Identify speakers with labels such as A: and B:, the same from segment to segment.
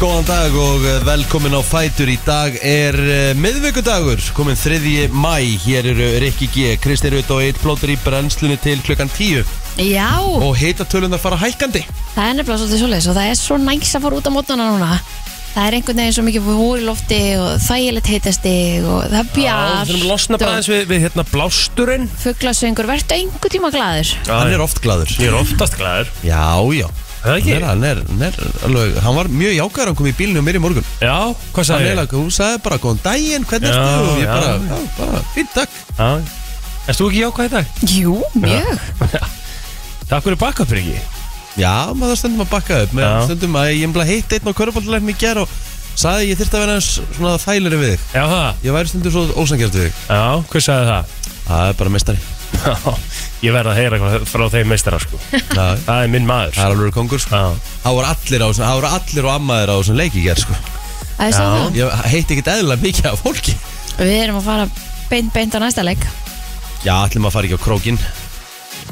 A: Góðan dag og eh, velkomin á Fætur Í dag er uh, miðvikudagur komin 3. mæ Hér eru Rikki G, Kristi Rutt og Eitt Plótur í brennslunni til klukkan 10
B: Já,
A: Og heita tölunar fara hækkandi
B: það er nefnilega svolítið svoleiðis og það er svo næs að fara út á mótnana núna Það er einhvern veginn svo mikið hóri lofti og þægilegt heitasti og það er
C: Við þurfum að losna
B: bjart
C: bara aðeins við, við hérna blásturinn
B: Fuglasöngur, verður einhvern tíma glaður
A: Hann er oft glaður
C: Ég er oftast glæður
A: Já, já
C: Það ekki?
A: Nei, hann er, hann er alveg, hann var mjög jákvæður að hann kom í bílinu og mér í morgun
C: Já, hvað
A: Hann
C: sagði
A: er
C: ég?
A: alveg, hún sagði bara góðan daginn, hvernig
C: Já,
A: ertu? Og ég
C: já.
A: bara, já, bara, fínt takk
C: Já. Erst þú ekki jákvæð í dag?
B: Jú, mjög
C: Takk fyrir baka fyrir ekki
A: Já, maður það stundum að bakka upp með
C: Já.
A: stundum að ég emla hitt einn á körubaldalefnum í ger og sagði ég þyrfti að vera hans svona þælir við þig
C: Já, það
A: Ég væri stundum svo ósangjart við þig
C: Já, hvað sagði það?
A: Það er bara mestari
C: Já, ég verð að heyra eitthvað frá þeim meistara sko
A: Það
C: Það er minn maður
A: er alveg kongur sko
C: Já,
A: Það voru allir á þessum, það voru allir og ammaðir á þessum leiki í ger sko
B: Það er svo
C: Já.
B: það
A: Ég heitti ekkit eðlilega mikið af fólki
B: Við erum að fara beint, beint á næsta leik
A: Já, allir maður fari ekki á krókin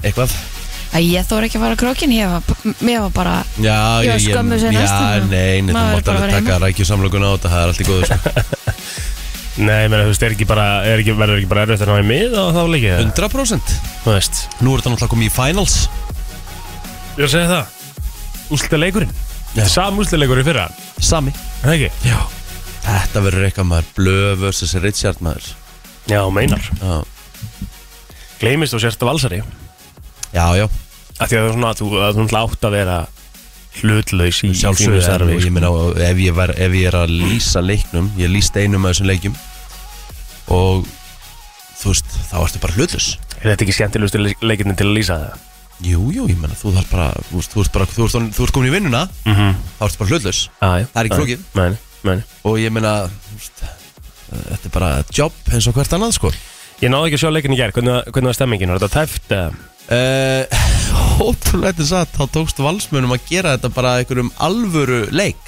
A: Eitthvað
B: Æ, Ég þóra ekki að fara á krókin, ég var, mér var bara
A: Já,
B: Ég var skömmu sem næst,
A: Já,
B: þannig að
A: nei, nei, þú
B: maður er
A: mátt
B: bara að
A: alveg
B: vera
A: taka rækjusamlokun á þetta Það er allt í góðu sko
C: Nei, menn, þú veist, er ekki bara, er ekki, verður ekki bara erfitt að ná í mið og þá líka
A: 100%
C: Þú veist,
A: Nú er þetta náttúrulega komið í finals
C: ég er að segja það Úslita leikurinn
A: Já.
C: Sam úslita leikurinn fyrra,
A: Sami
C: er það ekki?
A: Já Þetta verður eitthvað maður Blöð vs. Richard maður
C: Já, meinar
A: Já,
C: Gleimist og sérst valsari
A: já, já.
C: að því að það er svona að þú, að þú náttúrulega átt að vera hlutlaus í
A: sjálfsögðu sko.
C: þínu starfi, sko.
A: en Ég meina ef ég, var, ef ég er að lýsa leiknum Ég lýst einum af þessum leikjum Og Þú veist, þá ertu bara hlutlus
C: sko. er þetta ekki skemmtilegustu le- leikirnir til að lýsa það
A: Jú, jú, ég meina þú þarf bara Þú veist, þú veist, bara, þú veist, þú veist komin í vinnuna
C: mm -hmm.
A: Þá ertu bara hlutlus
C: ah,
A: Það er ekki flókið.
C: Mæni, mæni.
A: Og ég meina þú veist, Þetta er bara jobb eins og hvert annað sko
C: ég náði ekki að sjá leikin í gær hvernig, var- hvernig var stemmingin, var þetta tæft uh,
A: Uh, ótrúlega þetta satt þá tókst valsmönum að gera þetta bara að einhverjum alvöru leik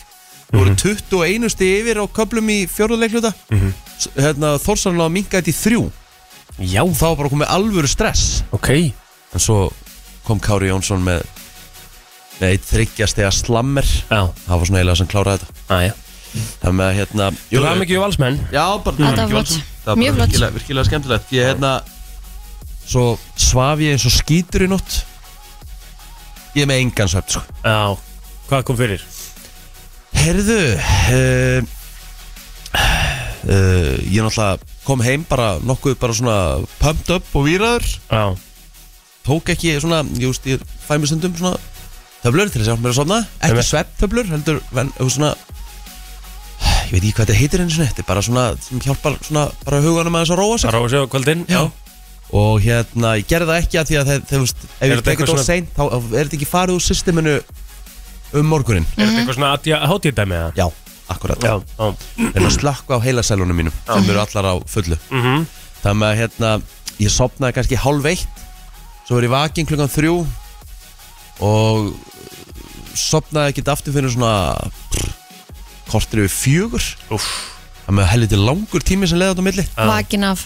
A: þú voru 21 stig yfir á köplum í fjórðuleikluta mm -hmm. hérna, Þórsanlega minkaði þetta í þrjú
C: já,
A: og þá var bara komið alvöru stress
C: ok
A: en svo kom Kári Jónsson með með eitt þryggjast eða slammer
C: já,
A: það var svona eiginlega sem kláraði þetta
C: aðja
A: það með að hérna
C: þú hafði mikið valsmenn
A: Já, bara
B: Þetta
A: bara
B: var flott.
A: virkilega- það var bara
B: Mjög flott.
A: virkilega, virkilega skemmtilegt Ég hérna Svo svaf ég eins og skítur í nótt Ég er með engan svept sko.
C: já, hvað kom fyrir
A: Herðu uh, uh, Ég náttúrulega kom heim bara nokkuð bara svona pumped up og výraður
C: já,
A: Tók ekki svona, ég veist, ég fæ mér stundum svona Töflur til þess að hjálpa mér að sofna Ekki
C: Einmitt.
A: svepptöflur, heldur ven, þú veist, svona Ég veit ekki hvað þetta heitir henni svona Þetta er bara svona, sem hjálpar svona bara huganum að þess að róa sig
C: það ráði sig á kvöldin
A: Já. og hérna, ég gerði það ekki að því að þeir, þeir, veist, ef ég
C: Er þetta
A: tekur
C: eitthvað
A: það
C: svona-
A: seint þá er þetta ekki farið úr systeminu um morgunin
C: er þetta eitthvað svona aðja hátíðdæmi eða?
A: já, akkurat,
C: já, já,
A: en að slakka á heilasælunum mínum sem eru allar á fullu
C: mm
A: þannig að hérna, ég sopnaði kannski hálf eitt svo er ég vakin klukkan þrjú og sopnaði ekkert aftur fyrir svona prr, kortir yfir fjögur
C: Úff.
A: þannig að helviti langur tími sem leiði á milli
C: Já.
B: vakin af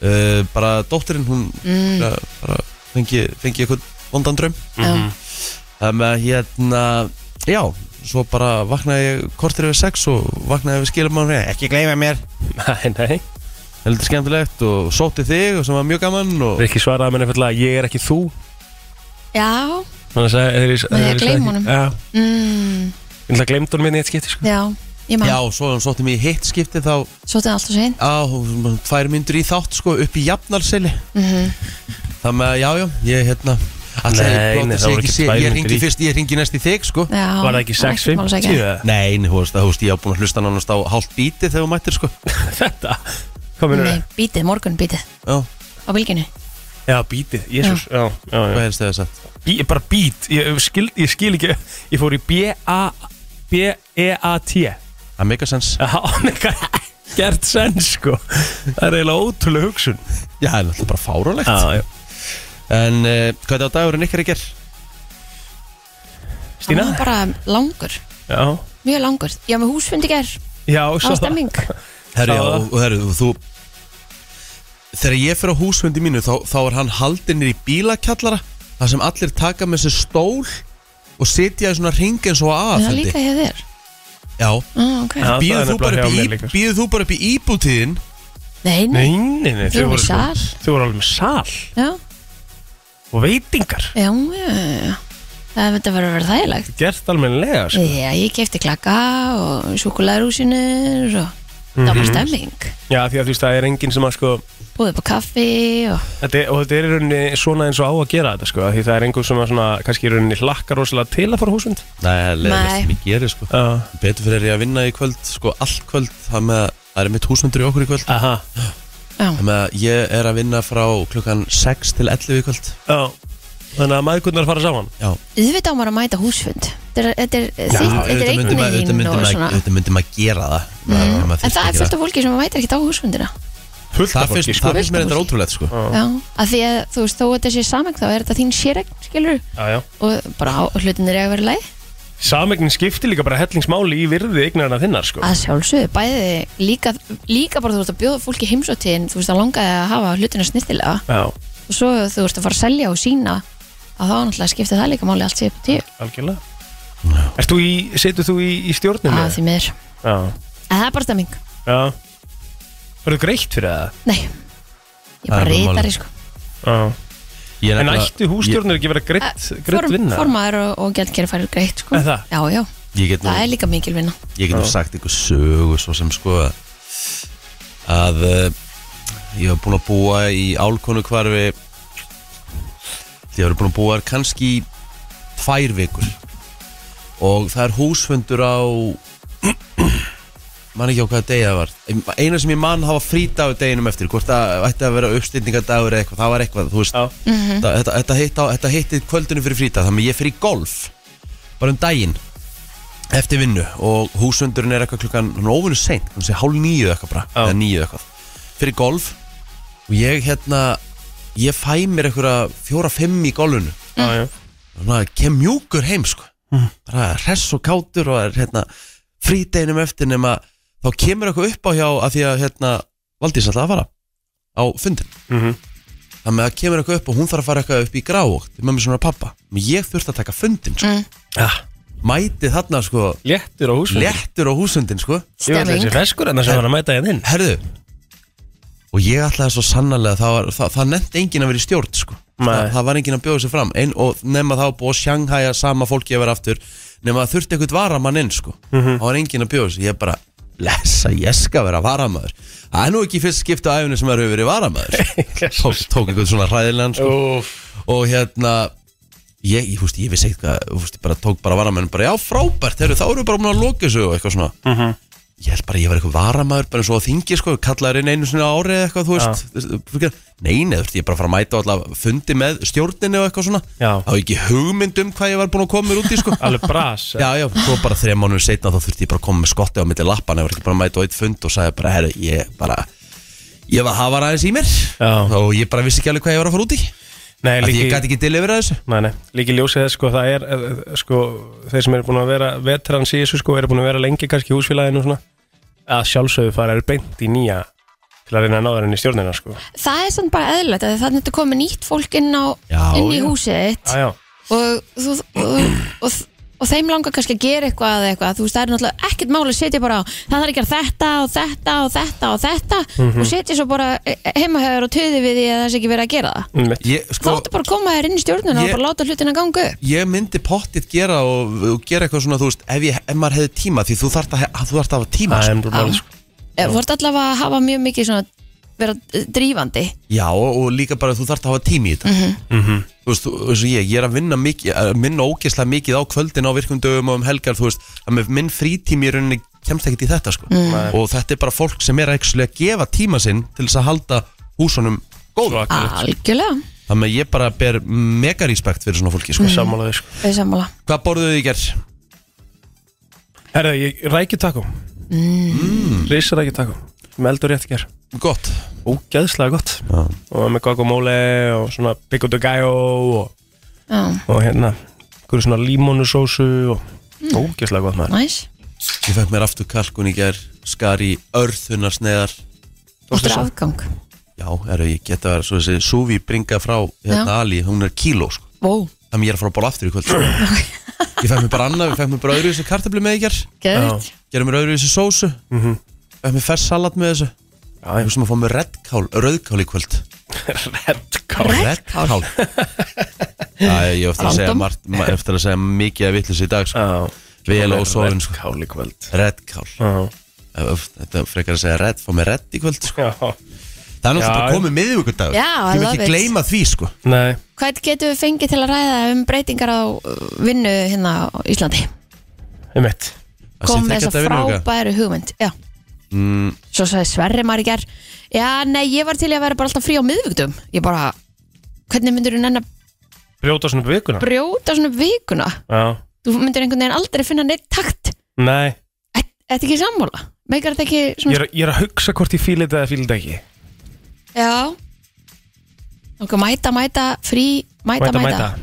A: uh, bara dóttirinn, hún
B: mm,
A: bara, bara fengi, fengi eitthvað vondan draum
C: Mhm.
B: já.
A: Það með að hérna, já, svo bara vaknaði ég kortir yfir sex og vaknaði yfir skilumann og ekki gleyma mér.
C: nei, nei,
A: Heldur skemmtilegt og sótti þig og sem var mjög gaman og...
C: Rikki svaraði mér einfallega ég er ekki þú
B: já,
C: þannig að þeir,
B: Nei, ég gleym honum.
C: já,
B: mm,
C: ég ætla að gleymd honum minni eitt skipti sko.
B: já, ég
A: Já,
B: maður
A: svo hann sótti mig í hitt skipti þá,
B: Svo þetta er alltaf svein
A: á, hún- tvær myndur í þátt sko upp í jafnarseli.
B: mm -hmm.
A: Það með að, já, já, ég hérna... Alltaf
C: Nei,
A: ég
C: nei,
A: blóta
C: það
A: sig
C: voru
A: ekki
C: ekki
A: sé,
C: tvær
A: ég
C: mínútur
A: ringi
C: í.
A: fyrst, ég ringi næst í þig sko.
C: Var það ekki 6.50? eða?
A: Nei, nei, þú veist, þú veist, ég á búin að hlusta nánast á hálft bítið þegar þú mættir sko.
C: Þetta? Hvað minnur
B: Nei,
C: það?
B: bítið, morgun bítið
A: Já,
B: á bylginu
C: Já, bítið, jésús já. Já,
A: hvað
C: já,
A: helst þið að sagt?
C: Bí, Bara bít, ég skil, ég skil ekki Ég fór í B-A E B-E-A-T
A: Það make a sense.
C: Já, neka Gert senn, sko Það er eiginlega ótrúlega hugsun
A: Já, það er náttúrulega bara fáránlegt.
C: Já, já
A: En uh, hvað er á dagurinn ykkar í gerð?
C: Stína?
B: Hann var bara langur,
C: Já,
B: mjög langur Ég var með húsfund í ger,
C: já,
B: það var
C: svo
B: stemming
A: Herri,
C: Sá
A: já,
C: það.
A: og, og herri, og þú Þegar ég fer á húsfundi mínu þá, þá er hann haldinn í bílakjallara þar sem allir taka með sér stól og sitja í svona ring eins og á
B: Það er
A: aðfundi
B: líka hjá þér
A: Já,
B: ah, ok
C: Já, það er
A: býður þú,
C: nefnilega
A: bara
C: hjá
A: upp í
C: mér
A: í-
C: líka, sko.
A: býður þú bara upp í íbútíðin
B: Nei, nei,
C: Nei, nei, nei,
B: Þau
C: þau
B: voru í
C: voru sko-
B: sal.
C: Þau voru alveg með sal
B: já,
C: og veitingar
B: já, já, já, já. Það myndi að vera að vera þægilegt
C: Gert almennilega sko.
B: Já, ég kefti klaka og sjúkularúsinir og það var bara
A: Mhm.
B: stemming
C: Já, því að þú veist, það er enginn sem að sko
B: Búið upp á kaffi og
C: þetta er, Og þetta er í rauninni svona eins og á að gera þetta sko af Því það er enginn sem að svona, kannski í rauninni hlakkar rosalega til að fara á húsund
A: Nei, það er leiðilegt
B: Nei.
A: sem ég gerir sko
C: uh,
A: Betur fyrir er ég að vinna í kvöld, sko allt kvöld Það með að það er mitt húsmundur í okkur í kvöld
C: Aha,
B: já,
A: Það með að ég er að vinna frá klukkan 6 til 11 í kvöld
C: já Þannig að maðgurnar fara saman
A: Já,
B: auðvitað á maður að mæta húsfund Þetta er, þetta er, þitt, þetta er
A: auðvitað myndi maður- auðvitað
B: eignin
A: myndi
B: og
A: maður-
B: svona
A: auðvitað myndi maður gera það
B: Mm. En það er fullt af fólki sem mætir ekkert á húsfundina
C: Fullt
A: Það finnst það finnst mér
B: Fullt af
A: þetta
B: fólki.
A: ótrúlegt sko
C: Já.
B: Já, af því að þú veist, þó að þetta sé sameng þá er þetta þín séregn, skilur
C: Já, já
B: og bara á- hlutin er að vera leið
C: Samegnin skiptir líka bara hellingsmáli í virði eignarna þinnar sko
B: að sjálfsögðu, bæði líka, líka bara þú veist að bjóða fólki heimsóttin þú veist að langaði að hafa hlutina snittilega
C: Já,
B: og svo þú veist að fara að selja og sína að þá náttúrulega skipta það líka máli allt sér upp á tíu
C: algjörlega Ert þú í, setur þú í, í stjórninu?
B: að því miður,
C: Já,
B: en það er bara stemming
C: já Verður greitt fyrir það?
B: nei, ég
A: Það er
B: bara
A: bara
B: reytar
A: málið.
B: sko
C: Já
A: Ég er
C: En
A: nefnilega-
C: ættu hússtjórnir ekki að vera greitt, greitt
B: Eh, Form,
C: vinna?
B: formaður og, og gjaldkeri færir greitt sko.
C: Er það?
B: já, já,
A: ég- ég get nú-
B: það er líka mikil vinna
A: Ég get nú
C: Já.
A: sagt ykkur sögu svo sem sko að- að uh, ég hef búin að búa í álkonu hvarfi ég hef búin að búa þar kannski í tvær vikur og það er húsfundur á man ekki á hvaða degi það var eina sem ég man hafa frídagur deginum eftir hvort það ætti að vera uppstýrningadagur eða eitthvað, það var eitthvað, þú veist
C: Já,
A: þetta, þetta, þetta, hitt á, þetta hitti kvöldinu fyrir frídag þannig að ég fyrir golf bara um daginn eftir vinnu og húsundurinn er eitthvað klukkan hann er óvinni seint, hann sé hálf nýju eitthvað bara
C: Já.
A: eða nýju eitthvað, fyrir golf og ég hérna ég fæ mér eitthvað fjóra-fimm í golfinu
C: já, já
A: þannig að kem mjúkur heim sko bara hress og kátur og er hérna frídeginum eftir nema þá kemur eitthvað upp á hjá að því að hérna Valdís ætlaði að fara á fundin
C: Mhm.
A: þannig að það kemur eitthvað upp og hún þarf að fara eitthvað upp í grávokt með mér svona pappa, Men ég þurfti að taka fundin sko.
C: Já,
A: mæti þarna sko
C: Ah. léttur á húsfjörnir
A: léttur á húsundin sko
C: Ég veit
B: stemming,
C: þessi feskur en það sem var að mæta hérna inn
A: herðu og ég ætlaði svo sannarlega það, var, það, það nefndi enginn að vera í stjórn sko.
C: Nei.
A: það, það var enginn að bjóða sig fram Ein, og nema það var búið að sjanghæja sama fólki að vera aftur nema það þurfti eitthvað varamann inn sko. það var enginn að bjóða sig ég bara, lesa, ég skal vera varamaður það er nú ekki fyrst skipta á æfinu sem það hefur verið varamaður tók, tók einhvern svona hræðilegan sko.
C: Úf,
A: og hérna ég, ég, fúst, ég vissi eitthvað þú veist, ég bara tók bara varamenn bara, já frábært, heru, þá eru bara búin að loka þessu og eitthvað svona
C: Mhm.
A: ég held bara að ég var eitthvað varamæður bara eins og á þingi sko, kallaður inn einu sinni á ári eða eitthvað, þú veist ja. nei, neður, ég er bara að fara að mæta alltaf fundi með stjórninni og eitthvað svona
C: Já.
A: þá hef ég ekki hugmynd um hvað ég var búin að koma mér út í sko
C: alveg bras
A: Já, já, svo bara þreja mánuður setna þá þurfti ég bara að koma með skotti á milli lappan ég var ekki bara að mæta á eitt fund og sagði bara, herru, ég bara ég var hafar aðeins í mér
C: Já.
A: og ég bara vissi ekki alveg hvað ég var að fara út í
C: Nei,
A: Af því ég
C: líki,
A: gæti ekki delivera þessu
C: nei, nei, líki ljósið þess sko, það er eh, eh, sko, þeir sem eru búin að vera vetrans í þessu sko, eru búin að vera lengi kannski í húsfélaginu og svona, að sjálfsögðu fara eru beint í nýja til að reyna að náða henni í stjórnina sko.
B: það er samt bara eðlilegt að það er þetta komið nýtt fólk inn, á,
A: Já,
B: inn í
A: já.
B: húsið þitt
C: Já, já,
B: og, þú, og, og, og þeim langar kannski að gera eitthvað eða eitthvað, þú veist, það er náttúrulega ekkert máli að setja bara á, það þarf að gera þetta og þetta og þetta og þetta og setja svo bara heimahöður og töði við því að það sé ekki verið að gera það
C: einmitt.
A: ég,
B: Þá
A: sko,
B: áttu bara að koma þér inn í stjórnuna
A: Ég-
B: og bara láta hlutina ganga upp
A: ég myndi pottitt gera og, og gera eitthvað svona, þú veist, ef, ég, ef maður hefði tíma því þú þarft að, að, þú þarft að hafa tíma
C: það
A: sko.
C: er bara málið, sko.
B: Eh, Þú ert allavega að hafa mjög mikið svona vera eh, drífandi
A: Já, og, og líka bara þú þarft að hafa tíma í þetta Þú veist, þú, þú veist, ég, ég er að vinna mikið, að minna ógeðslega mikið á kvöldin á virkum dögum og um helgar, þú veist að með minn frítími í rauninni kemst ekkert í þetta sko.
C: Nei.
A: og þetta er bara fólk sem er actually að gefa tíma sinn til þess að halda húsunum
C: Svo
A: góða,
C: akkurat,
B: Algjörlega,
A: þannig að ég bara ber mega respekt fyrir svona fólki, sko
C: sammála því, sko.
B: þau sammála
A: Hvað borðuðu þið í gerð?
C: Herra, ég rækju taco mm. Rísa rækju taco Með eldur rétt ger
A: Gott
C: Ógeðslega gott
A: Já.
C: Og með guacamole og svona pico de gallo og,
B: Já,
C: og hérna Hverju svona límónusósu og Mm. Ógeðslega gott maður
B: næs
A: Ég fekk mér aftur kalkun í gerð, skar í örþunarsneðar
B: Þú er afgang
A: Já, eru, ég geta verið svo þessi Suvi bringa frá hérna
B: Já.
A: Ali, hún er kíló sko.
B: Vó,
A: Þannig ég er að fara að bóla aftur í kvöld sko. Ég fekk mér bara annað, ég fekk mér bara öðru þessu kartabli með í ger
B: Gæðvikt
A: Gerði mér öðru þessu sósu mm -hmm. Fekk mér fersk salat með þessu
C: Já,
A: Ég sem að fá mér reddkál, rauðkál í kvöld
C: Reddkál
B: Reddkál?
A: Reddkál Já, ég hef eftir að segja
B: Random.
A: margt, ma- eftir að segja mikið að vitlis í dag sko.
C: Já,
A: Vel og sólin, sko.
C: Reddkál í kvöld
A: Reddkál
C: Já,
A: Öf, Þetta er frekar að segja redd, fá mér redd í kvöld sko.
C: já,
A: Það er náttúrulega
C: Já,
A: bara komið miðvíkudagur
B: Já, I
A: Ég vil
B: love
A: ekki
B: it.
A: gleyma því sko
C: nei
B: Hvað getum við fengið til að ræða um breytingar á uh, vinnu hérna á Íslandi?
C: Um eitt
A: Það sé
B: Kom með
A: þriggja
B: þessa
A: daga vinnuvika.
B: frábæru hugmynd Já,
A: mm,
B: svo sagði Sverri maður í ger Já, nei, ég var til í að vera bara alltaf frí á miðvíktum Ég bara, hvernig myndur þú nenn að
C: Brjóta svona upp vikuna
B: brjóta svona upp vikuna?
C: Já,
B: Þú myndur einhvern veginn aldrei finna neitt takt
C: nei
B: Þetta ekki sammála? Meikar þetta ekki
C: Ég
B: svona
C: er, ég er að hugsa hvort ég fíla þetta eða fíla þetta ekki
B: Já Nóka mæta, mæta, frí, mæta, mæta,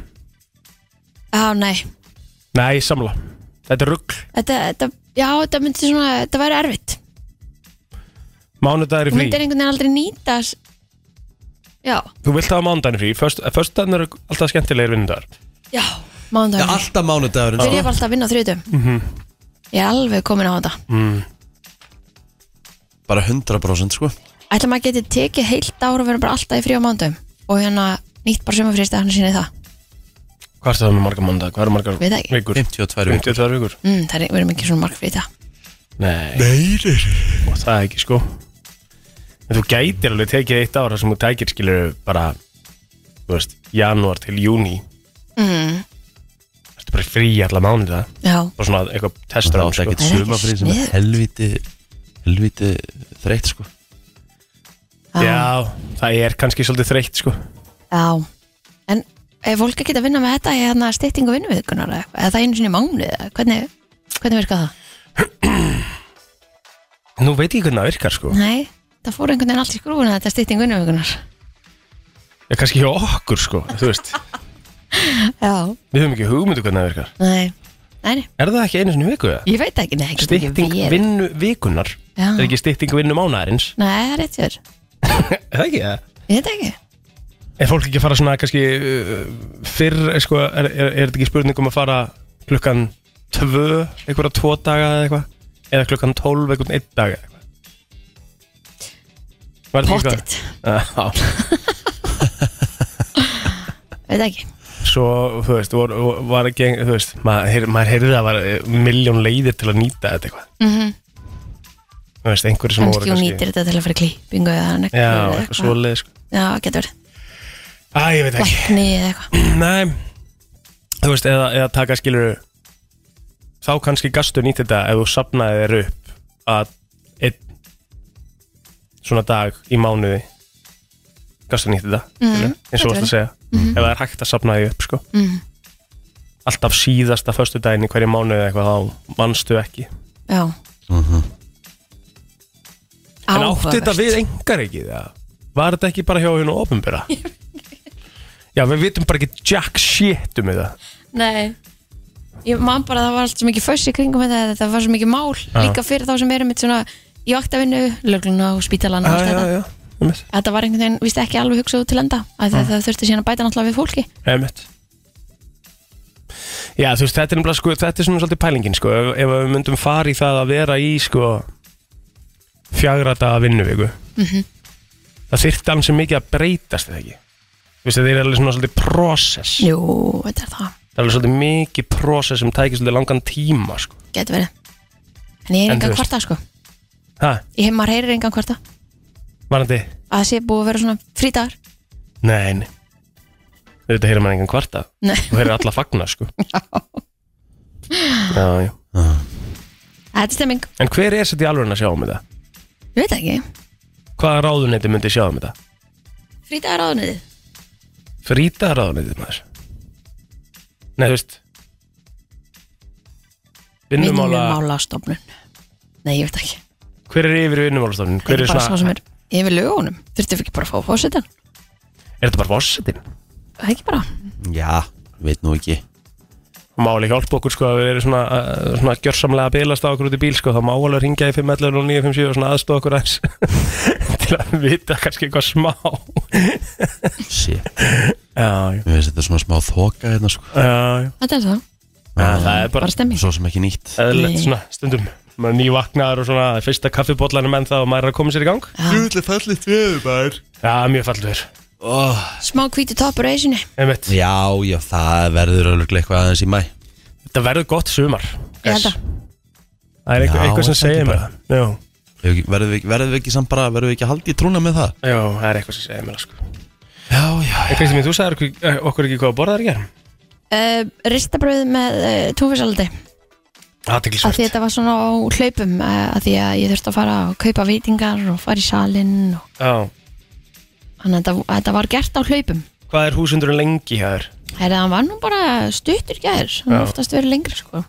B: Já, nei,
C: Nei, samla Þetta er rugg
B: þetta, þetta, já, þetta myndi svona, þetta væri erfitt
C: Mánudagur er
B: Þú
C: frí
B: myndir einhvern veginn aldrei nýta s- Já,
C: Þú vilt hafa mánudagur frí Föstudagur eru alltaf skemmtilegir vinnudagur
B: já,
A: Já,
B: mánudagurinn
A: alltaf mánudagurinn
B: Byrja
A: sko.
B: bara alltaf að vinna á þriðutum
C: Mhm.
B: Ég er alveg komin á þetta
A: Bara 100% sko
B: Ætla maður geti tekið heilt ára og verið bara alltaf í frí á mánudagum Og hérna nýtt bara sömufrýst að hann sinni það
C: Hvað er það með marga mánudagur? Hvað eru margar
B: Veit það ekki.
C: vikur?
A: 52 vikur
C: 52 vikur
B: mm, Það er, við erum ekki svona marg frí það
C: Nei,
A: Nei, nei, nei
C: og það er ekki sko En þú gætir alveg tekið eitt ára sem þú tækir skilur bara þú veist, janúar til júni
B: mm,
C: Þetta er bara frí alla mánuða
B: Já,
C: Bara svona eitthvað
A: Það
C: testur á
A: er
C: sko.
A: ekkert
B: Það er ekki
A: sumafrið sem er
B: sniðugt.
A: helviti helviti þreytt sko
C: Já, það er kannski svolítið þreytt sko
B: já En ef fólk ekki að vinna með þetta Ég hérna styttingu vinnu við ykkurnar Eða það einu sinni í mánuði eða Hvernig, hvernig virka það?
C: Nú veit ég hvernig það virkar sko
B: Nei, það fór einhvern veginn allt í skrúfuna Þetta styttingu vinnu við ykkurnar
C: Já, kannski hjá okkur sko, þú veist
B: Já,
C: Við höfum ekki hugmyndu hvernig það virkar
B: nei, nei, nei
C: Er það ekki einu sinni í viku það?
B: Ég veit það ekki, nei, ekki
C: Stytting
B: ekki við-
C: vinnu vikunar
B: Já.
C: Er ekki stytting vinnu mánaðarins?
B: Nei, það er rétt fjör,
C: Er það ekki það?
B: ég veit það ekki
C: Er fólk ekki að fara svona kannski uh, fyrr, eh, sko, er, er, er þetta ekki spurning um að fara klukkan tvö, einhverja tvo daga eða eitthvað eða klukkan tólf, einhvern einn dag eða eitthvað Var þetta ekki
B: Pottit,
C: eitthvað? Já,
B: veit það ekki
C: svo, þú veist, var, var ekki, ein- þú veist, maður, heyr- maður heyrði að það var miljón leiðir til að nýta þetta eitthvað
B: mm
C: Þú veist, einhverju sem
B: kannski hún nýtir þetta til að fara í klípingu eða nekkur
C: Já,
B: eða
C: eitthvað svoleið, sko
B: já, getur verið,
C: Æ, ég veit ekki
B: lækni eða eitthvað
C: Nei, þú veist, eða, eða taka skilur þá kannski gastu nýtt þetta ef þú sapnaði þér upp að einn svona dag í mánuði gastu nýtt þetta
B: Mhm.
C: skilurðu, eins og
B: þetta
C: varst að segja
B: Mhm.
C: ef það er hægt að sapna því upp sko.
B: mm,
C: alltaf síðasta föstu daginn í hverju mánuði eða eitthvað þá manstu ekki
B: já
C: en átti þetta
B: áhugavert
C: við engar ekki það var þetta ekki bara hjá hennu ofinbera já við vitum bara ekki jack shit um þetta
B: nei ég man bara að það var allt svo mikið föss í kringum þetta þetta var svo mikið mál, líka fyrir þá sem erum mitt svona í vaktavinnu, lögluna og spítalana og allt
C: já,
B: þetta
C: já, einmitt,
B: þetta var einhvern veginn, víst ekki alveg hugsað út til enda að það, það þurfti síðan að bæta náttúrulega við fólki
C: einmitt já þú veist þetta er nefnilega sko þetta er svona svolítið pælingin sko ef, ef við myndum fara í það að vera í sko fjagra daga vinnuviku það þyrfti alveg mikið að breytast eða ekki þú veist þetta er alveg svona svolítið process
B: jú, þetta er það,
C: það er alveg svolítið mikið process sem tækir svolítið langan tíma sko
B: getur verið en ég er
C: En þú
B: engan
C: veist.
B: kvarta sko
C: ha,
B: ég hef maður heyrir engan kvarta
C: varandi
B: að það sé búið að vera svona frítagar
C: Nei, nei Þetta heyrir maður engan kvarta
B: Nei.
C: Þú heyrir alla fagna sko Já, já
B: Þetta er stemming,
C: En hver er þetta í alveg að sjá um þetta?
B: ég veit það ekki
C: Hvaða ráðuneyti myndi sjá um þetta?
B: Frítagar áðunniði
C: Frýta ráðuneyti maður Nei, þú veist Vinnumála
B: Vinnumálastofnun Nei, ég veit það ekki
C: Hver er yfir vinnumálastofnin? Hver
B: Ekki
C: er
B: bara sá
C: svona
B: sem er yfir lögunum Þurftum við ekki bara að fá fósitann
C: Er þetta bara fórsetin?
B: Það er ekki bara
A: Já, veit nú ekki
C: Máli hjálpa okkur sko að við erum svona, uh, svona gjörsamlega að bilast á okkur út í bíl sko þá má alveg ringja í 511 og 957 og svona aðstofa okkur aðeins til að vita kannski eitthvað smá
A: Sér,
C: Já, já
A: við veist þetta er svona smá þoka hérna sko
C: Já, já.
B: Þetta er það
C: Það er bara
B: bara stemming
A: Svo sem ekki nýtt
C: eðlilegt
B: Nei.
C: svona stundum maður nývaknaður og svona fyrsta kaffibóllanum enn það og maður er að koma sér í gang
A: Júli fallit við bara
C: Já, mjög fallur
A: oh.
B: smá hvíti toppur á eisinu
C: einmitt,
A: Já, já, það verður ölluglega eitthvað aðeins í mæ
C: þetta verður gott sumar
B: Ég held að.
C: það er eitthvað,
A: Já,
C: eitthvað sem
A: það er
C: segir
A: ekki
C: mér það já,
A: Verðum við, verðum við, verðum við ekki samt bara, verðum við ekki að haldi í trúna með það?
C: já, það er eitthvað sem segir mér það, sko.
A: Já, já,
C: en Kristi mín, þú sagðir okkur- eh, okkur ekki hvað að borða þar í gerð
B: uh, ristabröð með uh, túnfisaldi að því
C: aðtiklisvert,
B: þetta var svona á hlaupum uh, að því að ég þurfti að fara að kaupa veitingar og fara í salinn og
C: já
B: þannig að þetta, að þetta var gert á hlaupum
C: hvað er húsundurinn lengi hér
B: Herra, hann var nú bara stuttur gæður hann
C: Já.
B: var oftast verið lengri sko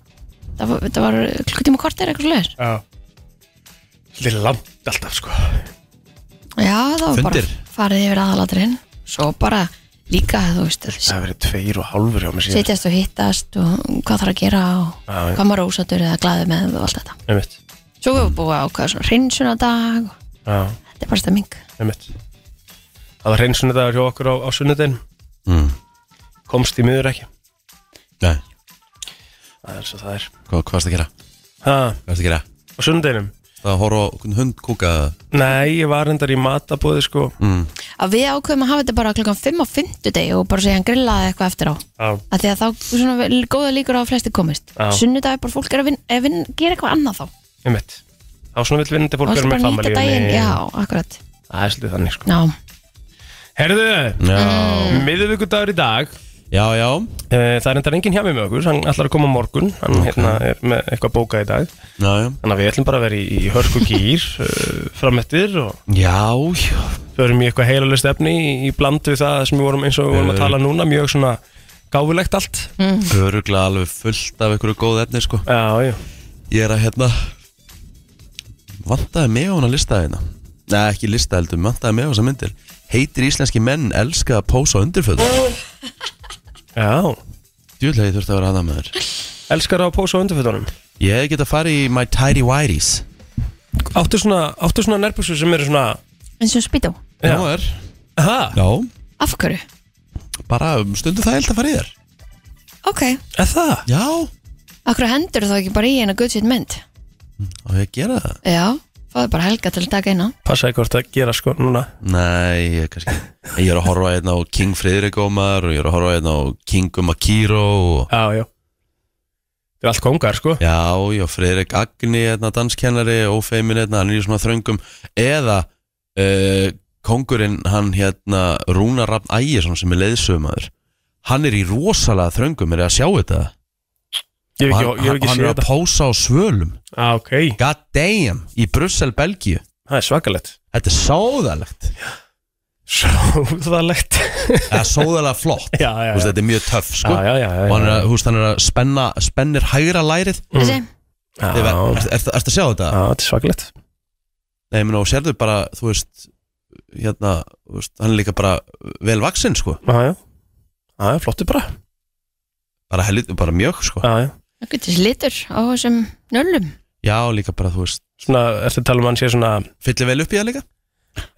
B: það var, það var klukkutíma og kortir eitthvað slags
C: já lilla langt alltaf, sko
B: já, það var
A: Fundir?
B: bara farið yfir aðalaturinn svo bara líka, þú veist að
C: það verður tveir og hálfur hjá mér síðan
B: setjast og hittast og hvað þarf að gera og
C: Já, já.
B: hvað maður ósatur eða glaður með og allt þetta
C: einmitt,
B: svo við búið að ákvæða svona hreinsunadag og
C: já,
B: þetta er bara stemming
C: einmitt það var hreinsunadagur hjá okkur á, á sunnudin
A: Mm.
C: komst í miður ekki,
A: Nei,
C: það er svo það er
A: hvað, hvað erstu að gera?
C: ha,
A: Hvað erstu að gera?
C: á sunnudeginum
A: Það að horfa á einhvern hund kúka
C: Nei, ég var endar í matabóði sko
A: mm.
B: að við ákveðum að hafa þetta bara klukkan 5 á 50 deg og bara segja hann grillaði eitthvað eftir á
C: Já,
B: að því að þá svona vel- góða líkur á að flesti komist
C: Já.
B: sunnudag er bara fólk er að vinna, vin, gera eitthvað annað þá
C: um mitt Þá svona vill vinnandi fólk
B: Það
C: vera
B: er
C: með
B: bara að nýta daginn,
C: familíunni
B: já, akkurat
C: Það er svolítið þannig sko
B: Já,
C: Herðu,
A: Já,
C: miðvíkudagur í dag
A: já, já
C: Eh, Það er endar enginn hjá mér með okkur Hann ætlar að koma á morgun Hann hérna, er með eitthvað bókað í dag
A: Já, já,
C: Þannig að við ætlum bara að vera í, í hörku gýr Framöttir og
A: já, já.
C: förum í eitthvað heilalist efni Í, í bland við það sem við vorum eins og við vorum að tala núna Mjög svona gáfulegt allt
A: Öruglega alveg fullt af einhverju góð efni sko
C: Já, já
A: Ég er að hérna Vantaði mig á hana lista hérna Nei, ekki lista heldur, vantaði mig á þessa myndir Heitir íslenski menn elska að pósa á undirföðu
C: Já,
A: Djúlega ég þurfti að vera aðað með þér
C: elskar að pósa á undirfötunum
A: Ég hef getað farið í my tidy whities
C: Áttu svona, áttu svona nærbúsur sem eru svona
B: eins og spýtó
C: Já.
A: Nú er
C: Aha,
A: Já,
B: Af hverju?
A: bara um, stundu það held að fara í þér
B: Ok
C: er það?
A: Já
B: Af hverju hendur þá ekki bara í eina guðsitt mynd?
A: Og ég að gera það
B: Já, fáðu bara helga til að taka eina
C: Passaði hvort það gera sko núna
A: Nei, ég, kannski Ég er að horfa hérna á King Friðrik Ómar og ég er að horfa hérna á King Umakiro og...
C: Já, já Það er allt kongar sko
A: Já, já, Friðrik Agni hérna, danskennari, ófeimin hérna, hann er í svona þröngum eða uh, kongurinn, hann hérna Rúnar Rafn Ægjesson sem er leiðsömaður hann er í rosalega þröngum er það að sjá þetta hann,
C: Ég hef ekki, ég hef
A: hann,
C: ekki
A: hann
C: séð
A: er að
C: þetta
A: pósa á svölum
C: Já, ok
A: God damn, í Brussel, Belgíu
C: Það er svakalegt
A: Þetta er sáðalegt
C: Sjóðalegt
A: eða sáðalega flott
C: Já, já,
A: Þú veist,
C: já
A: Þetta er mjög töff sko
C: Já, já, já, já,
A: og hann er,
C: já.
A: að, húst, hann er að spenna, spennir hægra lærið
C: Mm.
B: Þessi,
C: Já,
A: Þegar-
C: já,
A: Ert ert- ertu að sjá þetta?
C: þetta er svakalegt
A: Nei, menn og sérðu bara, þú veist hérna, þú veist, hann er líka bara vel vaksinn, sko,
C: Já, já Já, já, flottu bara
A: bara, helið, bara mjög, sko
C: Já, já
B: það getur slitur á þessum nöllum
A: Já, líka bara, þú veist,
C: Svona, eftir tala um hann sé svona
A: fyllir vel upp í það líka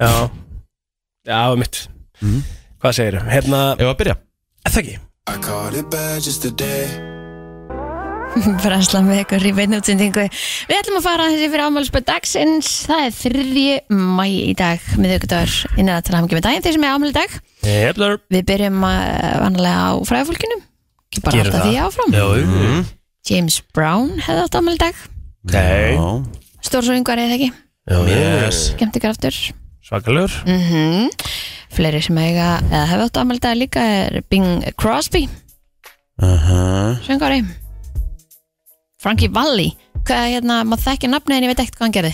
C: Já Já, mitt
A: Mhm.
C: Hvað segir þau? Hérna
A: Ef að byrja
C: Það ekki
D: I caught it bad just today.
B: Brænslan með ykkur í beinútsendingu Við ætlum að fara þessi fyrir ámálspöð dagsins Það er 3. mæ í dag miðvikudagur innan að tala hamingi með daginn þeir sem er ámæli dag
C: Heflar
B: Við byrjum að vanlega á fræðafólkinu ekki bara
C: Gerum
B: alltaf
C: það.
B: því áfram
A: mm.
B: James Brown hefði átt ámæli dag
C: Nei.
A: Já,
B: Stórsöfingar eða ekki,
A: já, yes
B: skemmt ykkur aftur
C: Svakalur
B: mm Fleiri sem eiga eða hefði átt afmæli í dag líka er Bing Crosby,
A: uh
B: söngari Frankie Valli hvað hérna, maður þekkir nafni en ég veit ekkert hvað hann gerði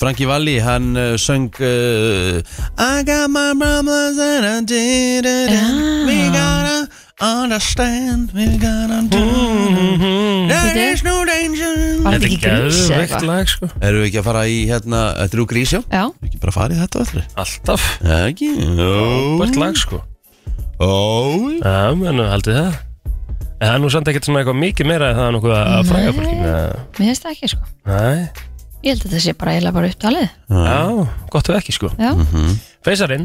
A: Frankie Valli, hann uh, söng uh, I got my problems and I did it
B: Já.
A: We gotta understand We gotta do There is no danger
B: Var þetta Mm-hmm. ekki grís eða eitthvað?
C: lag sko
A: Erum við ekki að fara í hérna Þetta er úr grísjó
B: Já,
A: Við ekki bara að fara í þetta öllur
C: Alltaf
A: Það ekki Ó
C: Bært lag sko
A: Ó
C: Já, menn, haldið það En það er nú samt ekkert svona eitthvað mikið meira en það er nokkuð að- að fræga fólki með-
B: mér finnst það ekki sko
C: Nei,
B: Ég held að þetta sé bara eiginlega bara upptalið
C: já, gott ef ekki sko
B: Já,
C: Feysarinn,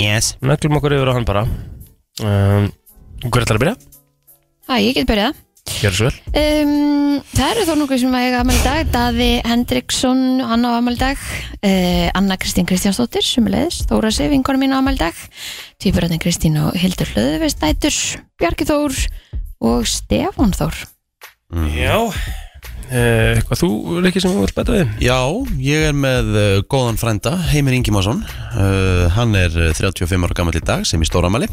A: Yes
C: neglum okkur yfir á hann bara um, Hver ætlar að byrja?
B: það ég get byrjað
C: Gjör svo vel
B: Um, það eru þó nokkuð sem að eiga afmæli í dag Daði Hendriksson, hann á afmæli í dag uh, Anna Kristín Kristjánsdóttir sem er leiðis, Þóra Sif, vinkona mín á afmæli í dag Týpuröðin Kristín og Hildur Hlöðvistætur Bjarki Þór og Stefán Þór
C: Já Eh, Eitthvað þú, Rikki, sem þú vilt bæta við
A: Já, ég er með uh, góðan frænda, Heimir Ingimarsson uh, Hann er uh, 35 ára gammal í dag sem í stóramæli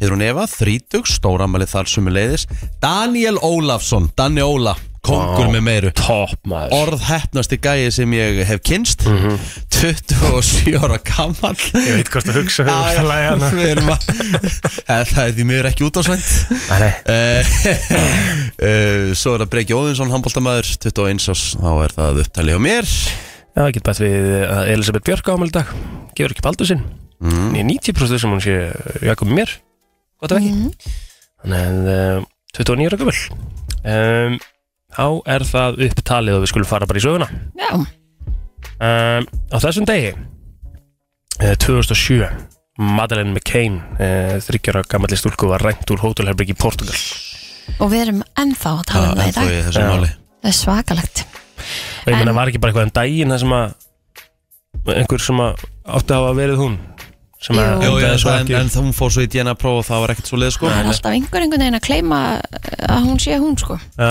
A: Heiðrún Eva, 30, stóramæli þar sumuleiðis Daniel Ólafsson, Danni Óla, kongur með meiru
C: Top maður
A: Orðheppnasti gæi sem ég hef kynst
C: Mhm.
A: 27 ára gammal
C: Ég veit hvort að hérna. hugsa hefur það lægja hana
A: Við erum að Eh, Það er því miður ekki útásvænt
C: Nei, nei.
A: Eh, eh, Svo er það Breki Óðinsson, handbóltamaður 21 árs, þá er það upptalið á mér
C: Já, ég get bætt við að Elisabeth Björk ámæli dag Gefur ekki baldur sinn mm. Ég er 90% sem hún sé Jakob mér
B: Mm.
C: Gott af ekki
B: Mhm.
C: Þannig að uh, 29 ára gömul um, Þá er það upptalið og við skulum fara bara í söguna
B: Já,
C: um, Á þessum degi uh, 2007 Madeleine McCain uh, þryggjara gamalli stúlku var rænt úr hótelherbygg í Portugal
B: og við erum ennþá að tala um það í
A: ennþá
B: dag
A: í þessu
C: Já.
A: máli
B: Það er svakalegt
C: og ég meina var ekki bara eitthvað en daginn það sem að einhver sem að átti að hafa verið hún sem
B: Jú.
C: að
A: Jú,
C: endaði
A: já,
C: svo
A: en,
C: ekki
A: en það hún fór svo í DNA próf og það var ekkert svo leið sko
B: Það er alltaf einhver einhvern veginn að kleima að hún sé hún sko
C: já,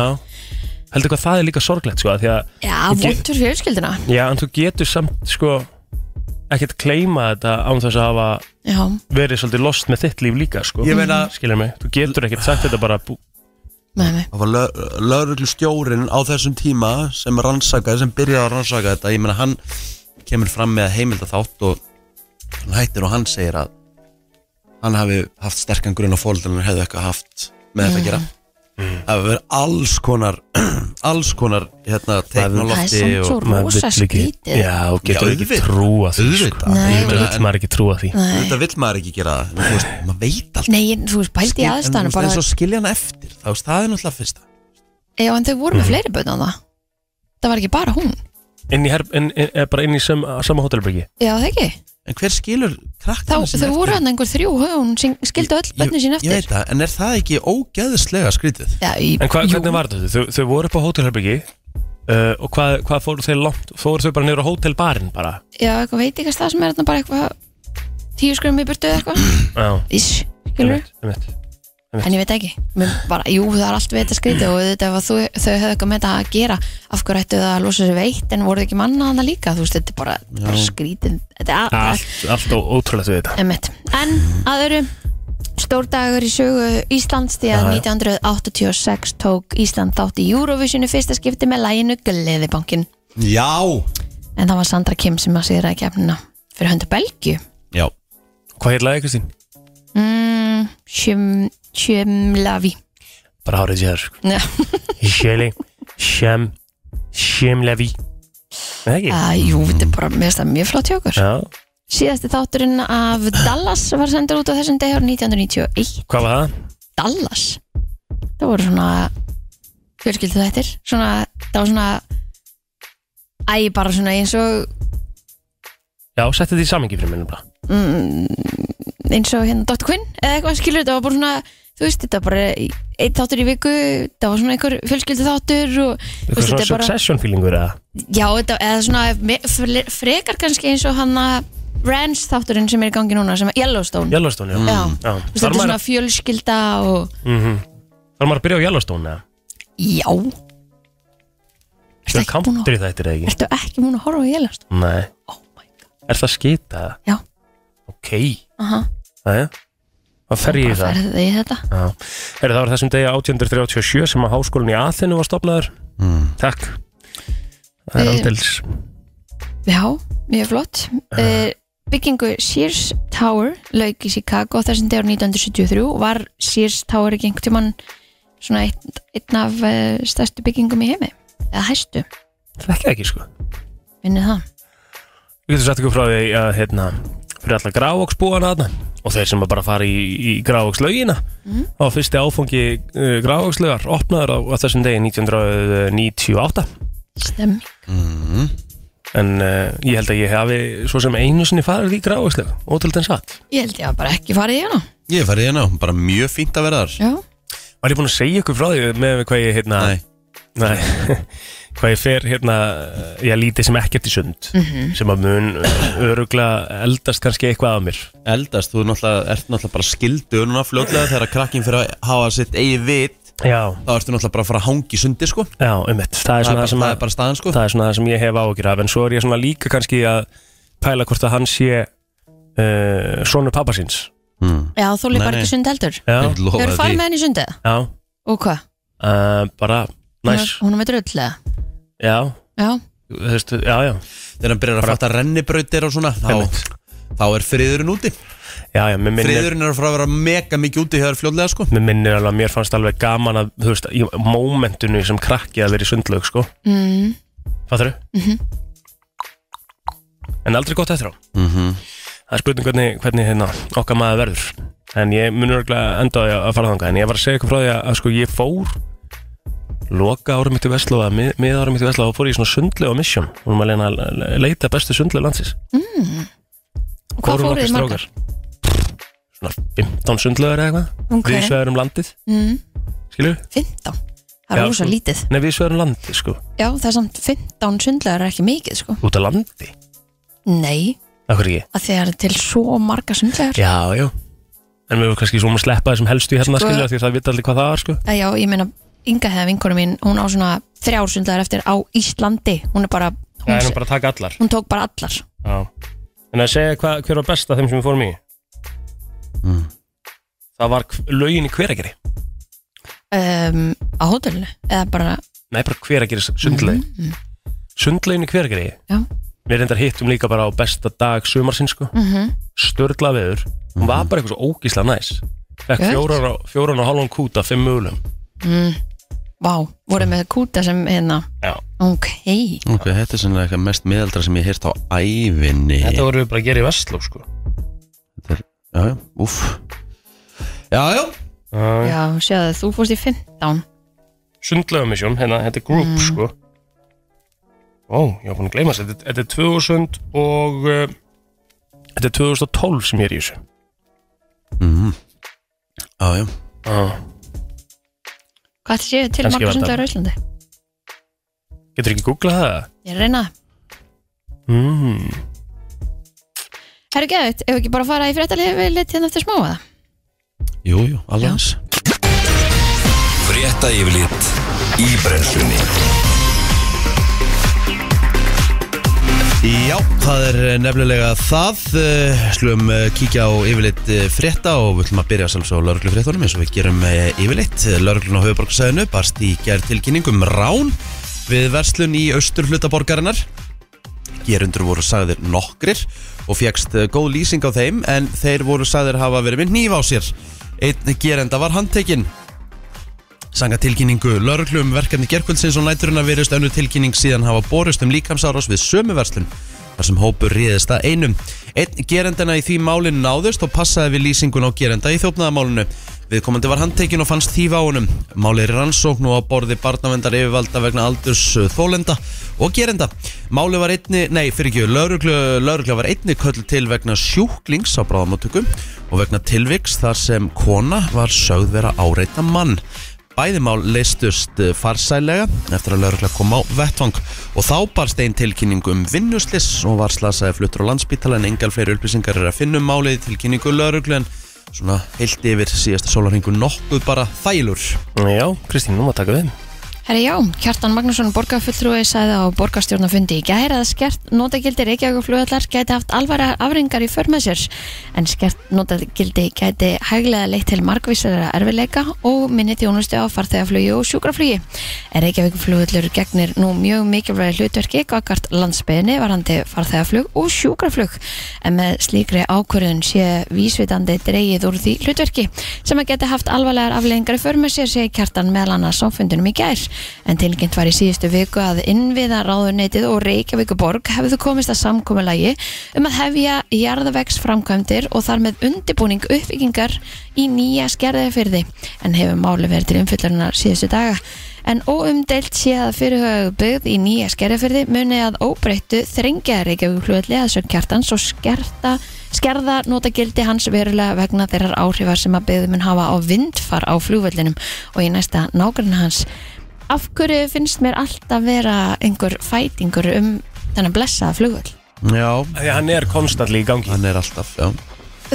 C: heldur hvað það er líka sorglegt sko, af því að,
B: Já,
C: Ég ge-
B: vondur fjölskyldina
C: já, en þú getur samt sko ekkert kleima þetta án þess að hafa
B: Já,
C: verið svolítið lost með þitt líf líka sko.
A: Ég meina-
C: skilur mig, þú getur ekkert sagt þetta bara bú...
B: með mig
A: Það var lögreglustjórin á þessum tíma sem rannsakaði, sem byrjaði að rannsaka þetta ég meina hann kemur fram með heimilda þátt og hann hættir og hann segir að hann hafi haft sterkan grunn á fólkdalinn hefði eitthvað haft með þetta að gera Það hefur verið alls konar alls konar hérna
B: Það er
A: teiknolofti
B: samt svo
A: og
C: maður
B: rosa
C: vill ekki-
B: skrítið
C: já, og getur
A: Já,
C: ekki
A: auðvitað.
C: trúa því sko.
A: auðvitað,
B: Nei.
A: Ég meina,
C: Auðvitað vill
A: en
C: maður ekki trúa því
B: Nei.
A: auðvitað vill maður ekki gera það en þú veist, maður veit alltaf
B: Nei, ég- þú veist, bældi í
A: En, þú
B: aðstæðanum
A: veist,
B: bara
A: eins og skilja hann eftir, þá veist, það er náttúrulega fyrsta
B: Já, en þau voru
C: Mhm.
B: með fleiri börn á það Það var ekki bara hún
C: inn í, her, inn, inn, eh, bara inn í sem, sama hótelbyggi
B: Já, það ekki
A: En hver skilur
B: Þá,
A: krakkana
B: Þau voru hann einhver þrjú og hún sem skildi öll börnin sín
A: Ég veit
B: eftir
A: það, en er það ekki ógeðislega skrítið?
B: Já, í,
C: en hva,
B: jú.
C: hvernig var þetta? Þau, þau voru upp á hótelbyggi uh, og hvað, hvað fóru þeir langt? fóru þau bara niður á hótelbarinn bara?
B: Já, eitthvað veit ekki að það sem er þarna bara eitthvað Tíu skrum í burtu eða
C: Mm.
B: eitthvað
C: já,
B: Ís, skilur
C: einmitt, einmitt.
B: En ég veit ekki Mér bara, Jú, það er allt við þetta skrítið og þetta ef að þú- þau höfðu eitthvað með þetta að gera af hverju ættu það að losa sér veitt en voru þau ekki manna hana líka þú veist, þetta er bara, þetta er bara skrítið Þetta er a-
C: allt, allt ó- ótrúlegt við þetta
B: Emmett. En að öru Stórdagur í sögu Íslands því að
C: Já, já.
B: 1986 tók Ísland þátt í Eurovisionu fyrsta skipti með læginu Gleðibankin
A: Já
B: en það var Sandra Kim sem að sigra í kefnina fyrir höndu Belgju
A: Já,
C: hvað hefði lagið Kristín?
B: mm, Sjöm- Sjömlavi
C: bara hárið sér sko.
B: Já,
C: Sjöli, Sjöm, Sjömlevi eða ekki?
B: að, Jú, þetta er bara mér finnst það mjög flott hjá okkur
C: já,
B: Síðasti þátturinn af Dallas var sendur út á þessum degi árið 1991
C: hvað var það?
B: Dallas það voru svona fjölskyldu þættir svona, það var svona æ, bara svona eins og
C: já, settu þetta í samengi fyrir mér nefnilega.
B: eins og hérna Dr. Quinn eða eitthvað skilur, það var bara svona þú veist, þetta var bara einn þáttur í viku það var svona einhver fjölskyldu þáttur og, þú
C: eitthvað
B: veist,
C: svona
B: þetta er bara,
C: succession feelingur eða?
B: já, þetta, eða svona me- fle- frekar kannski eins og hann að Ranch þátturinn sem er í gangi núna sem er Yellowstone,
C: Yellowstone, já,
B: Já.
C: já.
B: Þú veist,
C: Þarf,
B: þetta er
C: Mm. maður,
B: svona fjölskylda og,
C: þarf maður að byrja á Yellowstone eða?
B: já Ertu
C: Svona
B: ekki búin að-
C: country þættir eða ekki?
B: Ertu ekki múin að horfa á Yellowstone?
C: nei,
B: Oh my god
C: er það skita?
B: Já.
C: ok,
B: Aha.
C: það er það fer ég í það
B: ferði í þetta
C: Já. Heyrðu, það var þessum degi 1837 sem að háskólinn í Aþinu var stopnaður Takk Það
B: Mm.
C: er
B: Við-
C: aldils
B: Já, mjög flott uh, Byggingu Sears Tower lauk í Chicago á þessum degur 1973 og var Sears Tower ekki einhvern tímann svona einn, einn af uh, stærstu byggingum í heimi eða hæstu,
C: Það ekki ekki sko
B: minni það
C: Við getum sagt ykkur frá því að hérna, fyrir alla grávoksbúana þarna og þeir sem að bara fara í, í grávokslaugina á fyrsti áfangi uh, grávokslaugar opnaður á, á þessum degi 1998
B: Stemmi
C: en uh, ég held að ég hafi svo sem einu sinni farið í grávokslaug ótrúlega en satt
B: Ég held ég að bara ekki farið í hana
A: ég færði hérna, bara mjög fínt að vera þar
B: Já,
C: Var ég búinn að segja ykkur frá því með hvað ég hérna
A: Nei,
C: Nei, hvað ég fer hérna, ég lítið sem ekkert í sund sem að mun örugla eldast kannski eitthvað af mér
A: eldast, þú er náttúrulega, ert náttúrulega bara skildu núna fljótlega þegar að krakkin fyrir að hafa sitt eigið vit
C: Já,
A: þá ertu náttúrulega bara að fara að hangi sundi sko
C: já, ummitt, það er
A: það er,
C: svona
A: bara,
C: það sem,
A: það er
C: að,
A: bara staðan sko
C: það er svona það sem ég hef áhyggjur af en svo er ég svona líka kannski að pæla hvort að hann sé uh, sonu pappasins
A: mm.
B: Já, þú líf
A: Nei,
B: bara
A: nei.
B: ekki sund heldur
C: Já,
A: Ég lofa
B: Hefur
A: því.
B: farið með henni í sundið?
C: já,
B: Og hvað?
C: uh, bara
B: Hún
C: næs,
B: er- Hún er með drullega
C: já,
B: Já,
C: þú veist, já, já
A: Þegar hann byrjar að fatta rennibrautir og svona þá,
C: Einmitt.
A: þá er friðurinn úti
C: Já, já, mér minnir,
A: Friðurinn er að fara að vera mega mikið úti hér fljótlega sko
C: mér minnir alveg að mér fannst alveg gaman að, þú veist, í mómentinu sem krakki að vera í sundlaug, sko
B: mm,
C: Fattur þau? En aldrei gott eftir á Það er spurning hvernig, hvernig hérna, okkar maður verður En ég munur örgulega enda á því að fara þangað En ég var að segja ykkur frá því að, að sko, ég fór Loka árum mitt í Vestlóa mið, mið árum mitt í Vestlóa og fór ég í svona sundlega misjón Og maður leina að leita bestu sundlega landsins
B: og hvað fóruð þið margar?
C: Svona 15 sundlegar eða eitthvað
B: Ok.
C: Við sveðum landið
B: Mm,
C: Skilju?
B: 15 Það er
C: Já,
B: rosa
C: sko.
B: lítið
C: Nei, við sveðum landið sko
B: Já, það er samt 15 sundlegar er ekki mikið sko
C: Út á landi
B: Nei,
C: Akkur ekki?
B: að því það er til svo marga sundlegar
C: Já, já En við erum kannski svona að sleppa þessum helstu í hérna
B: Sko-
C: skilja því að það vita allir hvað það var sko
B: Að Já, ég meina, Inga hefða vinkonu mín Hún á svona þrjár sundlegar eftir á Íslandi Hún er bara, hún, Mm.
C: Það er nú bara að taka allar
B: hún tók bara allar
C: Já En að segja hva, hver var best af þeim sem við fórum í Það var hv- laugin í hverageri
B: um, Á hótelinu Eða bara,
C: Nei, bara hverageri sundlegin mm Sundlegin í hverageri
B: já,
C: Við reyndar hittum líka bara á besta dag sumarsinn sko mm -hmm. Störla viður Hún var bara eitthvað svo ógísla næs Fekk
B: Gött.
C: fjóran og, fjóran og hálfan kúta, fimm mögulegum
B: vá Voruð með kúta sem hérna
C: Já
B: Ok,
A: Ok, þetta er svona eitthvað mest miðaldra sem ég hýrt á ævinni
C: Þetta voru við bara að gera í Vestló sko
A: var... Já, já, úff Já, já,
B: já, sjáðu þú fórst í 15
C: sundlaugarmisjón, hérna, þetta er group sko Ó, ég var búin að gleyma þess þetta, þetta er 2000 og uh, þetta er 2012 sem ég er í þessu
A: já, já
C: ah.
B: Hvað ætti séu til
C: Kannski
B: marga
C: var þetta-
B: sundlegar á Íslandi?
C: Getur ekki googlað það?
B: Ég er að reyna það
C: Mm.
B: Herru geðut, ef við ekki bara fara í fréttalegi lit hérna eftir smáða
A: Jú, jú, alveg eins
E: Frétta yfirlit í brennslunni
A: Já, það er eh, nefnilega það Eh, Slum eh, kíkja á yfirleitt eh, frétta og við ætlum að byrja sams á lauruglufréttunum eins og við gerum eh, yfirleitt Lauruglun á höfuborgsæðinu barst í gerð tilkynningum rán við verslun í austur hlutaborgarinnar Gerundur voru sagðir nokkrir og fegst góð lýsing á þeim en þeir voru sagðir hafa verið með nýf á sér Einn gerenda var handtekinn Sanga tilkynningu lauruglu um verkefni gerkvöldsins og næturinn að verist önnu tilkynning síðan hafa borist um líkamsárás við sömu verslun þar sem hópur réðist að einum. Einn gerendana í því málin náðust og passaði við lýsingun á gerenda í þjófnaðamálinu. Viðkomandi var handtekinn og fannst þýfa á honum. Málið er í rannsókn og á borði barnavendar yfirvalda vegna aldurs uh, þólenda og gerenda. Málið var einni, nei fyrir ekki, lauruglu, laurugla var einni köll til vegna sjúklings á bráðamáttöku og vegna tilviks þar sem kona var sögð vera áreita mann. Bæðimál leistust eh, farsælega eftir að laurugla kom á vettvang og þá barst einn tilkynningu um vinnuslis og var slasaði fluttur á landsbítala en engal fleiri upplýsingar er að finna um málið í tilkynningu lauruglu en svona heilt yfir síðasta sólarhingu nokkuð bara þælur
C: Já, Kristín, nú maður taka við
B: Herri já, Kjartan Magnússon borgarfulltrúi sagði á borgarstjórnafundi í gæri að skert notagildi Reykjavík flugvallar gæti haft alvara afringar í för með sér en skert notagildi gæti hæglega leitt til margvísara erfileika og minni þjónustu á farþegaflugi og sjúkraflugi en Reykjavík flugvallur gegnir nú mjög mikilvæg hlutverki gagart landsbyðinni varandi farþegaflug og sjúkraflug en með slíkri ákvörðun sé vísvitandi dreigið úr því hlutverki sem að geta haft alvarlegar afleðingar í förmur sér segi kjartan meðal annars á fundunum í gær en tilkynnt var í síðustu viku að innviða ráðuneytið og Reykjavíkuborg hefðu komist að samkomulagi um að hefja jarðavegs framkvæmdir og þar með undirbúning uppbyggingar í nýja skerðafyrði en hefur máli verið til umfyllurinnar síðustu daga en óumdelt sé að fyrirhugaðu byggð í nýja skerjafyrði muni að óbreyttu þrengja Reykjavík hlutli að sögn kjartans og skerta, skerða notagildi hans verulega vegna þeirrar áhrifar sem að byggð mun hafa á vindfar á flugvöllinum og í næsta nágrunn hans af hverju finnst mér alltaf vera einhver fætingur um þennan blessaða flugvöll
A: Já,
C: Því að hann er konstantli í gangi
A: hann er alltaf, já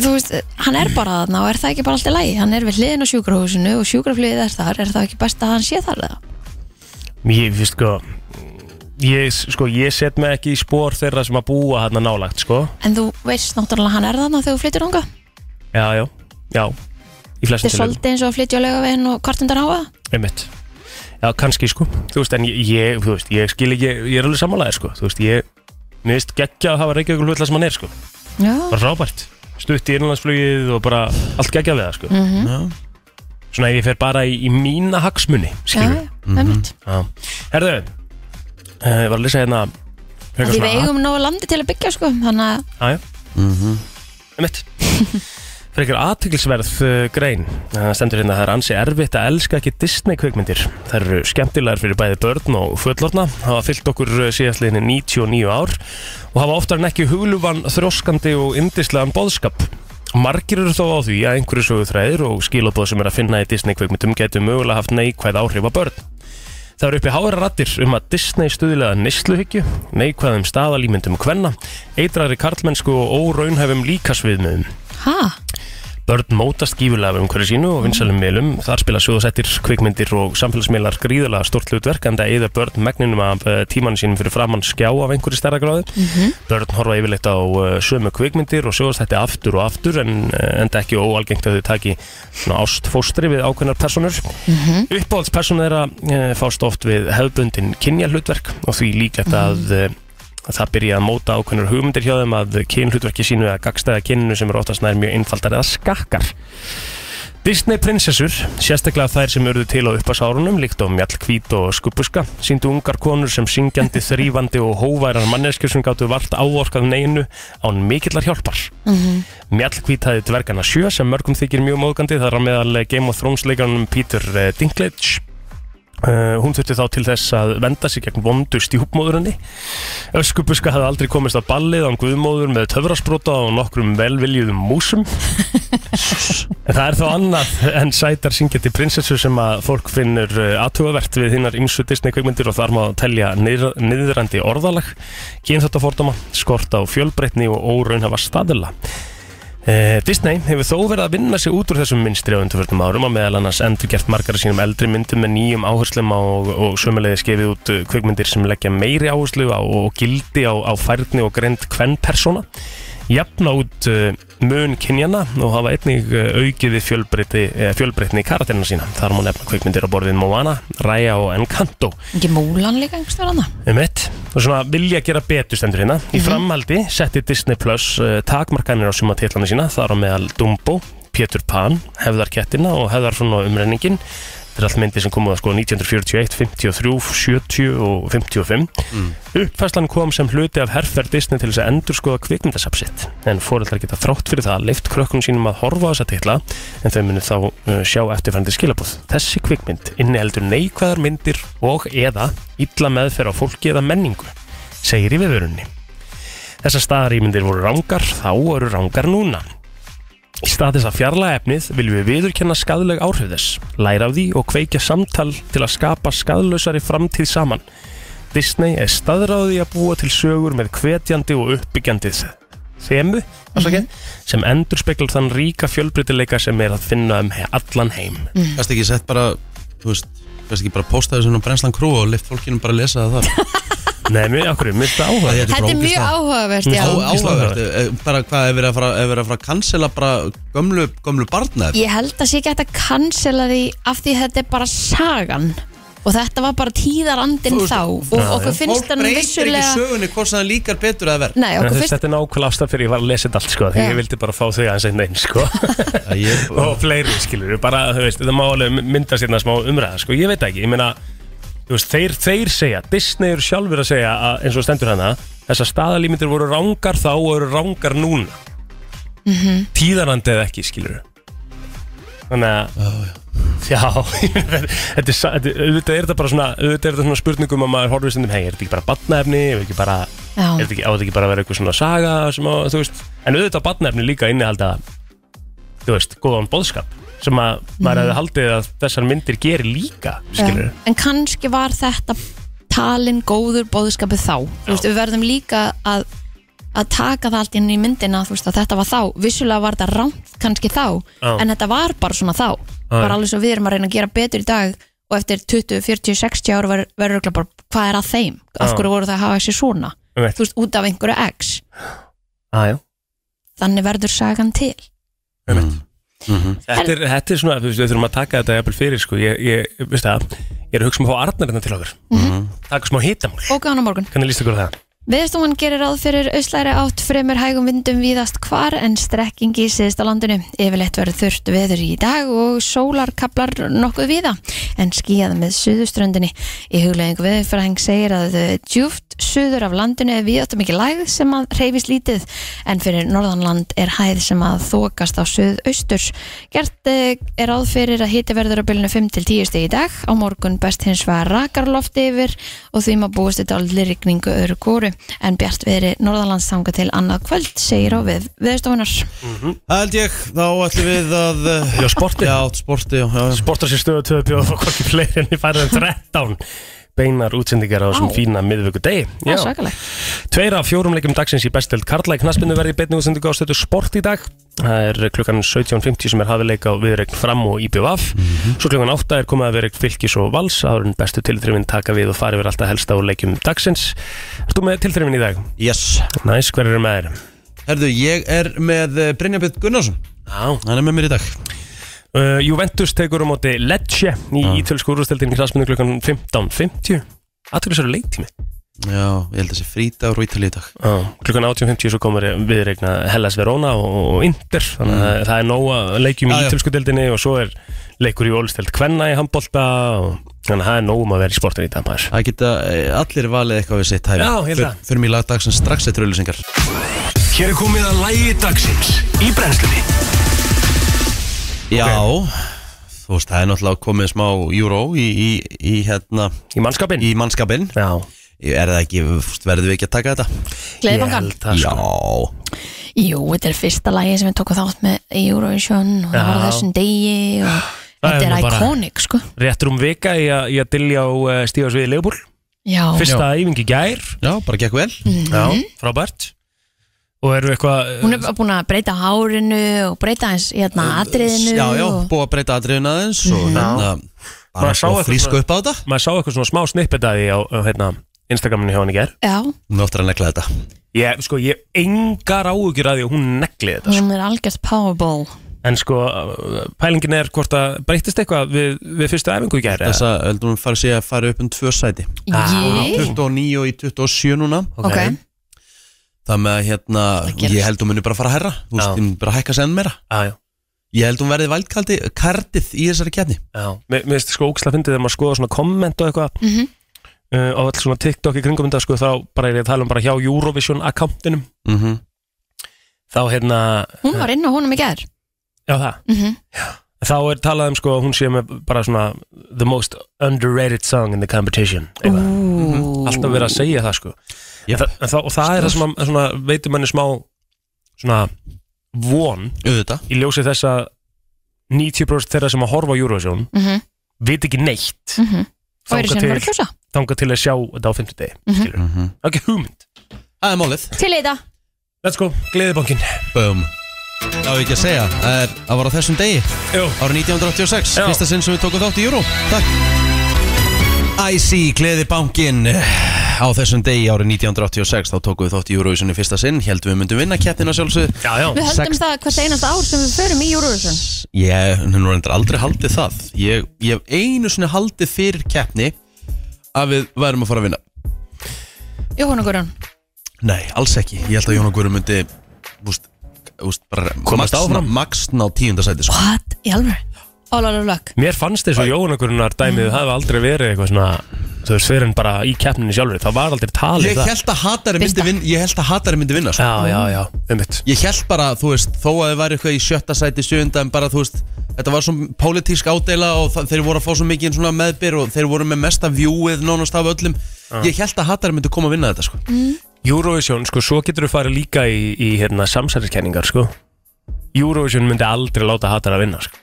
B: þú veist, hann er bara þarna og er það ekki bara alltaf lægi, hann er við hliðin á sjúkrahúsinu og sjúkraflugið er þar, er það ekki best að hann sé þar eða?
C: Ég, við sko Ég, sko, ég set mig ekki í spór þeirra sem að búa hann nálagt, sko
B: en þú veist náttúrulega hann er þarna þegar þú flyttir unga þetta
C: Já, já, já Í flestum
B: er
C: tilfellum.
B: svolítið eins og að flytja á laugaveginn og hvort undan háa
C: Einmitt Já, kannski sko Þú veist, en ég, ég, þú veist, ég skil ekki Ég er alveg sammálaðið sko Þú veist, ég Mér veist geggja að hafa Reykjavík hlutla sem hann er sko
B: já,
C: Bara frábært Stutt í innanlandsflugið og bara Allt geggja við það sko
B: Mm.
A: Já,
C: Svona ef ég fer bara í, í mína hagsmunni
B: já,
C: Skilur Mhm.
B: mm -hmm.
C: Já Herðu uh, Ég var að lýsa hérna frekar
B: því
C: svona-
B: við eigum nógu landi til að byggja sko þannig að
C: Jájá Einmitt Frekar aðtökilsverð uh, grein Það stendur hérna Það er ansi erfitt að elska ekki Disney kvikmyndir Það eru skemmtilegar fyrir bæði börn og fullorna hafa fyllt okkur eh, síðastliðinni 99 ár og hafa oftar en ekki huglufan þróskandi og yndislegan boðskap Margir eru þó á því að einhverju söguþræðir og skilabóð sem er að finna í Disney kvikmyndum getur mögulega haft neikvæð áhrif á börn Það eru uppi hára rattir um að Disney stuðilega neysluhyggju, neikvæðum staðalímyndum kvenna, eitrari karlmennsku og óraunhæfum líkasviðmiðum.
B: ha,
C: Börn mótast gífurlega um hverju sínu og vinsalum meilum, þar spila sögðsættir, kvikmyndir og samfélagsmeilar gríðulega stort hlutverk en það eða börn megninum af eh, tímanum sínum fyrir framann skjá af einhverju stærra gráðu. Börn horfa yfirleitt á eh, sömu kvikmyndir og sögðsætti aftur og aftur en eh, enda ekki óalgengt að þau taki svona ástfóstri við ákveðnar personur. Uppáhaldspersonu þeirra eh, fást oft við hefðbundin kynjahlutverk og því líklegt að eh, að það byrja að móta ákveðnar hugmyndir hjá þeim að kynhlutverki sínu eða gagstæða kynnu sem eru oftast nær mjög einfaldar eða skakkar. Disney prinsessur, sérstaklega þær sem urðu til á uppasárunum, líkt á mjallkvít og skupuska, síndu ungar konur sem syngjandi, þrýfandi og hóværar manneskjur sem gáttu vart áorkað neginu án mikillar hjálpar. Mjallhvít hafði dvergana sjö sem mörgum þykir mjög móðgandi þar á meðal eh, Game of Thrones leikarunum Peter eh, Dinklage Uh, hún þurfti þá til þess að venda sig gegn vondu stjúpmóðurinni Öskubuska hafði aldrei komist að ballið án guðmóður með töfrasbrota og nokkrum velviljuðum músum En það er þá annað en sætar syngjandi prinsessu sem að fólk finnur aðtugavert við hinnar ymsu Disney kveikmyndir og þar má telja niðra- niðrandi orðalag, kynþáttafordóma, skort á fjölbreytni og óraunhafa staðila. Eh, Disney hefur þó verið að vinna sig út úr þessum minnstri á undanfjörnum árum að meðal annars endur gert margar af sínum eldri myndum með nýjum áherslum á, og, og sömulegði skefið út eh, kvikmyndir sem leggja meiri áherslu á, og gildi á, á færni og greind kvennpersona jafna út eh, mun kynjana og hafa einnig eh, aukið við fjölbreytni, fjölbreytni í karakterina sína þar má nefna kvikmyndir á borðin Moana, Raya og Encanto
B: ekki múlan líka einhverstað annað
C: Um eitt, og svona vilja gera betur stendur hérna. Í framhaldi setti Disney Plus uh, takmarkanir á suma titlana sína, þar á meðal Dumbo, Pétur Pan, Hefðarkettina og Hefðarfrún og umrenningin. Þetta er allt myndi sem komuða sko 1941, 53, 70 og 55. Uppfæslan kom sem hluti af herferð Disney til þess að endurskoða kvikmyndasapsitt. En foreldrar geta þrátt fyrir það leift krökkunum sínum að horfa á þessa titla, en þau munu þá uh, sjá eftirfærandi skilabúð. Þessi kvikmynd inniheldur neikvæðar myndir og eða illa meðferð á fólki eða menningu, segir í viðvörunni. Þessar staðarýmyndir voru rángar, þá eru rángar núna. Í stað þess að fjarlæga efnið viljum við viðurkenna skaðleg áhrif þess, læra af því og kveikja samtal til að skapa skaðlausari framtíð saman. Disney er staðráði að búa til sögur með hvetjandi og uppbyggjandi þemu afsakið, sem endur speklar þann ríka fjölbreytileika sem er að finna um he- allan heim.
B: Mm.
A: Gast ekki sett bara, þú veist Gast ekki bara posta þessu nú brennslan krú og lift fólkinu bara að lesa það þar
C: Nei, mér, okkur, mér finnst það áhuga.
A: bara
B: þetta er mjög Mhm.
A: ógeðslega-
B: áhugavert já.
A: Á-
C: ógeðslega
A: áhugavert eh, bara hvað er verið að fara er verið að fara að cancela bara gömlu, gömlu barna
B: ég held að sé ekki hægt að cancela því af því þetta er bara sagan og þetta var bara tíðarandin
A: Þú veist,
B: þá og okkur finnst hann
A: ekki
B: vissulega
A: sögunni hvort sem það líkar betur að verð
B: Nei,
C: En
B: okkur
C: þess,
B: finnst
C: þetta er nákvæmlega ástæð fyrir ég var að lesa þetta allt sko, því
B: Já.
C: ég vildi bara fá þau aðeins einn einn sko. og fleiri skilur við, bara, þú veist, það má alveg mynda sérna smá umræða sko, ég veit það ekki, ég meina þú veist, þeir, þeir segja, Disney eru sjálfur að segja að, eins og stendur hana þessar staðalímyndir voru rángar þá og eru rángar núna mm -hmm. tíðarandi eða ekki skilur við þannig að Já, ég meina, þetta er, sa- þetta er, auðvitað er þetta bara svona, auðvitað er þetta svona spurningum að maður horfir stundum, hei, er þetta ekki bara batnaefni, er þetta ekki bara,
B: Já.
C: er þetta ekki, á þetta ekki bara að vera eitthvað svona saga sem að, þú veist, en auðvitað batnaefni líka innihalda, þú veist, góðan boðskap sem að maður hefði haldið að þessar myndir gerir líka, skilur
B: Já. En kannski var þetta talin góður bóðskapu þá Þú veist, Við verðum líka að að taka það allt inn í myndina þú veist, að þetta var þá, vissulega var þetta rámt kannski þá,
C: Já.
B: en þetta var bara svona þá
C: já.
B: bara alveg svo við erum að reyna að gera betur í dag og eftir 20, 40, 60 ára verður ver, örugglega bara, hvað er að þeim af
C: Já.
B: hverju voru það að hafa þessi svona
C: Einmitt.
B: þú veist, út af einhverju x
C: Aðjá.
B: þannig verður sagan til
C: Þetta er, þetta er svona, þú veist, við þurfum að taka þetta jafnvel fyrir, sko, ég, ég, veist það, ég er að hugsa um að fá Arnarinn til okkur, taka smá hitamál,
B: Bókaðan á morgun
C: hvernig líst ykkur á það?
B: Veðstofan gerir ráð fyrir auslæri átt fremur hægum vindum víðast hvar en strekkingi síðist á landinu. Yfirleitt verður þurft veður í dag og sólarkablar nokkuð víða en skíðað með suðuströndinni. Í huglegging veðurfræðing segir að eh, djúpt suður af landinu er víðast mikið lægð sem að reyfist lítið en fyrir norðanland er hæð sem að þokast á suðausturs. Gert eh, er ráð fyrir að hiti verður á bylunu 5 til 10 stig í dag. Á morgun best hins var rakarlofti yfir og því maður búist þetta allir rigningu öðru góru en bjart veri norðanlands þanga til annað kvöld segir á við viðstofunar
A: Það held ég, þá ætlum við að uh,
C: Já, sportið.
A: Já, sporti, já, já, já.
C: Sportar sér stöðu að töðu bjóða fá hvorki fleiri en ég færði en 13 beinar útsendingar á þessum
B: Á.
C: fína miðvöku degi.
B: það er svakalegt
C: Tveir af fjórum leikum dagsins í besteld Karla í knaspinu verði í beinni útsendingu á stöðu sport í dag. Það er klukkan 17.50 sem er hafileik á viðregn fram og IBVF. Svo klukkan 8 er komið að viðregn fylgis og vals. Árun bestu tilþrifin taka við og fari við alltaf helsta á leikum dagsins. Ertu með tilþrifin í dag?
A: Yes
C: Næs, hver er með þér?
A: Herðu, ég er með uh, Brynjabjörn Gunnarsson
C: Já.
A: Hann er með mér í dag
C: Uh, Juventus tekur á móti Lecce í ah. ítölsku úrvastildin knaspinu klukkan 15.50. Aðtöklisar er leiktími.
A: Já, ég held að sé frítagur og ítalið í dag
C: Já, klukkan 18.50 svo komur viðregna Hellas Verona og og Inter þannig að það er nóg að leikjum í
A: Mm. Já, já.
C: ítölsku deildinni og svo er leikur í ólisteld kvenna í handbolta og þannig að það er nóg um að vera í sportin í dag maður
A: Það geta eh, allir valið eitthvað við sitt hæfi
C: Já, ég held
A: För-
C: það.
A: Förum í lagdagsins strax eftir auðlýsingar
E: Hér er komið að lægi dagsins í brennslunni
A: Já, þú veist, það er náttúrulega komið smá júró í, í, í, hérna,
C: Í mannskapin?
A: í mannskapinn
C: Já,
A: Er það ekki, þú veist, verðum við ekki að taka þetta?
C: ég
B: Gleðibankan,
C: held það sko
A: Já,
B: jú, þetta er fyrsta lagi sem við tókum þátt með í Eurovision og það
C: Já.
B: var á þessum degi og
C: Það
B: þetta
C: er
B: er
C: nú bara-
B: iconic sko
C: Réttur um vika í að, í að dilja á uh, stífarsviði Leopold
B: já, Mhm.
C: Fyrsta æfing í gær
A: já, bara gekk vel
C: Já, frábært Og eru eitthvað
B: hún er búin að breyta hárinu og breyta eins í hérna atriðinu
A: Uh, Já, já,
B: og...
A: búið að breyta atriðun aðeins
B: Mhm.
A: og hérna bara búið
C: Maður sá
A: að
C: eitthvað
A: fríska
C: svona-
A: upp á þetta
C: Maður sá eitthvað svona smá snippet að því á, á hérna, Instagraminu hjá hann í gær
B: já,
A: Nú áttur að negla þetta
C: Ég, sko, ég hef engar áhugjur að því að hún negli þetta sko.
B: hún er algjört powerball
C: En sko, pælingin er hvort að breyttist eitthvað við, við fyrstu æfingu í gæri
A: Þess að heldur hún fara sig að fara upp um tvö sæti
B: ég,
A: 29 í 27 núna
B: ok,
A: Það með að hérna,
B: Það gerist.
A: ég held hún muni bara fara að herra Þú veist,
C: Já.
A: hún muni bara hækka senn meira
C: Já, já,
A: Ég held hún verði valdkaldi kardið í þessari kjarni
C: já Mér mér finnst sko ógislega fyndið þegar maður skoða svona komment og eitthvað mm
B: Mhm.
C: uh, Og alls svona TikTok í kringum þetta sko Þá bara er ég að tala um bara hjá Eurovision accountinum
A: mm -hmm.
C: Þá hérna,
B: hún var inn á honum í gerð
C: já það
B: mm
C: Þá er talað um sko að hún sé með bara svona The most underrated song in the competition eitthvað.
A: Mhm.
C: Alltaf verið að segja það sko
A: Jep.
C: yep. það, en það, Og það er það sem að, svona, veitum henni smá Svona von
A: Auðvitað
C: í ljósi þess að 90% þeirra sem að horfa á Eurovision veit ekki neitt
B: Mhm. og eru
C: þangað
B: síðan bara að
C: til,
B: kjósa
C: þanga til að sjá þetta á 50 degi
B: Mhm.
C: mm
A: Mhm.
C: það er ekki hugmynd
A: Það er málið
B: til í þetta
C: let's go, gleðibankin
A: Bum Það var ekki að segja, það er að var á þessum degi
C: Jú.
A: Árið 1986,
C: Já.
A: fyrsta sinn sem við tókum þátt í Júró Takk Æsi, gleði bankin Á þessum degi árið 1986 Þá tókum við þátt í Júróvísunni fyrsta sinn Heldum við myndum vinna keppnina sjálfsög
C: já, já,
B: Við höldum
A: Sex-
B: það hvert einasta ár sem við förum í Eurovision
A: Ég, hún var endur aldrei haldið það Ég, ég hef einu sinni haldið fyrir keppni Að við værum að fara að vinna
B: Jóhann og Guðrún
A: Nei, alls ekki Ég held að Jón og Guðrun myndi Úst, úst, bara
C: Komast
A: max ná-
C: áfram?
A: Max ná tíundasæti sko.
B: What? Í alveg? all out of luck
C: Mér fannst þessu Jóhannakurunar
B: Mm.
C: dæmið það hafi aldrei verið eitthvað svona þú veist, fyrir en bara í keppninu sjálfur það var aldrei talið
A: Ég
C: það
A: held að hatari myndi
B: Birta.
A: vinna, ég held að hatari myndi vinna sko.
C: Já, já, já, einmitt
A: Ég held bara, þú veist, þó að þið væri eitthvað í sjötta sæti, sjöunda En bara, þú veist, þetta var svo pólitísk ádeila Og það, þeir voru að fá svo mikið svona meðbyr Og þeir voru með mesta vjúið nánast af öllum
C: Ah.
A: Ég held að hatari myndi koma að vinna þetta sko.
C: Eurovision, sko, svo getur þú farið líka í, í hérna, samsæriskenningar, sko Eurovision myndi aldrei láta hattar að vinna, sko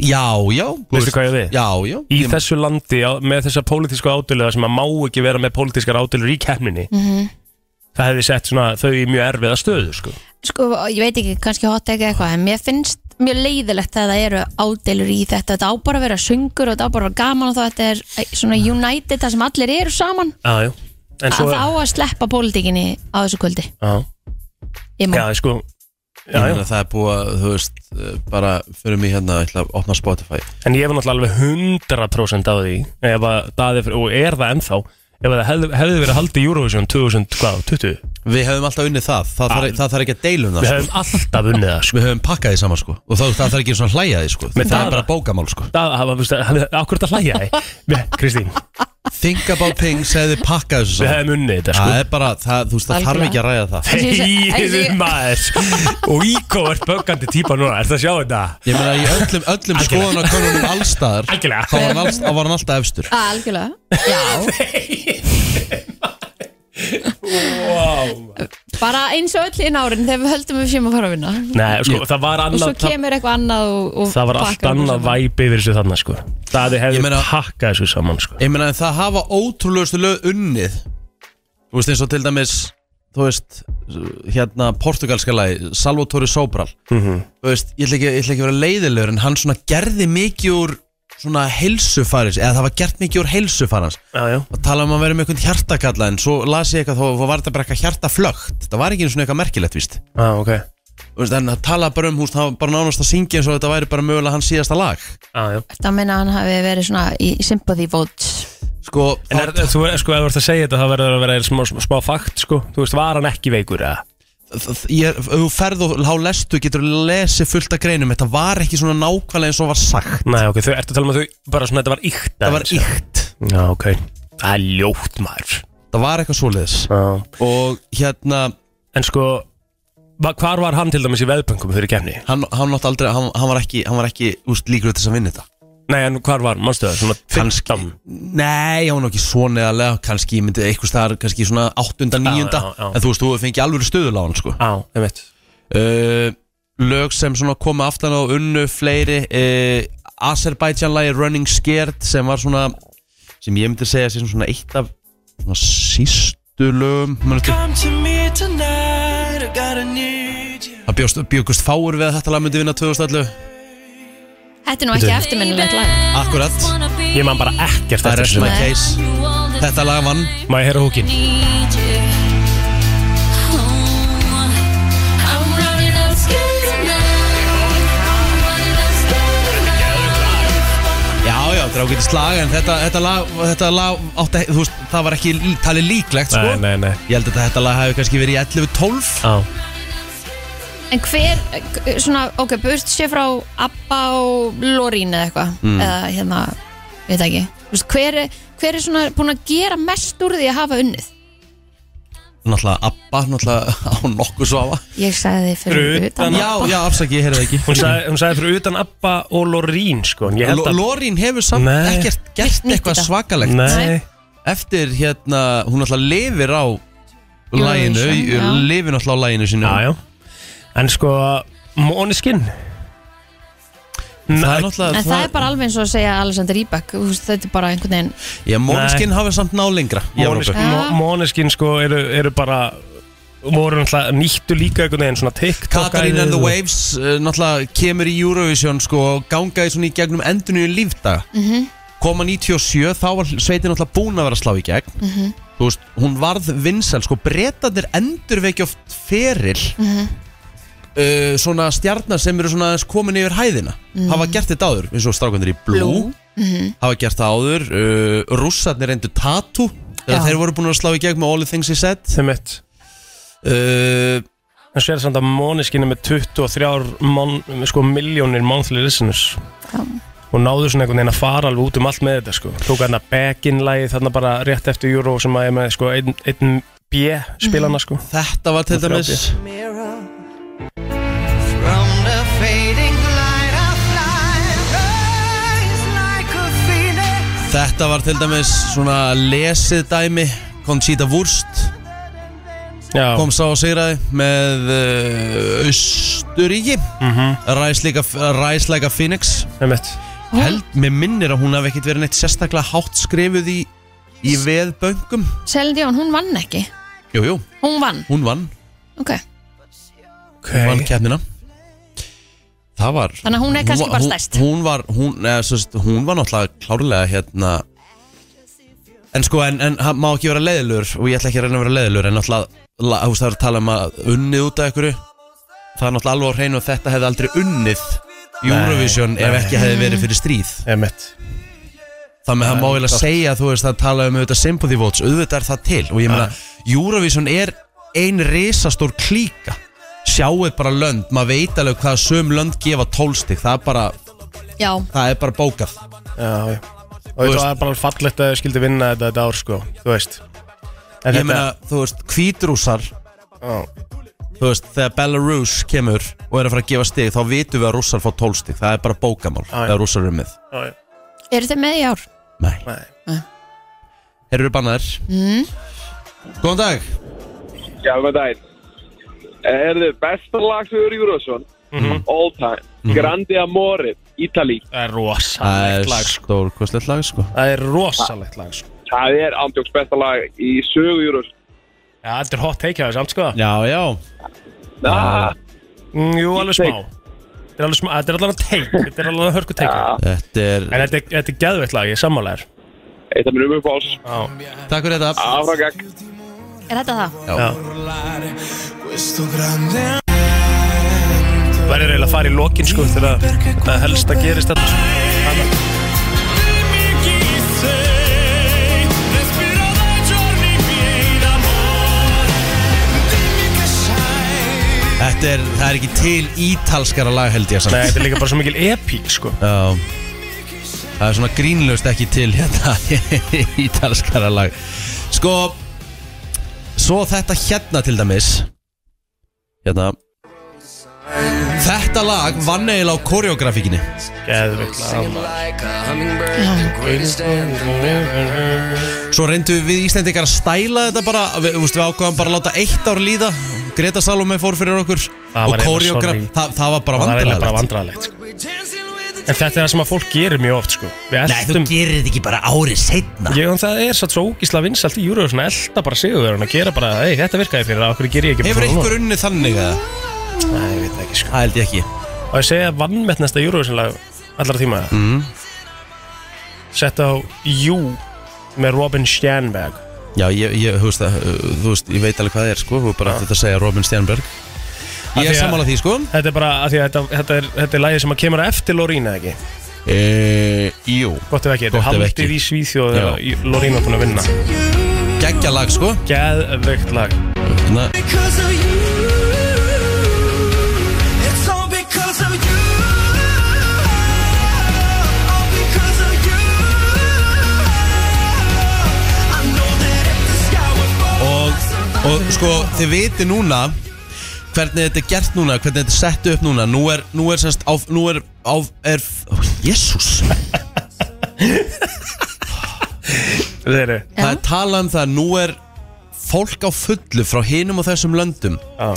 A: Já, já þú
C: Veistu
A: veist,
C: hvað ég á við?
A: Já, já
C: Í
A: ég,
C: þessu landi, á, með þessa pólitísku ádölu sem að má ekki vera með pólitískar ádölur í keppninni -hmm. það hefði sett svona, þau í mjög erfiða stöðu, sko
B: sko, ég veit ekki, kannski hot ekki eitthvað en mér finnst mjög leiðilegt að það eru ádelur í þetta, þetta á bara að vera söngur og þetta á bara að vera gaman og þá þetta er eh, svona united, það sem allir eru saman
C: Já, já En
B: að
C: svo,
B: það á að sleppa pólitíkinni á þessu kvöldi
C: já,
B: ég má,
C: já, sko
A: ég
C: Já, já,
A: meina, Það er búið að, þú veist, eh, bara Fyrir mig hérna, ég ætla að opna Spotify
C: En ég var náttúrulega alveg 100% á því ef að Daði, og er það ennþá ef að það hefði, hefði verið haldið í Eurovision 2020
A: Við hefum alltaf unnið það, það þarf það þarf ekki að deilum það
C: Ah. Við
A: sko.
C: hefðum alltaf unnið það sko.
A: Við höfum pakkað því saman sko Og það, það þarf ekki svona hlæjaði sko
C: Með
A: Það
C: Daða.
A: er bara bókamál sko
C: Daði, hann var, veist, hann er akkurat að hlæja þig Við- Kristín,
A: Think about things hefði pakkað þessu
C: við
A: saman
C: hefðum unnið þetta
A: Það
C: sko.
A: er bara, það, þú veist, það þarf
B: Algjörlega.
A: ekki að ræða það
C: Þegiðu maður Og Íko er böggandi típa núna Er það að sjá þetta?
A: Ég meina, í öllum, öllum skoðanakönnunum allstaðar Þá
C: Algjörlega.
A: var hann alls- þá var hann alltaf efstur
B: Að, Ah, algjörlega já,
C: Wow.
B: bara eins og öll í nárin þegar við höldum við séum að fara að vinna
C: Nei, sko, það var
B: og svo
C: annað það,
B: kemur eitthvað annað og, og
C: það var allt
B: pakkar okkur
C: annað
B: saman.
C: væpi yfir þessu þarna sko. Daði
A: Ég
C: hefði
A: meina-
C: pakkað þessu saman sko.
A: Ég meina, en það hafa ótrúlegustu lög unnið Þú veist, eins og til dæmis Þú veist, hérna, portugalska lagi Salvatore Sobral Þú veist, ég ætla ekki, ég ætla ekki að vera leiðilegur En hann svona gerði mikið úr Svona heilsufaris, eða það var gert mikið úr heilsufarans
C: Já, já
A: og tala um að vera með einhvern hjartakalla en svo las ég eitthvað þá þá var þetta bara eitthvað hjartaflögt það var ekki eins og eitthvað merkilegt víst
C: ah, okay.
A: Þú veist, en að tala bara um húst það var bara nánast að syngja eins og þetta væri bara mögulega hans síðasta lag
C: ah, já.
B: Ertu að minna að hann hafi verið svona í sympathy votes
A: sko
C: En er,
A: þá,
C: þú, sko, ef þú ert að segja þetta, það verður að vera smá, smá, smá fakt, sko. Þú veist, var hann ekki veikur, eða?
A: það- ég er, ef þú ferð og há lestu getur lesið fullt af greinum þetta var ekki svona nákvæmlega eins og var sagt
C: Nei, ok, þau ertu að tala um að þau, bara svona, þetta var ykt.
A: það var ykt
C: Já, ok. Það er ljótt, maður.
A: það var eitthvað svoleiðis
C: Já.
A: og hérna
C: En sko, va- hvar var hann til dæmis í veðböngum fyrir kemni?
A: hann, hann, átti aldrei, hann, hann var ekki, hann var ekki úst, líkur til þess að vinna þetta
C: Nei, en hvar var, mannstu það, svona 15?
A: Nei, hann var nú ekki svona eðalega Kannski ég myndi eitthvað staðar Kannski svona 8. 9.
C: já, já.
A: En þú veist, þú hefur fengið alvöru stöðuláðan sko.
C: Á, ég veit.
A: uh, Lög sem svona koma aftan á unnu Fleiri uh, Azerbaijan-lagi Running Scared Sem var svona Sem ég myndi segja sem svona eitt af Svona sístu lögum manstu. Það bjóst, bjókust fáur við að þetta lag myndi vinna 2011
B: Þetta er nú ekki eftirminnilegt lag
A: Akkurat,
C: Ég man bara ekkert
A: það er rest
C: eftir þessu.
A: my case Þetta lag vann
C: Má ég heyra húkin?
A: Já, já, þetta er ágætið slag en þetta, þetta lag, þetta lag átti, þú veist, það var ekki lí- talið líklegt, sko
C: Nei, nei, nei.
A: Ég held að þetta lag hafi kannski verið í 11-12
C: Á,
B: En hver, eh, svona, ok, burt sé frá Abba og Lorín eða eitthvað eða hérna, ég veit ekki Þú veist, hver, er- hver er svona búin að gera mest úr því að hafa unnið?
A: Náttúrulega Abba, náttúrulega á nokkuð svafa
B: Ég sagði þið fyrir
C: Fyrir utan
B: utan
A: Já, já, afsaki, ég heyrði það
C: hún
A: ekki
C: sagði, hún sagði fyrir utan Abba og Lorín, sko. en Ég held
A: L-
C: að...
A: Lorín hefur samt
C: Nei.
A: ekkert gert
B: Nýtti
A: eitthvað
B: þetta.
A: svakalegt
C: Nei.
A: Eftir hérna, hún náttúrulega lifir á læginu,
B: Eurovision, já.
A: lifir náttúrulega á læginu sínu
C: Já, já En sko, Måneskin
A: Það
C: Nei,
A: er náttúrulega,
B: En það er bara alveg eins og að segja Alexander Rybak þú veist, Þetta er bara einhvern veginn
A: Já, Mónskinn hafi samt ná lengra í Evrópu.
C: Måneskin, Mo- Måneskin sko eru, eru bara voru náttúrulega nýttu líka einhvern veginn svona TikTok
A: Katarina and the Waves uh, náttúrulega kemur í Eurovision sko og gangaði svona í gegnum endunni í lífdaga koma 97 þá var sveitin náttúrulega búin að vera að slá í gegn þú veist, hún varð vinsæl sko breytandir endur vekja oft feril uh, svona stjarnar sem eru svona aðeins komin yfir hæðina hafa gert þetta áður eins og strákandir í Blue, hafa gert það áður uh, rússarnir reyndu Tattoo þegar
B: Já.
A: þeir voru búin að slá í gegn með All the Things He Said
C: Þeim mitt
A: uh,
C: En svo er það samt að Måneskin er með 23 mon, sko, miljónir monthly listeners
B: Já.
C: og náðu svona einhvern veginn að fara alveg út um allt með þetta sko. Tók hérna back-in-lægi þarna bara rétt eftir Euro sem að er með sko, einn ein B spilana sko.
A: Þetta var til dæmis
F: From the fading light I fly, rise like a phoenix.
A: Þetta var til dæmis svona lesið dæmi Conchita Wurst
C: Já,
A: kom sá og sigraði með uh, Östuríki Rise Like a- Rise Like a Phoenix
C: einmitt.
A: Held, mér minnir að hún hafi ekkit verið neitt sérstaklega hátt skrifuð í, í veðböngum
B: Selin Dion, hún vann ekki
A: Jú, jú,
B: Hún vann,
A: hún vann,
B: ok
A: hún vann
C: Okay.
A: keppnina Það var
B: Þannig að hún er kannski
A: var-
B: bara stærst
A: Hún, hún var, hún, eða, sérst, hún var náttúrulega klárlega hérna En sko, en, en hann má ekki vera leiðilur og ég ætla ekki að reyna að vera leiðilur en náttúrulega, la- þú veist, það er að tala um að unnið út af ykkur Það er náttúrulega alveg á hreinu að þetta hefði aldrei unnið Eurovision ef
C: nei.
A: ekki hefði verið fyrir stríð
C: Einmitt.
A: Þannig að það má vel að segja þú veist að tala um auðvitað sympathy votes, auðvitað er það til og ég meina, Eurovision er ein risastór klíka sjáuð bara lönd, maður veit alveg hvað sum lönd gefa tólstig, það er bara
B: Já,
A: það er bara bókað
C: Já, já. Og
A: veist-
C: það er bara fallegt að þau skildi vinna þetta, þetta ár sko, þú veist. En
A: ég meina, þú veist, kvítrúsar
C: Já.
A: þú veist, þegar Belarus kemur og er að fara að gefa stig, þá vitum við að rússar fá tólstig, það er bara bókamál
C: Ah, já.
A: þegar rússar eru með,
C: Já, já.
B: eru þið með í ár?
A: nei,
C: Nei.
A: þeir eru bannaðir mm. góðan dag
G: Já, hvað dæn Herðu, besta lag sem eru Eurovision All time Grandi Amore, Ítali
C: Það er
A: það
C: rosalegt
A: er
C: lag sko.
A: stórkostlegt lag sko
C: Það er rosalegt lag sko.
G: Það er ándjóks besta lag í sögu Eurovision
C: Já, þetta er hot take á þessu samt sko.
A: já, já,
G: ah,
C: Mm, jú, alveg smá.
G: Take.
C: Þetta er alveg smá, þetta er allavega take, þetta er allavega hörku take.
A: þetta er
C: En þetta er, þetta er geðveitt lag, ég er sammálaður.
G: Eitt af mér um uppáls
A: takk fyrir þetta
G: Afragag
B: Er þetta það?
D: Questo grande
C: Verður eiginlega að fara í lokin sko, þegar að- hvað helst að gerist þetta sko.
A: þetta er, það er ekki til ítalskara lag held ég
C: Nei,
A: samt
C: þetta er líka bara svo mikil epík sko.
A: Já. það er svona grínlaust ekki til hérna ítalskara lag sko svo þetta hérna til dæmis hérna þetta lag vann eiginlega á koreografikinni
C: Geðveitt lag.
A: svo reyndu við Íslendingar að stæla þetta bara við, úst, við ákvaðum bara að láta eitt ár líða Greta Salome fór fyrir okkur
C: Það var
A: og
C: eiginlega
A: koreograf,
C: sorry.
A: það, það var bara
C: Það er eiginlega bara
A: vandræðilegt
C: vandræðilegt sko. En þetta er það sem að fólk gerir mjög oft sko. Við
A: Nei, þú
C: eldum
A: gerir þetta ekki bara árið setna
C: Ég, en það er satt svo ógísla vinsalt í júru svona elda bara sigurverðin að gera bara ei, þetta virkaði fyrir, okkur ger ég ekki
A: Hefur
C: bara svona
A: einhver unni þannig eða?
C: núna?" Nei, ég veit það ekki sko
A: Það held ég ekki
C: Og ég segja vannmettnasta júruvísinlag allra tíma mm. Sett á Jú með Robin Stjernberg
A: Já, ég, ég, þú, veist, að, uh, þú veist, ég veit alveg hvað það er sko Þú er bara þetta að segja Robin Stjernberg
C: Af
A: Ég
C: því
A: er
C: að-
A: sammála því sko
C: Þetta er bara, af því að þetta, þetta, er, þetta er lagið sem að kemur á eftir Lorín eða ekki
A: e,
C: Eh,
A: Jú
C: Gott ef ekki,
A: Gott
C: þetta er
A: ef
C: haldið
A: ekki.
C: í Svíþjóð
A: Já.
C: þegar Lorín var búin að vinna
A: Geggja lag sko
C: Geðveikt lag
A: Na,
C: Hérna.
F: Because of you, it's all because of you. All because of you. I know that if the sky was falling,
A: og, og sko, þið viti núna Hvernig þetta er gert núna Hvernig þetta er sett upp núna Nú er, nú er semst á, Nú er, á, er ó, Jésús
C: Þeir eru
A: Það er talað um það að Nú er fólk á fullu Frá hinum og þessum löndum
C: Já,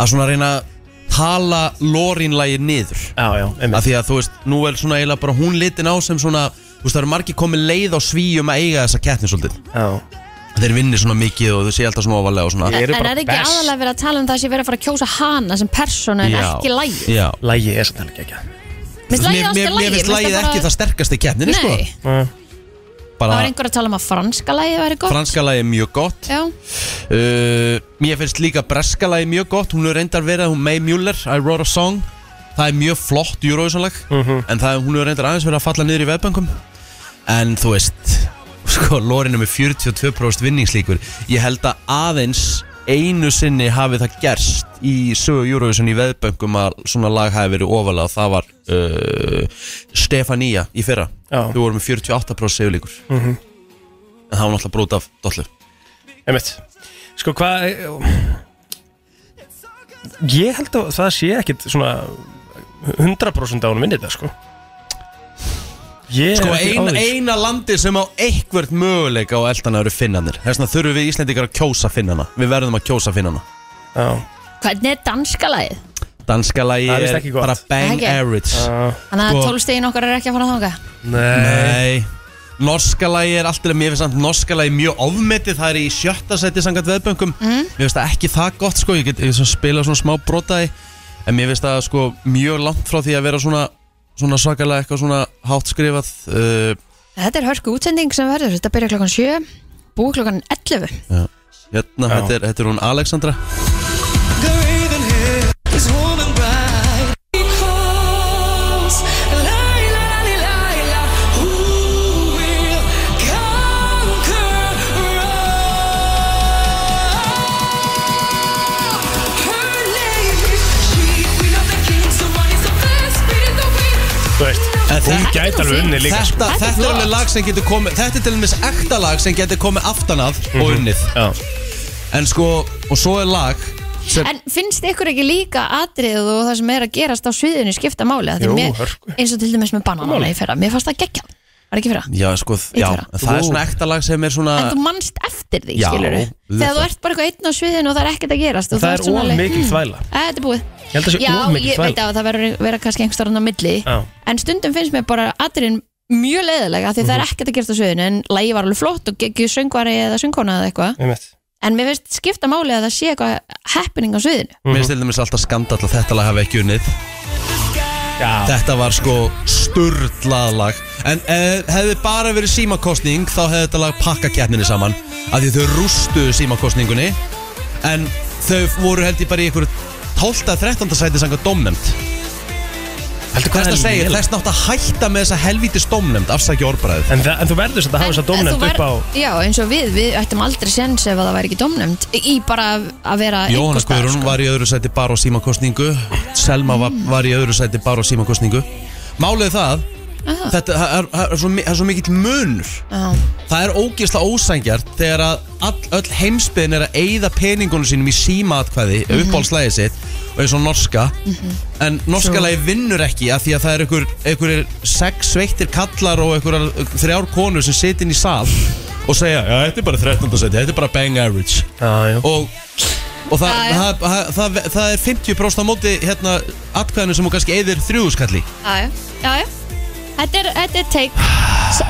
A: Að svona reyna að tala Lorínlægi niður
C: já, já,
A: af
C: einmitt
A: því að þú veist, nú er svona eiginlega bara hún litin á sem svona, þú veist, það eru margir komið leið á svíum að eiga þessa keppni svolítið
C: Já.
A: þeir vinnir svona mikið og þau sé alltaf svona ofalega og svona
C: Þeir eru
B: En
C: bara
B: er ekki
C: best.
B: aðalega verið að tala um það sem verið að fara að kjósa hana sem persónu en
A: Já.
B: ekki lægi?
A: Já.
C: Lagið er samt alveg ekki
B: Mér finnst lægið
A: mér, mér,
B: alltaf lægi
A: mér finnst lagið ekki það sterkast í keppninni sko.
B: Nei, það
C: Ah.
A: bara
B: var einhver að tala um að franska lægið væri gott
A: franska lagið er mjög gott
B: Já,
A: uh, mér finnst líka breska lagið mjög gott hún er reyndar verið, hún May Muller, I wrote a song það er mjög flott júróðisanlag mm
C: Mhm.
A: en það, hún er reyndar aðeins verið að falla niður í veðbankum en þú veist sko, Lorin er með 42% vinningslíkur ég held að aðeins einu sinni hafi það gerst í sögu Eurovision í veðböngum að svona lag hafi verið ofalega og það var uh, Stefania í fyrra
C: Já.
A: Við vorum með 48% segulíkur
C: Mhm.
A: En það var náttúrulega brot af dollu
C: Einmitt. Sko hvað Ég held að það sé ekkit svona 100% á hún minni þetta sko Ég
A: Sko
C: er ekki á
A: ein,
C: því,
A: eina landi sem á eitthvert möguleika á eldana eru finnanir Þess vegna þurfum við Íslendingar að kjósa finnana Við verðum að kjósa finnana
C: sko. Já.
B: Hvernig er danska lagið?
A: Danska lagi
C: Það er víst
A: er
C: ekki gott.
A: bara bang
B: Ekki?
A: average
C: Já.
B: Þannig að
A: Sko-
B: tólstegin okkar er ekki að fara að þanga
C: Nei
A: Nei Norska lagi er alltaf, mér finnst samt norska lagi mjög ofmetið, það er í sjötta seti sangat veðböngum, mér finnst það ekki það gott sko, ég get ég svona spila svona smá brotaði en mér finnst það sko mjög langt frá því að vera svona, svona svakalega eitthvað svona hátt skrifað uh,
B: Þetta er hörku útsending sem verður Þetta byrja klokkan 7 Búi klokkan 11
A: hérna, þetta er, þetta er hún Alexandra
C: Þú veist
A: En
C: Hún
A: þetta-
C: gæti alveg unni líka
A: Þetta,
C: sko.
B: Þetta er
A: þetta er
B: flott.
A: alveg lag sem getur komið Þetta er til dæmis ekta lag sem getur komið aftan að og unnið
C: Já.
A: En sko, og svo er lag sem,
B: En finnst ykkur ekki líka atrið og það sem er að gerast á sviðinu skipta máli Af því
C: Jú,
B: mér-
C: hörku.
B: Eins og til dæmis með bananana í fyrra Mér fannst það geggja Var ekki fyrra?
A: Já, sko, já,
B: Eitt þeirra.
A: en það er svona ekta lag sem er svona
B: En þú mannst eftir því,
A: Já,
B: skilur
A: auðvitað.
B: Þegar þú ert bara eitthvað einn á sviðinu og það er ekkert að gerast og
C: Það
B: þú
C: er
B: ert svona
C: of
B: alveg,
C: mikil
B: hmm,
C: þvæla
B: að Þetta er búið
C: Ég held að það sé
B: Já,
C: of mikil
B: ég
C: þvæla
B: veit að það verður vera kannski einhver starfn á milli
C: Já.
B: En stundum finnst mér bara atriðin mjög leiðilega því það
A: Mhm.
B: er ekkert að gerast á sviðinu en lægi var alveg flott og geggjur söngvari eða söngkona eða eitthvað
C: Einmitt.
B: en mér finnst skipta máli að það sé eitthvað happening á sviðinu
A: Mér finnst til dæmis alltaf skandall að þetta lag hafi ekki unnið
C: Já.
A: Þetta var sko sturlað lag En eh, hefði bara verið símakostning þá hefði þetta lag pakka keppninni saman af því þau rústuðu símakostningunni en þau voru held ég bara í ykkur 12-13 sæti sanga domnemnd
C: Heldur hvað
A: Þess að
C: er
A: segja,
C: lélegt?
A: þess nátt að hætta með þessa helvítis domnemnd afsækja orðbræðið
C: En, það, en þú verður samt að hafa þess að
B: En- en
C: dómnefnd
B: þú
C: upp á
B: verð- Já, eins og við, við ættum aldrei sens ef að það væri ekki domnefnd í bara að vera sko.
A: Jóhanna Guðrún var í öðru sæti bara á símakostningu Selma var, var í öðru sæti bara á símakostningu Málið er það
B: Aha.
A: Þetta það er, það er, svo, mi- það er svo mikill munur
B: Já,
A: Það er ógeðslega ósangjart þegar að all, öll heimsbyðin er að eyða peningunum sínum í símaatkvæði
B: Mhm.
A: mm uppáhaldslæði sitt og eins og norska en norska
B: Svo-
A: lagi vinnur ekki af því að það er einhver, einhver sex sveittir kallar og einhver þrjár konur sem sitin í sal og segja, já þetta er bara 13. seti, þetta er bara bang average
C: Já, já.
A: og, og það,
B: Já, já.
A: það, það, það, það er 50% á móti hérna atkvæðinu sem hún kannski eyðir þrjúðskalli
B: já, já, já. Þetta er, þetta er take S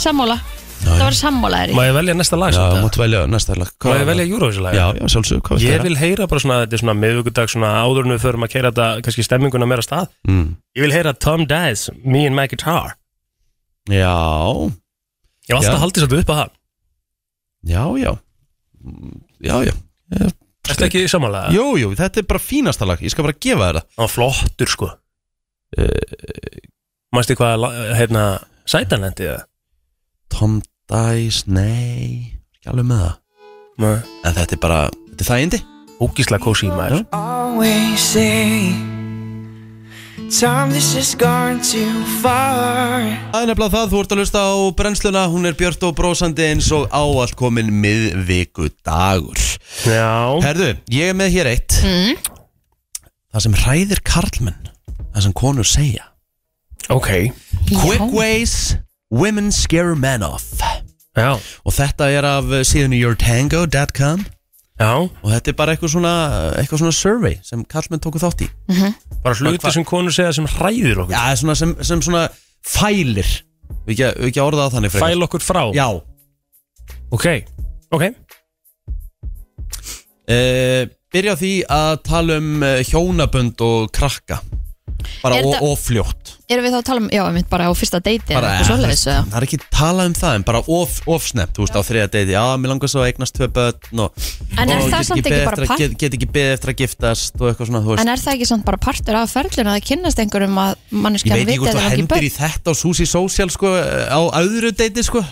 B: Sammála Það var sammála er
C: Má
B: í
C: ég velja næsta lag? samt,
A: Já,
C: eða?
A: mútt velja næsta lag
C: Má ég velja Eurovision lag?
A: Já, já, sjálfsög, hvað
C: Ég vil heyra bara svona, þetta er svona miðvíkudag svona áður en við förum að keira þetta, kannski stemminguna meira af stað.
A: Mm.
C: Ég vil heyra Tom Dice, Me and My Guitar.
A: Já,
C: Ég hef alltaf
A: Já.
C: haldið svolítið upp að það.
A: Já, já Mm, Já, já
C: Ertu ekki samanlega?
A: Jú, jú, þetta er bara fínasta lag Ég skal bara gefa þér það
C: Það var flottur sko.
A: Eh,
C: Mæstu hvað, la- hérna, sætanlendi það?
A: Tom Dice, nei Ekki alveg með það
C: Nei.
A: En þetta er bara, þetta er þægindi
C: Ógísla kósi í maður.
F: Always say, time this has gone too far.
A: Það er nefnilega það, þú ert að hlusta á brennsluna Hún er björt og brósandi eins og áallt komin miðviku dagur
C: Já.
A: Herðu, ég er með hér eitt mm. Það sem hræðir karlmenn Það sem konur segja
C: Ok.
A: Quick ways women scare men off
C: Já.
A: Og þetta er af eh, síðunni yourtango.com
C: Já.
A: og þetta er bara eitthvað svona, eitthvað svona survey sem kallmenn tóku þátt í
C: Bara hluti sem konur segja sem hræðir okkur.
A: Já, svona sem, sem svona fælir við ekki, við ekki að orða það þannig frekar.
C: Fæl okkur frá.
A: Já
C: Ok. Ok.
A: uh, Byrja á því að tala um eh, hjónabönd og krakka bara
B: Er
A: og,
B: þetta-
A: og fljótt
B: Erum við þá að tala um, já, ég mynd bara á fyrsta deiti eða
A: bara,
B: eitthvað svoleiðis
A: eh,
B: eða?
A: Það er ekki tala um það en bara of, of snemt, þú veist á þriða deiti Já, mér langar svo að eignast tvö börn og,
B: En er
A: og
B: það
A: get
B: samt ekki
A: beðið
B: bara
A: eftir að-
B: part
A: get, get ekki beðið eftir að giftast og eitthvað svona, þú veist
B: En er það ekki samt bara partur af ferlinu að kynnast einhverjum að
A: Ég
B: manneskjan
A: veit ekki
B: viti
A: hvort
B: að
A: þú
B: það er ekki
A: hendir í
B: börn
A: þetta á Susi Social sko, á öðru deiti sko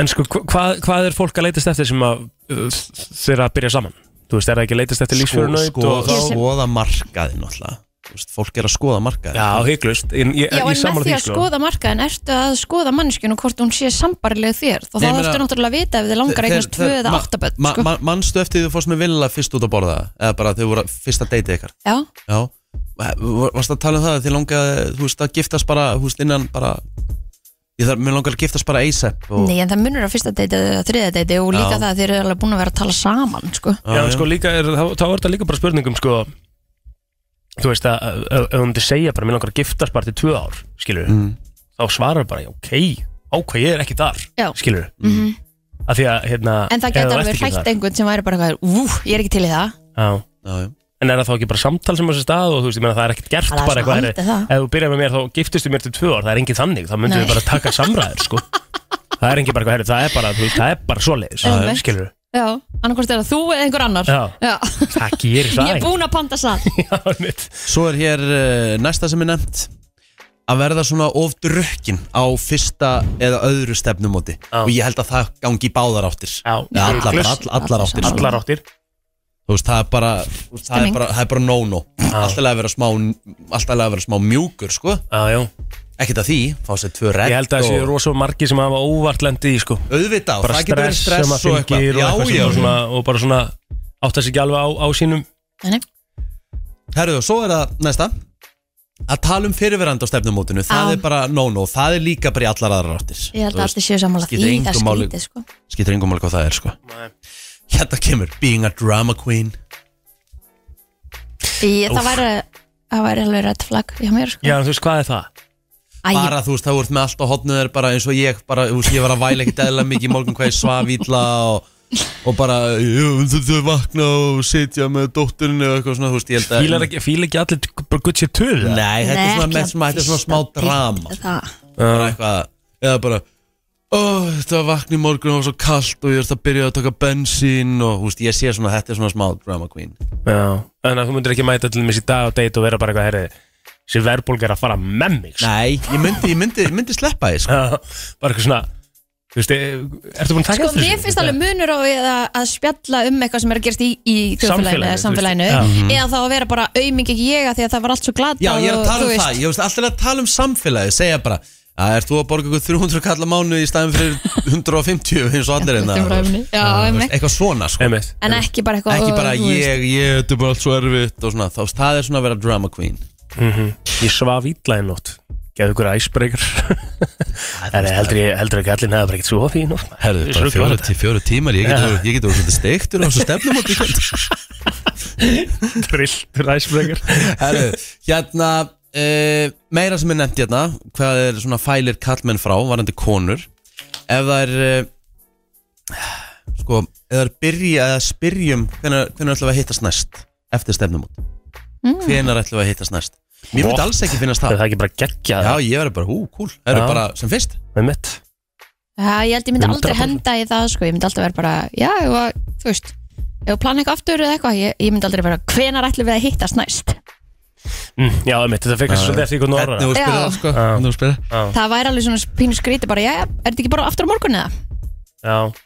C: En sko, hva- hvað, hvað er fólk að leitast eftir sem að uh, þeirra að byrja saman? Þú veist, er það ekki að leitast eftir lífsfjörunauð
A: sko,
C: og
A: sko,
C: þá...
A: skoða markaðin alltaf Þú veist, fólk er að skoða markaðin
C: Já, hygglust, ég,
B: Já,
C: ég,
B: en
C: ég
B: með
C: sammála
B: því
C: því
B: að
C: sko
B: skoða markaðin ertu að skoða manneskjunu hvort hún sé sambarleg þér og þá
A: Nei, ég meina-
B: ertu náttúrulega að vita ef þið langar að eignast tvö eða áttaböld
A: ma,
B: sko.
A: ma, Manstu eftir því þú fórst með vilja fyrst út að borða eða bara þau voru að- fyrsta deytið ykkar
B: Já,
A: Já, Var- varstu að tala um það að þið langaði, þú veist, að giftast bara, þú veist, innan bara Ég þarf, mér langar að giftast bara ASAP og,
B: nei, en það munur á fyrsta deiti eða þriða deiti og líka
A: Já.
B: það að þið eru alveg búin að vera að tala saman sko.
A: Já,
C: Já,
A: já.
C: sko, líka er, þá, þá er þetta líka bara spurningum sko Þú veist að, að, að ef hún myndi segja bara, mér langar að giftast bara til tvö ár, skilur
A: Mm.
C: Þá svarar bara, já, ok, ákvað ég er ekki þar,
B: Já. Mhm.
C: skilur Af því að, hérna
B: En það
C: ef þú
B: getur
C: ert
B: alveg
C: ekki
B: hrætt
C: þar-
B: einhvern sem væri bara eitthvað, "Ú, ég er ekki til í það
C: Já,
A: Já, já.
C: en er það þá ekki bara samtal sem á sér stað og þú veist, ég meina það er ekkert gert
B: Það er
C: bara
B: svona
C: eitthvað
B: aldrei það.
C: Ef þú byrjar með mér þá giftistu mér til tvö ár, það er engin þannig, þá myndum
B: Nei.
C: við bara taka samræður, sko Það er engin bara eitthvað, herri, það er bara, þú veist, það er bara svoleiðis,
B: Einmitt.
C: skilur
B: Já, annarkvort er það þú eða einhver annar
C: Já. Það gerir það
B: Ég er búin að panta það
C: ekki. Já,
A: Svo er hér uh, næsta sem er nefnt að verða svona of drukkin á fyrsta eða öðru stefnumóti
C: Já.
A: og ég held að það gangi í báðar áttir
C: Já,
A: Eða allar,
C: Glust.
A: all, allar áttir sko.
C: allar áttir
A: þú veist, það er bara þú veist, það er
B: Stemming.
A: bara, það er bara no-no alltaf að vera smá alltaf að vera smá mjúkur, sko
C: Já, já,
A: ekkert að því, fá sér tvö rett
C: ég held að það séu rosa margir sem hafa óvart lendi í sko
A: auðvitað,
C: bara
A: það getur verið
C: stress, sem
A: stress
C: að
A: og eitthvað
C: fylgir og, eitthvað
A: já,
C: sem
A: já,
C: er svona, og bara svona átt að sig ekki alveg á, á sínum
B: Nei, nei.
A: Herðu, og svo er það næsta að tala um fyrirverandi á stefnumótinu það
B: Já.
A: er bara no-no, það er líka bara í allar aðrar áttir
B: Ég held
A: Þú
B: að
A: veist,
B: allir séu sammála því
A: skiptir engu
B: Það er
A: máli.
B: skrítið sko
A: skiptir engum alveg hvað það er sko Hérna kemur Being a drama queen
B: Í- Það
C: Úff.
B: væri, það væri alveg redd flagg hjá mér sko
C: Já, en þú veist hvað er það?
B: Æ, ég-
A: Bara þú veist, þá ert með allt á hotnu þér Bara eins og ég, bara, þú veist, ég var að væla ekkert eðla mikið í morgun hvað ég svaf ítla og, og bara, jú, þú þau vakna og sitja með dótturinu og eitthvað svona, þú veist, ég held að
C: Fílar ekki, fílar ekki allir t- bara gutt sér töð eða?
A: Nei, þetta er
B: Nei,
A: svona,
B: ekki
A: með, svona, þetta er svona smá
B: fyrsta
A: drama
B: date, það.
A: Bara eitthvað, eða bara Ó, þetta var vakna í morgun og var svo kalt og ég ert að byrja að taka bensín og, þú veist, ég sé svona, þetta er svona smá drama queen
C: Já, en að þú myndir ekki mæta til mér í dag og date og vera bara eitthvað herrið sem verðbólg er að fara með mig sko.
A: Nei, ég myndi, ég myndi, ég myndi sleppa því, sko
C: Já, Bara eitthvað svona Þú veist, eh, ertu búin að taka
B: Sko, mér finnst alveg munur á við að, að spjalla um eitthvað sem er að gerast í, í þjóðfélaginu
C: Samfélaginu,
B: eða samfélaginu
C: þú veist.
B: eða þá að vera bara aumingi ekki ég að því að það var allt svo glata
A: Mhm. Já, ég er að tala um það, ég veist alltaf að tala um samfélagi segja bara, að er þú að borga ykkur 300 kalla mánu í staðin fyrir 150 eins og allir einna
B: Já, einmitt.
A: eitthvað svona sko
C: Einmitt.
B: en ekki bara eitthvað
A: ekki bara
B: þú veist.
A: ég, ég, þetta er bara allt svo erfitt og svona, þá það er svona að vera drama queen
C: Ég svaf ítla í nótt Geðu ykkur æsbreykar Heldur ég- heldur ekki allir neða bara ekkert svo því nótt
A: Herðu,
C: Svo
A: bara fjóru,
C: glata.
A: tí, fjóru tímar, ég
C: Já.
A: getur ég get orðið svolítið steiktur á þessu stefnum á byggjand
C: Trilltur æsbreykar
A: Herðu, hérna, uh, meira sem er nefnt hérna, hvað er svona fælir kallmenn frá, varandi konur ef það er uh, sko, ef það er byrja eða spyrjum hvenær, hvenær ætlum við að hittast næst eftir stefnum út hvenær ætlum við að hittast næst mér myndi alls ekki finnast
C: Er
A: það
C: það ekki bara geggja
A: já, ég verður bara, hú, cool, það
C: Já.
A: eru bara sem fyrst
C: með mitt?
B: Já, ég held ég myndi aldrei
C: 100%.
B: henda í það sko. ég myndi alltaf vera bara, já, ég var, þú veist ef ég plana eitthvað aftur eða eitthvað ég, ég myndi aldrei vera, hvenar ætlum við að hittast næst
C: Mm, já, með mitt, þetta fekk að svolítið eftir ykkur norra
A: hvernig þú spyrir
B: Já.
A: það, sko
C: Já.
A: hvernig þú spyrir
B: það væri alveg svona pínu skríti bara, já, er þetta ekki bara aftur á morgun eða
C: Já,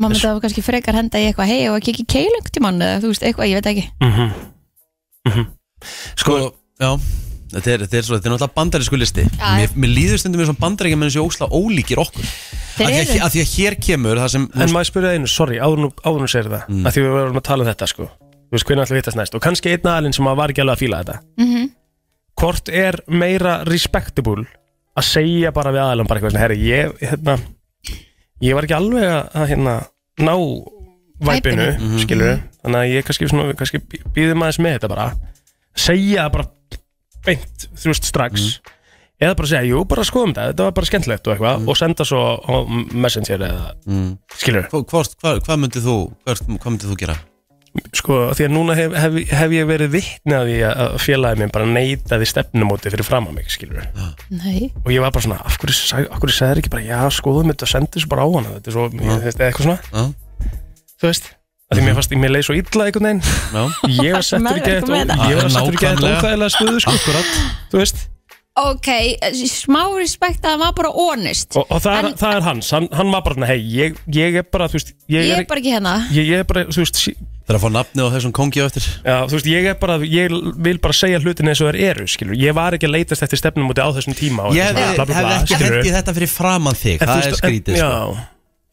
B: maður myndi að kannski frekar henda í eitthvað hei og ekki ekki keilung tímann eða þú veist, eitthvað, ég veit ekki
C: sko,
A: sko, já Þetta er, þetta er, svo, þetta er náttúrulega bandarísku listi
B: Já, já.
A: Mér, mér líður stundum eins og bandaríkja menn þessi ósla ólíkir okkur af því,
B: þeir
A: að,
B: eru,
A: af því að hér kemur það sem
C: en maður spyrja einu, sorry, áður nú- áður nú segir það mm. að því við verðum að tala um þetta, sko þú veist, hvernig ætlum við hittast næst og kannski einn aðalinn sem maður var ekki alveg að fíla þetta mm -hmm. Hvort er meira respectable að segja bara við aðalinn bara eitthvað, svona, herri, ég, hérna ég var ekki alveg að, að, hérna, ná væpinu,
B: Væpinu.
C: mm þannig að ég kannski, svona, kannski býðum aðeins með þetta bara segja það bara beint, þú veist, strax eða bara segja, jú, bara skoðum þetta, þetta var bara skemmtilegt og eitthvað, og senda svo á messenger eða,
A: Mm.
C: skilur
A: Hva- Hvort, hva, hvað myndið þú, hvert, hvað myndið þú gera?
C: sko, því að núna hef, hef, hef ég verið vitnað því að- að félagið minn bara neitaði stefnumóti fyrir fram að mig, skilur
B: nei
C: og ég var bara svona, af hverju, sag- af hverju segir ekki bara, já, skoðum þetta, sendu þessu bara á hana þetta er svo, ég, þetta er eitthvað svona,
A: Já,
C: þú veist að því mér fannst, mér leið svo illa einhvern veginn
A: já,
C: ég var settur ekki
B: Meðvirkum með
C: eitthvað
B: þetta.
C: ég var settur ekki
A: Nákvæmlega.
C: eitthvað óþægilega stöðu sko,
A: akkurat
C: þú veist
B: ok, eh, smá respekt að hann var bara honest
C: og, og það, er,
B: En-
C: það er hans, hann, hann var bara hei, ég, ég er bara, þú veist ég,
B: ég
C: er,
B: er bara ekki hérna
C: ég, ég er bara, þú veist sí-
A: Það er að fá nafni á þessum kongi á eftir
C: já, þú veist, ég er bara, ég vil bara segja hlutin eins og þeir eru, skilur, ég var ekki að leitast eftir stefnum á þessum tíma og
A: Ég
C: eitthvað
A: hefði
C: svona, bla, bla,
A: hefði
C: bla,
A: ekki
C: skilurðu.
A: hendið þetta fyrir framann þig
C: En þú
A: Það
C: veist,
A: er
C: en-
A: skrítið sko.
C: Já,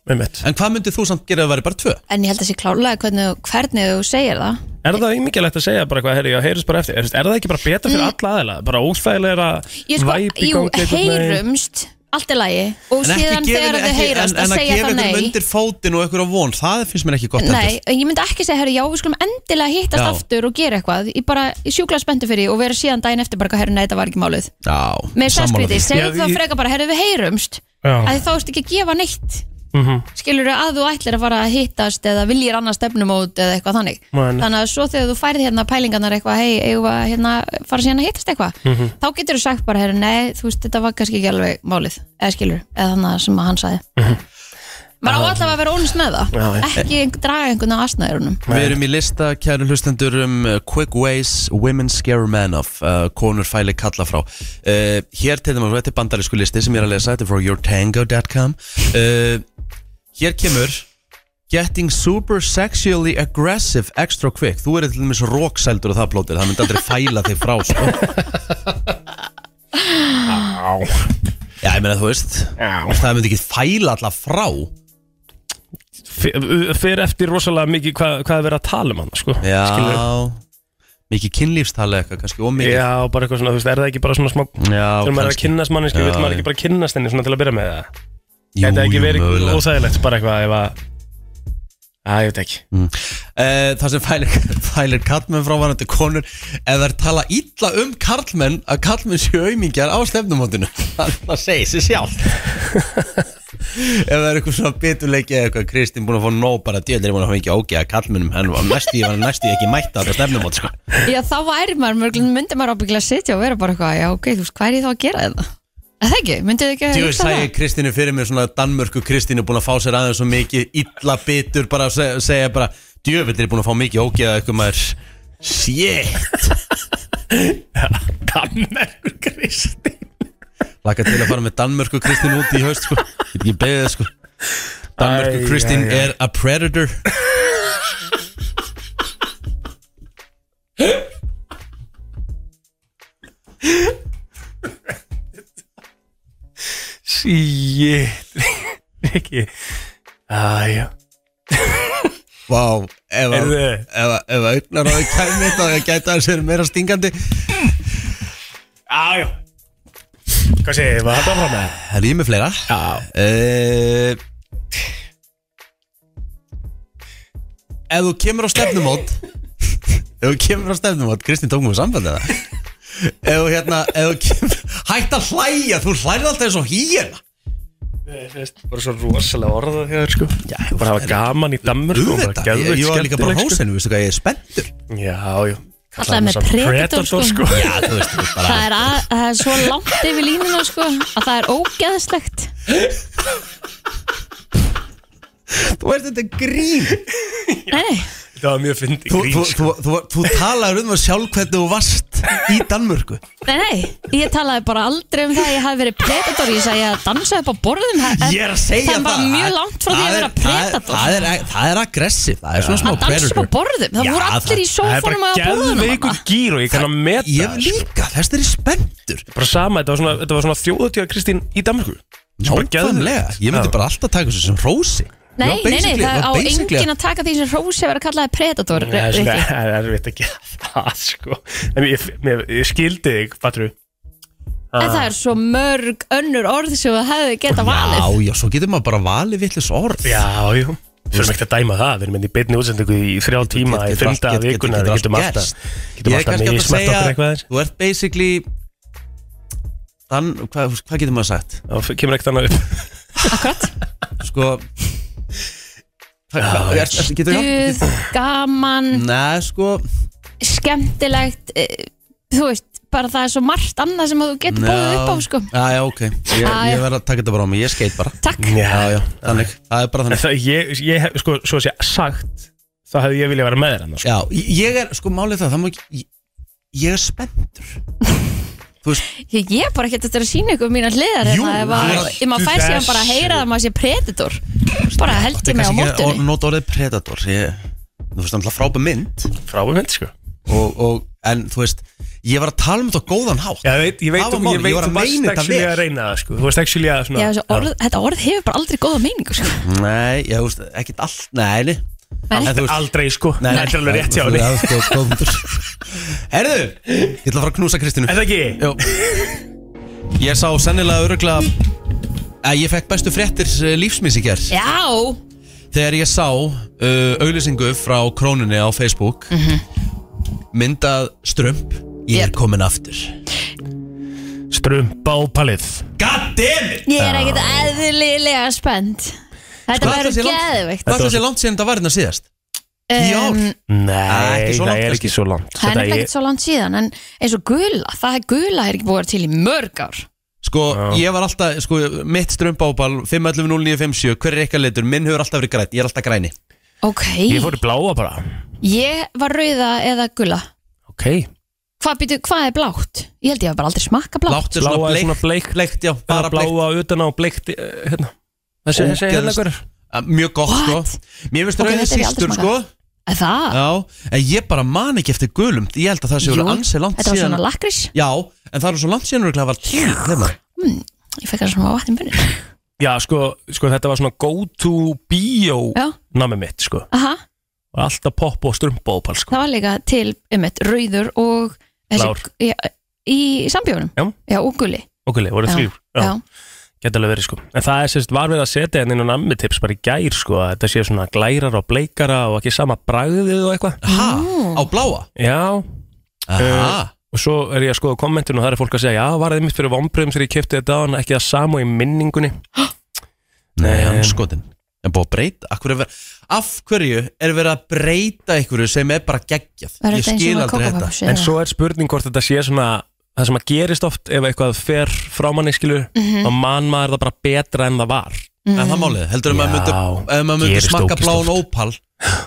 C: með mitt
A: En hvað myndið þú samt gera að vera bara tvö?
B: en ég held að sé klálega hvernig, hvernig þú segir það
C: Er það ímikilegt að segja bara hvað, heyri, já, heyrðist bara eftir Er, er það ekki bara betra fyrir alla aðeila? Bara óþægilega
B: ég sko,
C: væp í
B: jú,
C: gangi einhvern veginn?
B: heyrumst allt er lægi og
A: En ekki
B: síðan
A: gefa
B: þegar
A: henni-
B: þau
A: ekki-
B: heyrast
A: en- En
B: að segja það
A: að gefa
B: nei
A: einhvern undir fótinn og einhverja von Það finnst mér ekki gott
B: Nei, en ég myndi ekki segja, herru, já, við skulum endilega
A: Já.
B: hittast aftur og gera eitthvað Ég bara ég sjúkla spenntu fyrir því og vera síðan daginn eftir bara, herru, nei, þetta var ekki málið
A: heldur. Já,
B: Með
A: sammála
B: sæskriti,
A: því.
B: segðu
C: Já,
B: það
C: ég-
B: frekar bara, herru, við heyrumst
C: Já.
B: að þá ertu ekki að gefa neitt
C: Mhm.
B: skilur að þú ætlir að fara að hittast eða viljir annað stefnumót eða eitthvað þannig
C: Man.
B: þannig að svo þegar þú færið hérna pælingarnar eitthvað, hei, eigum við að hérna, fara síðan að hittast eitthvað
C: Mhm.
B: þá getur þú sagt bara, herru, nei, þú veist, þetta var kannski ekki alveg málið, eða skilur, eða þannig að sem að hann sagði maður á allavega að vera ónust með það
C: Mhm. Já, já.
B: ekki ein- draga einhvern að asnaðurunum
A: Við erum í lista, kæru hlustendur, um uh, Quick Ways Women Scare Men Off uh, Konur fæli kalla frá uh, Hér til dæmis, þetta er bandarísku listi sem ég er að lesa Þetta er frá yourtango.com uh, Hér kemur Getting super sexually aggressive extra quick Þú er til dæmis róksældur og það blótir Það myndi aldrei fæla þig frá sko. Já, ég meina þú veist Það myndi ekki fæla alla frá
C: Fer- Fer eftir rosalega mikið hvað, hvað er verið að tala um hann sko.
A: Já
C: Skilurðu?
A: Mikið kynlífstala eitthvað, kannski ómikið
C: Já, bara eitthvað svona, þú veist, er það ekki bara svona smá
A: Já,
C: Þegar maður er að
A: kannski.
C: kynnast manninski,
A: Já,
C: vil maður
A: já.
C: ekki bara kynnast henni svona til að byrja með það
A: Jú,
C: Þetta er ekki
A: jú,
C: verið
A: mögulega.
C: óþægilegt, bara eitthvað ef að Æ, ég veit ekki
A: Eh, Það sem fælir, fælir kallmenn frá varandi konur eða þær tala illa um kallmenn að kallmenn séu aumingjar á stefnumótinu það segir sér sjálf ef það er eitthvað svona biturleiki eða eitthvað Kristín búin að fá nóg bara djöðlir búin að hafa ekki ágæða kallmennum hann var næstu, ég var næstu ekki mætt á þetta stefnumót sko.
B: já, þá væri maður, mörgulega myndi maður ábyggla að sitja og vera bara eitthvað, já, ok, þú veist, hvað er ég þá að gera þetta? Er Það ekki, myndið þið ekki
A: Djú,
B: hugsa
A: sagði Kristínu fyrir mér svona Danmörku Kristínu búin að fá sér aðeins svo mikið illa bitur bara að se- segja bara djöfellir er búin að fá mikið ógeða eitthvað maður shit
C: Danmerkur Kristi
A: Laka til að fara með Danmörku Kristín út í haust sko. Ég get ekki beðið sko. Danmörku
C: Æ,
A: Kristín
C: æ, æ.
A: er a predator
C: Shit Ekki Æ, já
A: Vá, ef að
C: Heyrðu.
A: ef að- ef að augnaráði kæmi þá gæti að sér meira stingandi
C: Æ, já Hvað segir þið, var þetta frá með það?
A: Það er ég með fleira
C: Já
A: uh, Ef þú kemur á stefnumót Ef þú kemur á stefnumót Kristín tók mér sambandi það Ef þú hérna ef þú kemur, Hætt að hlæja, þú hlærir alltaf eins og hýjena
C: bara svo rosalega orða þegar sko já, bara hafa gaman í dammur
A: Þú
C: sko,
A: veit það, ég, ég var líka bara hósinu Vistu hvað ég er spenntur
C: já, já
B: Kallaði mig
C: samt
B: Predator, sko.
C: sko.
A: Já, þú veist, þú veist bara
B: það er, að, það er svo langt yfir línuna sko, að það er ógeðslegt
A: Þú veist þetta er grín
B: Nei, nei,
C: það var mjög sko. fyndi
A: Þú, þú, þú, þú, þú talaður um það sjálf hvernig þú varst í Danmörku
B: nei, nei Ég talaði bara aldrei um það að ég hafi verið predator Ég sagði að dansa upp á borðum Það-
A: Ég er að segja það
B: Það er bara mjög langt frá því
A: það
B: að
A: er-
B: vera predator
A: Það er, það er, það er aggressiv, það er svona smá
B: Að dansa upp á
A: predator
B: borðum, það
A: Já,
B: voru allir í
C: það er
B: sófanum
C: bara
B: að borðum
C: geðveikur gýr og ég kann að meta
A: Ég
C: það, sko.
A: líka, þess þeir eru spenntur
C: bara sama, þetta var svona, þetta var svona þjóðutíða Kristín í Danmarku bara
A: Nákvæmlega,
C: geðveikt.
A: ég myndi
C: Já.
A: bara alltaf taka þessu sem hrósi Já,
B: Nei, nei, nei,
A: basically, já,
B: það á
A: basically. sko,
B: enginn að taka því sem Rósi að vera kallaði predator
C: það er svona,
B: Rikki.
C: það er erfitt að gera það sko en ég, ég, ég skildi þig, fattur
B: En það er svo mörg önnur orð sem það hefði geta
A: Já,
B: valið
A: já, svo getur maður bara valið vittlis orð
C: já, já Við erum ekkert að dæma það, við erum inn í beinni útsendingu í þrjá tíma, í
A: Getur-
C: fimm
A: getur-
C: daga
A: getur-
C: vikuna,
A: getur
C: við getum
A: allt
C: alltaf,
A: gerst.
C: getum
A: Ég er
C: alltaf
A: kannski að
C: mismætt okkur eitthvað
A: segja,
C: þess.
A: þú ert basically Þann, hvað, hvað getur maður sagt?
C: Það kemur ekkert annað upp.
B: Akkurat
A: Sko Hvað- er- er- Getur þú
B: Duð, gaman,
A: Nei, sko
B: skemmtilegt eh, Þú veist, bara það er svo margt annað sem þú getur bóðið upp á sko
A: Já, já, ok Ég,
B: Já,
A: ég
B: já.
A: verð að taka þetta bara á mig, ég skeit bara
B: Takk
A: Já, já, þannig, það er bara
C: En
A: þannig
C: það, ég, ég hef, sko, svo sé sagt þá hefði ég viljað vera með þér annars sko.
A: Já, ég- ég er, sko, málið það, það má ekki Ég, ég er spenntur Þú þú veist,
B: Ég ég er bara ekkert eftir að sína ykkur mínar hliðar
A: Jú,
B: hérna, ef að-
A: hættu
B: ef maður fær síðan bara að heyra að maður sé predator bara held
A: þetta
B: ég
A: er
B: mig á
A: kannski ekki að
B: mótunni
A: nota orðið predator ég, þú veist, það er frábæð um mynd
C: frábæmynd sko
A: og, og, en þú veist, ég var að tala um þetta á góðan hátt
C: Já, ég veit, ég veit, um-
A: Það var
C: ég
A: málið,
C: veit,
A: ég var að
C: þú varst
A: meina þetta
C: actually
A: vel.
C: að reyna það sko, þú varst actually að svona
B: Já, þessi orð, þetta orð hefur bara aldrei góða meiningu sko.
A: Nei, ég veist, ekkert allt, nei, nei
B: Nei.
A: En þú veist-
C: aldrei sko, þetta er alveg rétt hjá henni
A: Já, sko, góð punktur. Herðu, ég ætla að fara að knúsa Kristínu
C: Er það ekki?
A: Jó Ég sá sennilega örugla að ég fekk bestu fréttir lífsmins í ger
B: Já,
A: Þegar ég sá uh, auðlýsingu frá krónunni á Facebook Myndað strömp Ég er
B: Mhm. Yep.
A: komin aftur
C: Strumpa á palið
A: God damn it!
B: ég er ekkert eðlilega spennt
A: Sko,
B: Þetta
A: ætli
B: verður
A: sé langt-
B: geðvikt
A: Hvað er þessi langt síðan það var hérna síðast? í ár?
C: Nei,
A: Ah, ekki svo
C: það
A: langt
C: er
A: kannski.
C: ekki svo
B: Það Um,
C: langt
B: er
C: Þetta
B: nefnilega ekkert svo langt síðan en eins og gula, það er gula er ekki búið að vera til í mörg ár
A: Sko, ég var alltaf, sko, mitt strömpábal 511-0957, hver er eitthvað litur? Minn hefur alltaf verið grænt, ég er alltaf græni
B: Ok,
C: Ég fór í bláa bara
B: ég var rauða eða gula
C: Ok,
B: Hvað, býtu, hvað er blátt? Ég held ég hef bara aldrei smakka blátt
A: Látt er svona
C: Bláa er svona
A: bleikt,
C: bleikt.
A: bleikt, já, bara
C: bara
A: bleikt
C: bláa utan á bleikt eh, hérna. Þessi, þessi hérna
A: Ógeðs-
C: hver
A: Að Eh, Mjög gott
B: What?
A: sko Mér finnst
B: Ok,
A: rauðið
B: þetta hef ég aldrei
A: sýstur
B: smakað.
A: sko
B: Er Það?
A: Já, en ég bara man ekki eftir gulum Ég held að það sé verið ansi langt
B: þetta var
A: síðan
B: svona lakrís
A: Já, en það eru svo langt síðan örugglega var tíl nema.
B: Ég fekk það svona vatn í munni
C: Já, sko, sko, þetta var svona go to bio
B: Já,
C: nami mitt, sko
B: aha,
C: Og Alltaf popp og strumpa á pal, sko
B: það var líka til um eitt rauður og þessi-
C: Blár.
B: Já, í, í sambjónum
C: Já.
B: og guli
C: Okkurlega, voru
B: Já.
C: þrjú
B: Já.
C: Geta alveg verið, sko En það er sérst, var við að setja henni inn á nami tips bara í gær, sko að Þetta sé svona glærar og bleikara og ekki sama bragðið og eitthvað
A: Ha,
B: Ú.
A: á bláa
C: Já,
A: Aha,
C: og svo er ég að skoða kommentin og það er fólk að segja já, var það mitt fyrir vombriðum þegar ég kefti þetta á hann ekki það sama í minningunni
A: nei, hann skotin En búið að breyta, af hverju, er verið, af hverju er verið að breyta einhverju sem er bara geggjað
B: Var
A: Ég
B: þetta eins og
A: skil
B: með
A: aldrei þetta
B: kókapöpsi
C: en
B: eða?
C: svo er spurning hvort þetta sé svona það sem að gerist oft ef eitthvað fer frá manni skilur og mann maður það bara betra en það var
A: En það málið, heldur að maður myndi,
C: Já,
A: ef maður myndi
C: gerist
A: smakka
C: ógeðslega
A: bláun
C: oft.
A: ópal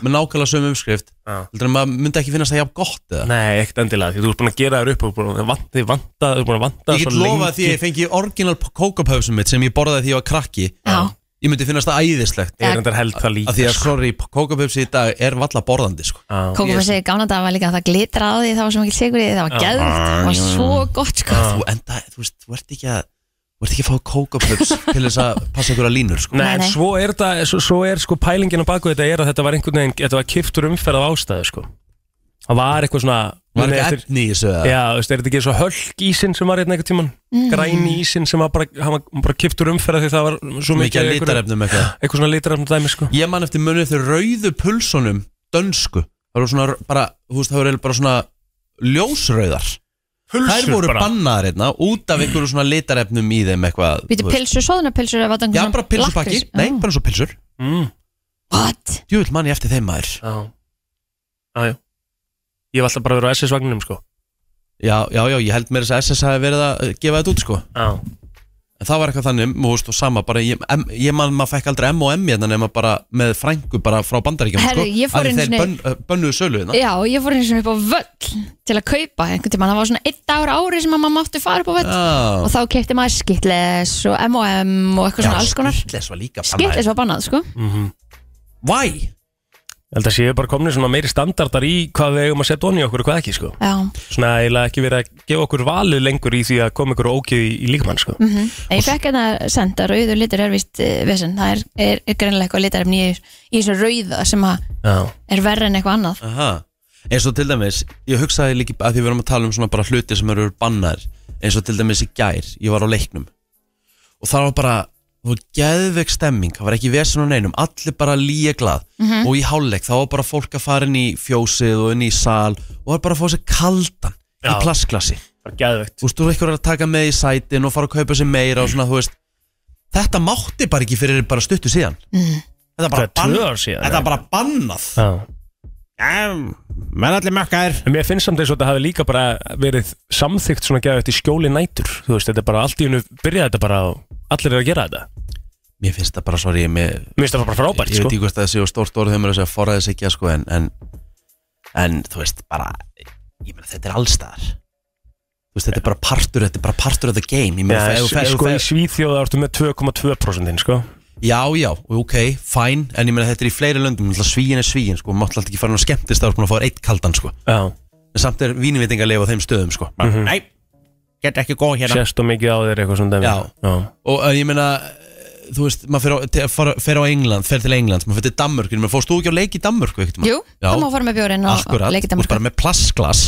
A: með nákvæmlega sömu umskrift
C: Já.
A: heldur að maður myndi ekki finnast það jafn gott eða
C: nei, ekkert endilega, því þú ert búin að gera þér upp og búin að vanta, þið vanta, þú ert búin að vanta
A: Ég get lofað því að ég fengi orginal kókapöfsum mitt sem ég borðaði því ég var krakki
B: Já.
A: Ég myndi finnast það æðislegt
C: er þetta held það líka sko.
A: Af því að sorry, kókapöfsi í dag er valla borðandi sko.
C: Já.
B: Kókum að segja gána dag var líka að það glitraði því það var svo mikil sigur í því, það var geðvikt það var svo gott sko
A: þú, enda, þú, veist, þú ert ekki að Þú ert ekki að fá kókapöfs til þess að passa ykkur að línur sko.
C: Nei, en
B: Nei, nei.
C: svo er, það, svo, svo er sko pælingin á baku þetta er að þetta var einhvern veginn, þetta var kiftur umferð af ástæðu sko. Það var eitthvað svona
A: Var
C: Nei,
A: ekki
C: eftir-
A: efni í þessu eða?
C: Já, þú veist, er þetta ekki svo hölk ísinn sem var hérna einhvern tíman mm. græni ísinn sem var bara, hann var bara kiptur umferða því það var svo
A: Mikið
C: mikið
A: að litarefnum eitthvað
C: eitthvað svona litarefnum dæmi sko
A: Ég man eftir munið þegar rauðu pulsunum Dönsku Það voru svona, bara, þú veist, það voru eiginlega bara svona Ljósrauðar Þær voru bannaðar hérna út af einhverju svona litarefnum í þeim eitthvað
B: Býtu
A: þú veist.
B: pilsur, sóðunarpilsur eða var þetta
A: Já,
B: einhver
A: bara
B: svona
A: pilsupakki,
B: lakrís?
A: nei,
B: Já.
A: bara svo pilsur
C: mm.
B: What?
A: Júl, mann ég eftir þeim maður
C: Já, já, já Ég var alltaf bara að vera á SS-vagninum sko
A: Já, já, já, ég held mér þess að SS hafi verið að eh, gefa þetta út sko
C: Já,
A: En það var eitthvað þannig, þú veist, og sama bara Ég, em, ég man, maður fekk aldrei M og M hérna nema bara með frængu bara frá bandaríkjum
B: Herru,
A: sko,
B: ég fór
A: af því
B: einu
A: Þeir
B: sinni-
A: bönn, eh, bönnuðu sölu hérna
B: Já, ég fór eins og upp á völl til að kaupa einhvern tímann, það var svona eitt ár ári sem að maður mátti fara upp á völl
A: Já,
B: og þá kefti maður skitles og M&M og
A: já, Mm.
B: eitthvað svona alls konar
A: skítles var líka
B: skitles var bannað, sko
A: Why?
C: ég held að séu bara komni svona meiri standardar í hvað við eigum að setja onni okkur og hvað ekki sko
B: Já,
C: Svona eiginlega ekki verið að gefa okkur valið lengur í því að koma ykkur ógið í, í líkmann sko
B: mhm. en ég fekk hérna senda rauður litur er vist vesen, það er, er, er greinlega eitthvað litarefni í, í þessu rauða sem að
C: Já,
B: er verri en eitthvað annað
A: Aha. Eins og til dæmis, ég hugsaði líka að því við erum að tala um svona bara hluti sem eru bannar eins og til dæmis í gær, ég var á leiknum og það var bara það var geðveik stemming, það var ekki vesen á neinum allir bara líja glað og í hálfleik þá var bara fólk að fara inn í fjósið og inn í sal og var bara að fá sér kaldan í
C: Já.
A: plasklasi
C: bara geðveikt
A: þú veist, þú er eitthvað að taka með í sætin og fara að kaupa sér meira og svona, þú veist þetta mátti bara ekki fyrir bara stuttu síðan þetta er bara,
C: Það er tvö
A: bann,
C: ár síðan,
A: þetta er
C: eða?
A: bara bannað
C: Já
A: menn allir mökkaðir
C: En mér finnst samt eins og þetta hafi líka bara verið samþygt svona geða eftir skjóli nætur Þú veist, þetta er bara allt í hennu byrjaði þetta bara og allir eru að gera þetta
A: Mér finnst það bara, sorry, mér,
C: Mér finnst það bara frábært,
A: ég veit
C: sko
A: ekki hvort að það séu stórt orð þegar maður er að segja forræðis ekki, sko, en, en, en þú veist, bara, ég meina, þetta er allstaðar. veist, þetta er bara partur, þetta er bara partur of the game Ég meina,
C: Já,
A: ef þú fer- ef þú
C: sko í
A: fer-
C: Svíþjóða ertu með 2,2% sko.
A: Já, já, ok, fine En ég meina þetta er í fleiri löndum náttúrulega Svíin er svíin, sko, maður alltaf ekki fara nú skemmtist Það er búin að fá eitt kaldan, sko
C: Já,
A: En samt er vínvitinga að lifa á þeim stöðum, sko mm -hmm. Nei, get ekki góð hérna
C: sérst og mikið á þér eitthvað svona dæmi.
A: Já. Og uh, ég meina, eh, þú veist, maður fer á, te- fer, fer á England Fer til England, maður fer til Danmörk Ég meina, Fórst þú ekki á leik í Danmörku, ekkert
B: Jú, þá má fara með bjórinn og, og
A: Akkurat,
B: leikið
A: þú veist bara með plastglas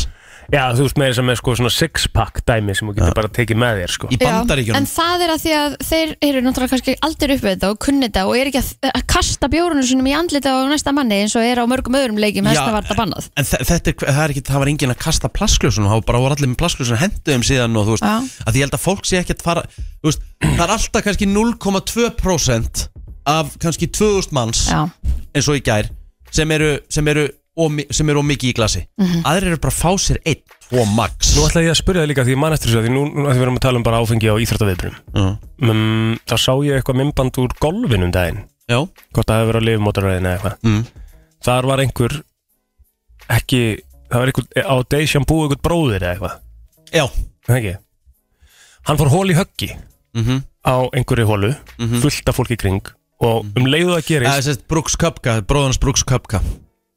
C: Já, þú veist meira sem með sko, svona six pack dæmi sem þú getur bara tekið með þér sko.
A: Í bandaríkjunum
B: En það er að því að þeir eru náttúrulega kannski aldrei upp við þetta og kunni þetta og er ekki að, að kasta bjórunum sínum í andlita á næsta manni eins og er á mörgum öðrum leikjum
A: Já.
B: þess að var þetta bannað
A: En þe- þetta er, það er ekki, það var enginn að kasta plastglösunum, það var bara voru allir með plastglösunum henduðum síðan og þú veist,
B: Já.
A: að ég held að fólk sé ekki að fara, þú veist, það er alltaf kannski 0,2% af kannski 2000 manns
B: Já,
A: eins og í gær sem eru, sem eru, ómi, sem eru ómikið í glasi.
B: Mhm.
A: Aðrir eru bara að fá sér einn, tvo max.
C: Nú ætla ég að spyrja það líka því ég man eftir þessu af því nú, nú að því við erum að tala um bara áfengi á íþróttaviðbrum
A: Já.
C: mm, þá sá ég eitthvað mymband úr golfinum daginn
A: Já,
C: hvort það hefur verið á lifmótaröðin eða eitthvað
A: Mm.
C: þar var einhver ekki, það var einhver á Dejan búið einhver bróðir eða eitthvað
A: já,
C: er það ekki? hann fór hól í höggi
A: mhm. Mm
C: á einhverju hólu fullt af fólki í kring og um leiðu það gerist
A: Mm. Það er sérst Brooks Köpka, bróðans Brooks Köpka.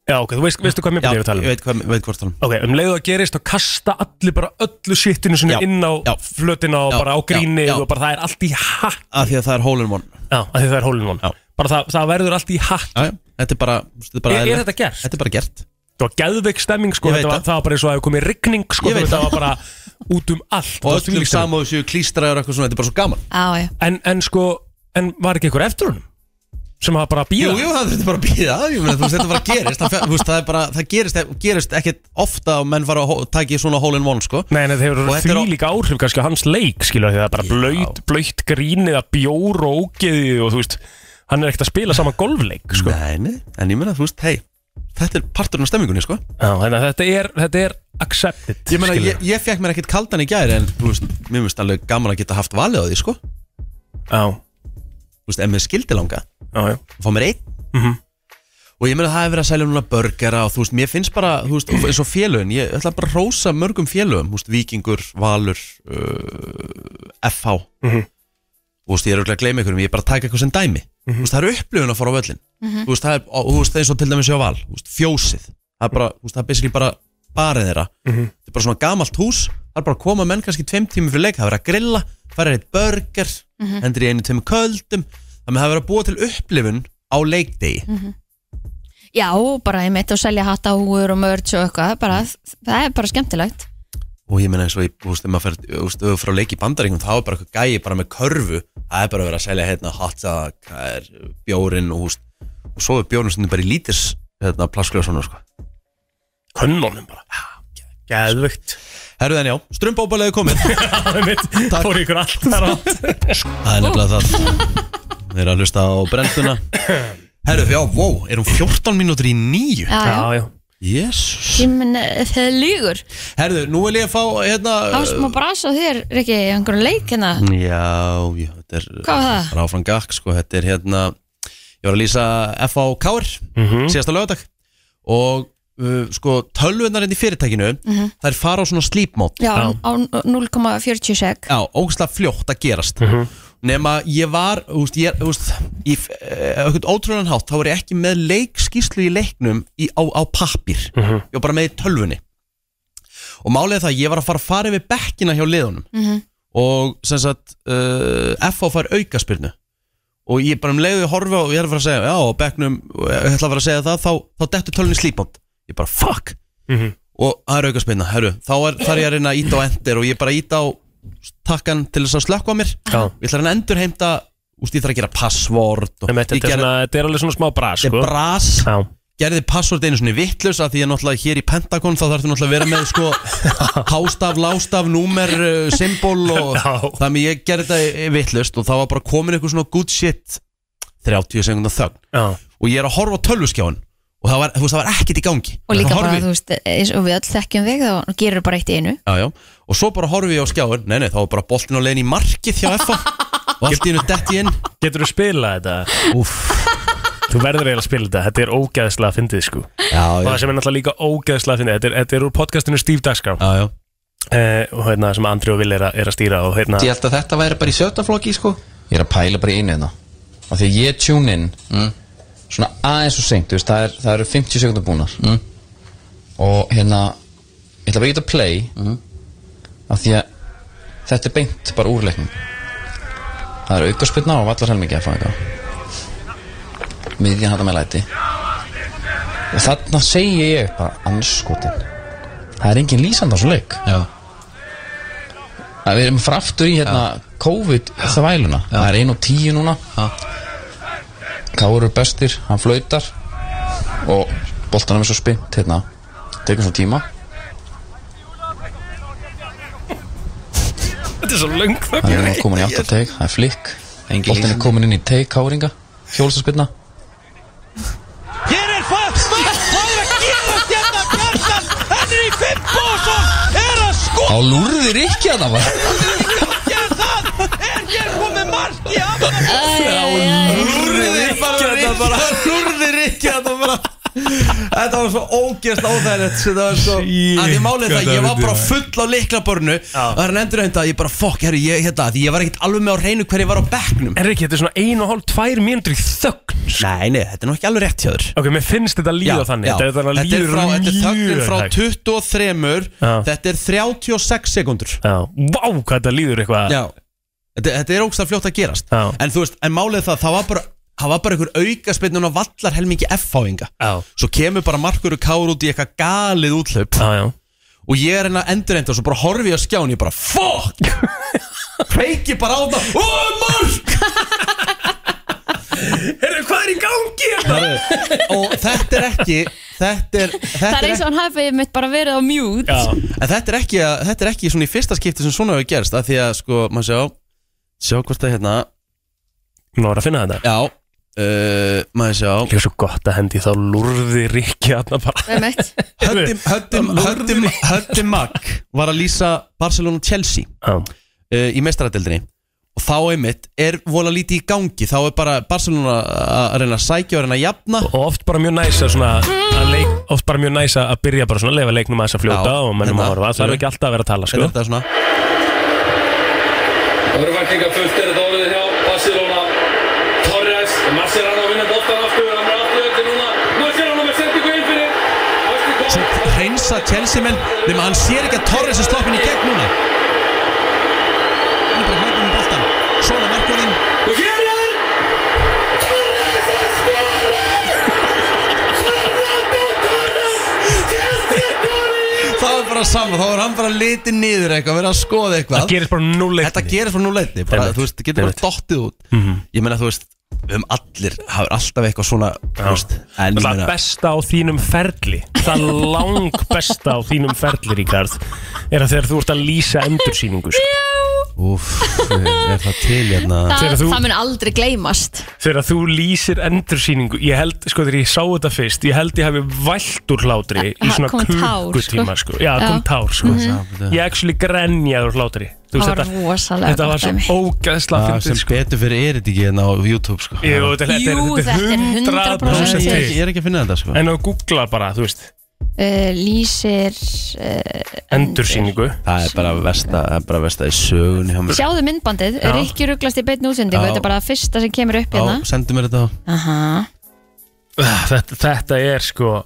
C: já ok, þú veist, veistu hvað
A: Já,
C: mymband ég er að tala um
A: veit hvað, veit hvað það er.
C: ok, um leiðu það gerist og kasta allir bara öllu sittinu sinni
A: Já,
C: inn á
A: já.
C: flötina og
A: Já,
C: bara á
A: já,
C: grínið
A: já.
C: og bara það er allt í hakk
A: Af því að það er hole in one.
C: Já, af því það er hólinn von
A: Já.
C: Bara það, það verður allt í hakk
A: Já, já, þetta er bara, þetta er bara,
C: Er, er
A: eðlilegt.
C: þetta gert?
A: þetta er bara gert.
C: Þetta var geðveik stemming sko
A: Ég veit
C: þetta var,
A: það.
C: Það var bara eins og að hefur komið rigning sko
A: Ég veit
C: Það
A: það.
C: var bara út um allt
A: og
C: Það var
A: öllum
C: þvílík stemming.
A: saman þessu klístraður eitthvað svona, þetta er bara svo gaman
B: á, já,
C: en, en sko, en var ekki einhver eftir honum? Sem hafa bara að
A: Jú,
C: býða
A: jú, það þurfti bara að býða, ég meina, þú veist, þetta bara gerist það, fer- þú veist, það, er bara, það gerist, e- gerist ekkert ofta að menn fara að taki svona hole in one, sko
C: Nei, en þeir
A: Og
C: eru
A: þetta er á-
C: þvílík áhrif kannski á hans leik skilur því það er bara blöyt, blöyt grínið að bjór og ógeðið og þú veist hann er ekkert að spila saman golfleik sko.
A: Nei, nei, en ég meina, þú veist, hei þetta er parturinn af stemmingunni, sko
C: Já, þannig að þetta er, þetta er accepted
A: Ég meina,
C: skilurðu.
A: ég, ég fekk mér ekkert kaldan í gæri en, þú veist, mér finnst alveg gaman að geta haft valið á því, sko þú
C: Já,
A: veist, ef mér skildi langa,
C: já, já
A: fá mér einn
C: Mhm.
A: og ég meina, það er verið að selja núna burgera og þú veist, mér finnst bara, þú veist, eins og félögin ég ætla bara að rósa mörgum félögum, þú veist, vikingur, valur uh, FH þú veist, ég er auðvitað að gleyma ykkur ég er bara að taka eitthvað sem dæmi þú veist, það er upplifun að fara á völlin þú veist, það er, og, þú veist, eins og til dæmis ég á val þú veist, fjósið, það er bara, þú veist, það er basically bara barið þeirra, þetta er bara svona gamalt hús, það er bara að koma menn kannski tveim tími fyrir leik, það er verið að grilla, fara eitt burger, hendur í einu tveim köldum þannig að það er verið að búa til upplifun á leikdegi,
B: já, bara ég mitt og selja hatta húur og mörds og eitthvað bara, það er bara skemmtilegt
A: og ég meina eins og ég, þú veist, ef maður fer, þú veist, ef þú frá leik í bandaríkjum, þá er bara eitthvað gæi bara með körfu, það er bara verið að selja hérna hatta, hvað er, bjórin og, þú veist, og svo er bjórin sem er bara í lítis hérna, plaskljóðsónu, sko.
C: Könnunum bara Geðveikt.
A: Herðu en já, strumbóbalegu komið,
C: Það er mitt, fór ykkur allt þar átt
A: það er nefnilega það. Þeir eru að hlusta á brenduna. Herðu, já, wow, er hún 14 mínútur í nýju?
B: Já, já,
C: Já, já
A: Jésus.
B: tíminn eh, þegar lígur
A: Herðu, nú vil ég fá, hérna...
B: Það var smá brasa á þér, Rikki, í einhverjum leik hérna
A: Mm. Já, já, þetta er
B: Hvað var það?
A: er áfram gakk, sko, þetta er hérna Ég var að lýsa F.A. og K.R.
C: Mhm.
A: síðasta lögadag og uh, sko, tölvunar inn í fyrirtækinu þær fara á svona slípmót
B: Já, á 0,40 sek
A: Já, ógslag fljótt að gerast nema ég var, þú veist, ég, þú veist í eh, eitthvað ótrúlan hátt þá var ég ekki með leikskíslu í leiknum í, á, á pappir, ég var bara með í tölvunni og málið er það að ég var að fara að fara yfir bekkina hjá liðunum og sem sagt uh, FH fær aukaspyrnu og ég bara um leiðu ég horfi og ég er að fara að segja já, á bekknum, og ég ætla að fara að segja það þá, þá dettur tölunni slípand ég bara fuck og það er aukaspyrna, herru, þá er, þar er ég að reyna að íta á endur og ég bara íta á takkan til þess að slökka á mér
C: Já.
A: ég ætla að reyna að endur heimta úst, ég þarf að gera passvord og
C: Nei, þetta,
A: ég
C: þetta, er
A: gerði
C: svona, þetta er alveg svona smá bras
A: sko?
C: sko.
A: bras
C: Já,
A: gerði passvort einu svona vittlust að því að náttúrulega hér í Pentagon þá þarfstu náttúrulega að vera með sko hástaf, lástaf, númer, uh, symbol og
C: Já.
A: þannig ég gerði þetta vittlust og þá var bara komin eitthvað svona good shit 30 sekundar þögn
C: já,
A: og ég er að horfa á tölvuskjáin og það var, þú veist, það var ekkert í gangi
B: Og líka
A: Þá horfi-
B: bara, þú veist, eins og við öll þekkjum þig þá gerir bara eitt í einu
A: já, já. og svo bara horfi ég á skjáin nei, nei, þá var bara boltin á leiðin í markið hjá FA og allt í hennu dett ég inn
C: Getur þú spilað þetta?
A: Úff,
C: Þú verður eiginlega að spila þetta, þetta er ógeðslega fyndið sko.
A: já,
C: Og
A: já,
C: það sem er náttúrulega líka ógeðslega fyndið þetta er, þetta er úr podcastinu Steve Dagskrá
A: já, já.
C: uh, og hérna sem Andri og Vil er, að- er að stýra og hérna
H: Ég held að þetta væri bara í sjötta flokki sko
I: Ég er að pæla bara í einu hérna Af því að ég tune in Svona aðeins og seint, þú veist, það, er, það eru 50 sekundar búnar mm. Og hérna Ég ætla bara að geta play mm. Af því að Þetta er beint bara úrleiknum Það eru aukarspilna og vallar helmingi að fá eitthvað Miðjan hættar með læti Og þarna segi ég bara anskotin Það er engin lýsand á svo leik
H: Já,
I: að við erum fyrir aftur í hérna COVID þvæluna, það er 1 og 10 núna
H: Já.
I: Káru er bestir, hann flautar og boltanum er svo spint hérna, tekur svo tíma
C: Þetta er svo löng
I: hann er núna komin í aftur teik, það er flikk
H: Engin
I: boltan er
H: lýsandi.
I: komin inn í teik Káringa hjólstaspilna
F: Hér er fætt mark, það er að gera stjarnar Bjarnar, Henry Finnbósson er að
I: á
F: skora
I: lúrðir ekki að það var
F: það, er hér komið mark í aftan.
A: Lúrðir bara Rikki hérna bara Lúrðir Rikki þetta bara Þetta var svo ógjast óþægilegt sko, Þetta var svo
C: Shit,
A: Að ég málið
C: hvað
A: það Ég
C: það
A: var
C: er
A: bara
C: þetta.
A: full á liklabörnu Og hann endur þetta Ég bara fokk herri ég hérna Því ég var ekkert alveg með á reynu Hver ég var á bekknum
C: Er ekki, þetta er svona ein og hálf, tvær mínútur í þögn
A: Nei, nei, þetta er nú ekki alveg rétt hjá þér
C: Ok, mér finnst þetta líða þannig Þetta er þannig að
A: þetta er
C: líður
A: frá, þetta er þögnin frá
C: hægt.
A: 23
C: Já.
A: Þetta er 36 sekundur
C: Já, vá, hvað þetta líður eitthvað
A: Já Þetta, þetta er ógst að fljótt að gerast
C: Já.
A: En þú veist, en málið er það, það var bara Það var bara einhver aukaspinn og vallar helmingi F-fáinga
C: já,
A: Svo kemur bara markur og kár út í eitthvað galið útlöp
C: já, já.
A: Og ég er henni að endur enda og svo bara horfi ég á skján Ég bara, fuck Kveiki bara á það, ó, mark
C: Herru, hvað er í gangi?
A: Og þetta er ekki Þetta er,
B: Það
A: þetta
B: er
A: er
B: eins og hann hafi mitt bara verið á mute
C: Já,
A: En þetta er ekki, þetta er ekki svona í fyrsta skipti sem svona hefur gerst að Því að sko, maður sjá Sjá hvort það hérna
C: nú er að finna þetta
A: Já, uh, maður sjá
C: Líka svo gott að hendi þá lúrði Rikki aðna bara
B: Einmitt.
A: Höttim, höttim, höttim, höttim Mag Var að lýsa Barcelona Chelsea
C: Já,
A: uh, í mestaradeldinni og þá einmitt er vola lítið í gangi þá er bara Barcelona að reyna að sækja og reyna að jafna
C: og oft bara mjög næsa svona að leik, Oft bara mjög næsa að byrja bara svona að leifa leiknum aðeins að fljóta
A: Já, Hérna.
C: og mennum að
A: þetta-
C: horfa Það er ekki alltaf að vera að tala,
A: en
C: sko
A: þetta er svona
G: Það verður væntinga fullt er þetta orðið hjá Barcelona Torres, Marcelano vinnur boltan aftur hann er aftur þetta núna Marcelano með sendingu inn fyrir Aftur kom-
A: svo hreinsa Chelsea menn nema hann sér ekki að Torres er sloppin í gegn núna hann er bara hægt um boltan svona markvörðin
G: Og hér er
A: þá er bara sama þá er hann bara litið niður eitthvað verið að skoða
C: Það
A: eitthvað
C: gerist bara um núl
A: þetta gerist frá núleitni bara,
C: Einmitt.
A: þú veist, getur bara
C: Einmitt.
A: dottið út ég meina þú veist við höfum allir hafur alltaf eitthvað svona þú veist, en ég
C: Það
A: meina-
C: besta á þínum ferli Það lang besta á þínum ferli, Ríkard Er að þegar þú ert að lýsa endursýningu sko.
A: Úff, er það til hérna
B: Það,
C: Þegar þú-
B: það mun aldrei gleymast
C: Þegar þú lýsir endursýningu Ég held, sko þegar ég sá þetta fyrst Ég held ég hafi vælt úr hlátri Í
B: Ha-
C: svona
B: kom tár,
C: klukkutíma
B: sko.
C: sko. Já, það
B: Já.
C: kom
B: Mhm.
C: tár sko.
B: Mm.
A: eh,
C: Ég actually grenjaði úr hlátri Þú
B: Það var
C: þetta-
B: rosalega
C: Þetta var
B: gott
C: svo
B: dæmi.
C: ógæðsla
A: Já, sem
C: fyndið sko.
A: betur fyrir er þetta ekki hérna á YouTube sko.
C: Jú, þetta er-
B: Jú,
C: þetta
B: þetta er
C: er
B: 100%
C: 100%
A: ég, er ekki,
C: til.
A: ég er ekki að finna þetta sko.
C: En þú googlar bara, þú veist
B: uh, Lýsir uh,
C: Endursýningu
A: Það er bara versta, það er bara versta í sögun hjá mér
B: Sjáðu myndbandið,
C: Já.
B: Rikki ruglast í beinni útsendingu
A: Já.
B: Þetta er bara það fyrsta sem kemur upp
A: Já,
B: hérna
A: sendu mér þetta á
B: Aha.
C: Ah, þetta, þetta er sko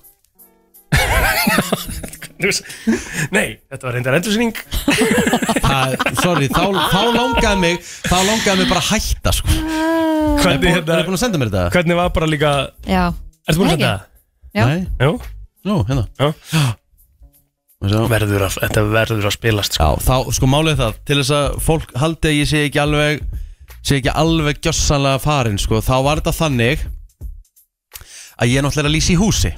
C: Þú veist, Nei, þetta var reyndar endursýning
A: Það- Sorry, þá, þá langaði mig Þá langaði mig bara að hætta sko. Er
C: hvernig,
A: það búin
C: hérna,
A: að senda mér þetta?
C: hvernig var bara líka
B: Já,
C: Ertu búin
B: Nei,
C: að þetta?
B: Já.
A: Nei,
C: Jú,
A: nú, hérna
C: Já.
A: Og svo-
C: verður að, þetta verður að spilast sko.
A: Já, þá, sko málið er það Til þess að fólk haldi að ég sé ekki alveg sé ekki alveg gjössanlega farin sko. þá var þetta þannig að ég er náttúrulega að lýsa í húsi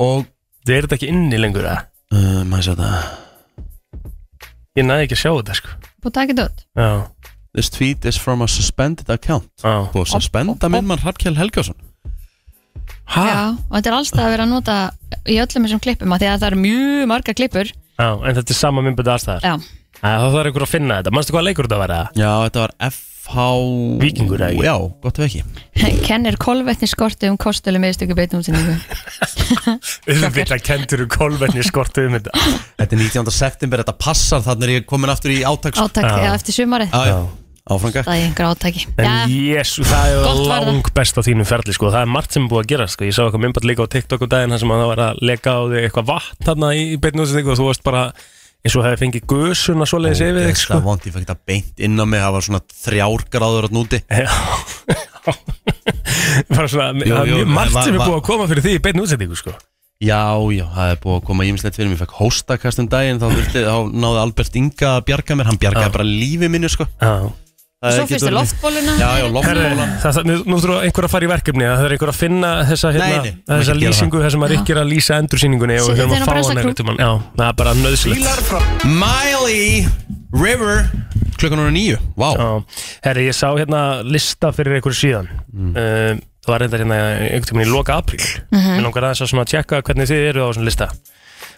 A: og
C: Þið er þetta ekki inni lengur að
A: uh, maður sé þetta
C: Ég næði ekki að sjá þetta sko.
B: búið að taka þetta út
C: Já,
A: This tweet is from a suspended account
C: já
A: Búið að suspenda minn mann Hrafkjell Helgjósson
C: Ha?
B: Já, og þetta er alltaf að vera að nota í öllum þessum klippum af Því að það eru mjög marga klippur
C: Já, en þetta er sama myndbæti aðstæðar
B: Já,
C: Það þarf einhver að finna þetta, manstu hvað leikur þetta var að
A: Já, þetta var FH
C: Víkingur, eða ekki?
A: Já, gott ef ekki
B: kennir kolvetni skorti um kostölu meðstöku beinni útsendingu
C: Auðvitað kendur um kolvetni skortu um þetta
A: Þetta er 19. september, þetta passar Þannig er ég komin aftur í átaks
B: Átak, já, eftir sumarið
A: Já, já. Áfranga
B: Það er einhver átaki
C: En
B: Já,
C: jésu, það er
B: Gott var það.
C: lang best á þínum ferli sko. Það er margt sem er búið að gera sko. Ég sá eitthvað myndbætt líka á TikTok um daginn þar sem að það var að leka á þig eitthvað vatn þarna í, í beinni útsendingu og þú varst bara eins og hefði fengið gusuna svoleiðis yfir þig sko.
A: Það vondi, ég fæ ekki það beint inn á mig Það var svona þrjár gráður að núti
C: Já Bara svona,
A: Jú,
C: það er
A: jú,
C: mjög margt
A: va-
C: sem er
A: va-
C: búið að koma fyrir því í beinni útsendingu sko.
A: Já, já, það er búið að koma ímislegt fyrir mér Ég fekk hóstakast um daginn Þá, þurfti, þá náði Albert Inga að bjarga mér Hann bjargaði bara lífi minni, sko
C: Já.
A: Það
B: svo
A: getur
B: fyrstu
A: verið-
B: loftbóluna
A: Já, já,
C: Herri,
A: loftbóla
C: það, það, nú, nú þurfa einhver að fara í verkefni það er einhver að finna þessa, hérna,
A: Nei, nei, þú mátt ekki
C: þessa
A: gera
C: lýsingu þar sem að Rikki er að lýsa endursýningunni og
B: Setja
C: við höfum
B: þennan
C: að fá hann
B: bransaklúbb.
C: einhvern tímann. Já, það er bara nöðsilegt
A: Miley River Klukkan núna nýju, vá wow.
C: Já, herri, ég sá hérna lista fyrir einhverju síðan
A: Mm.
C: um, Það var reyndar hérna einhvern tímann í loka apríl Mér langar aðeins að svona tjekka hvernig þið eru á þessum lista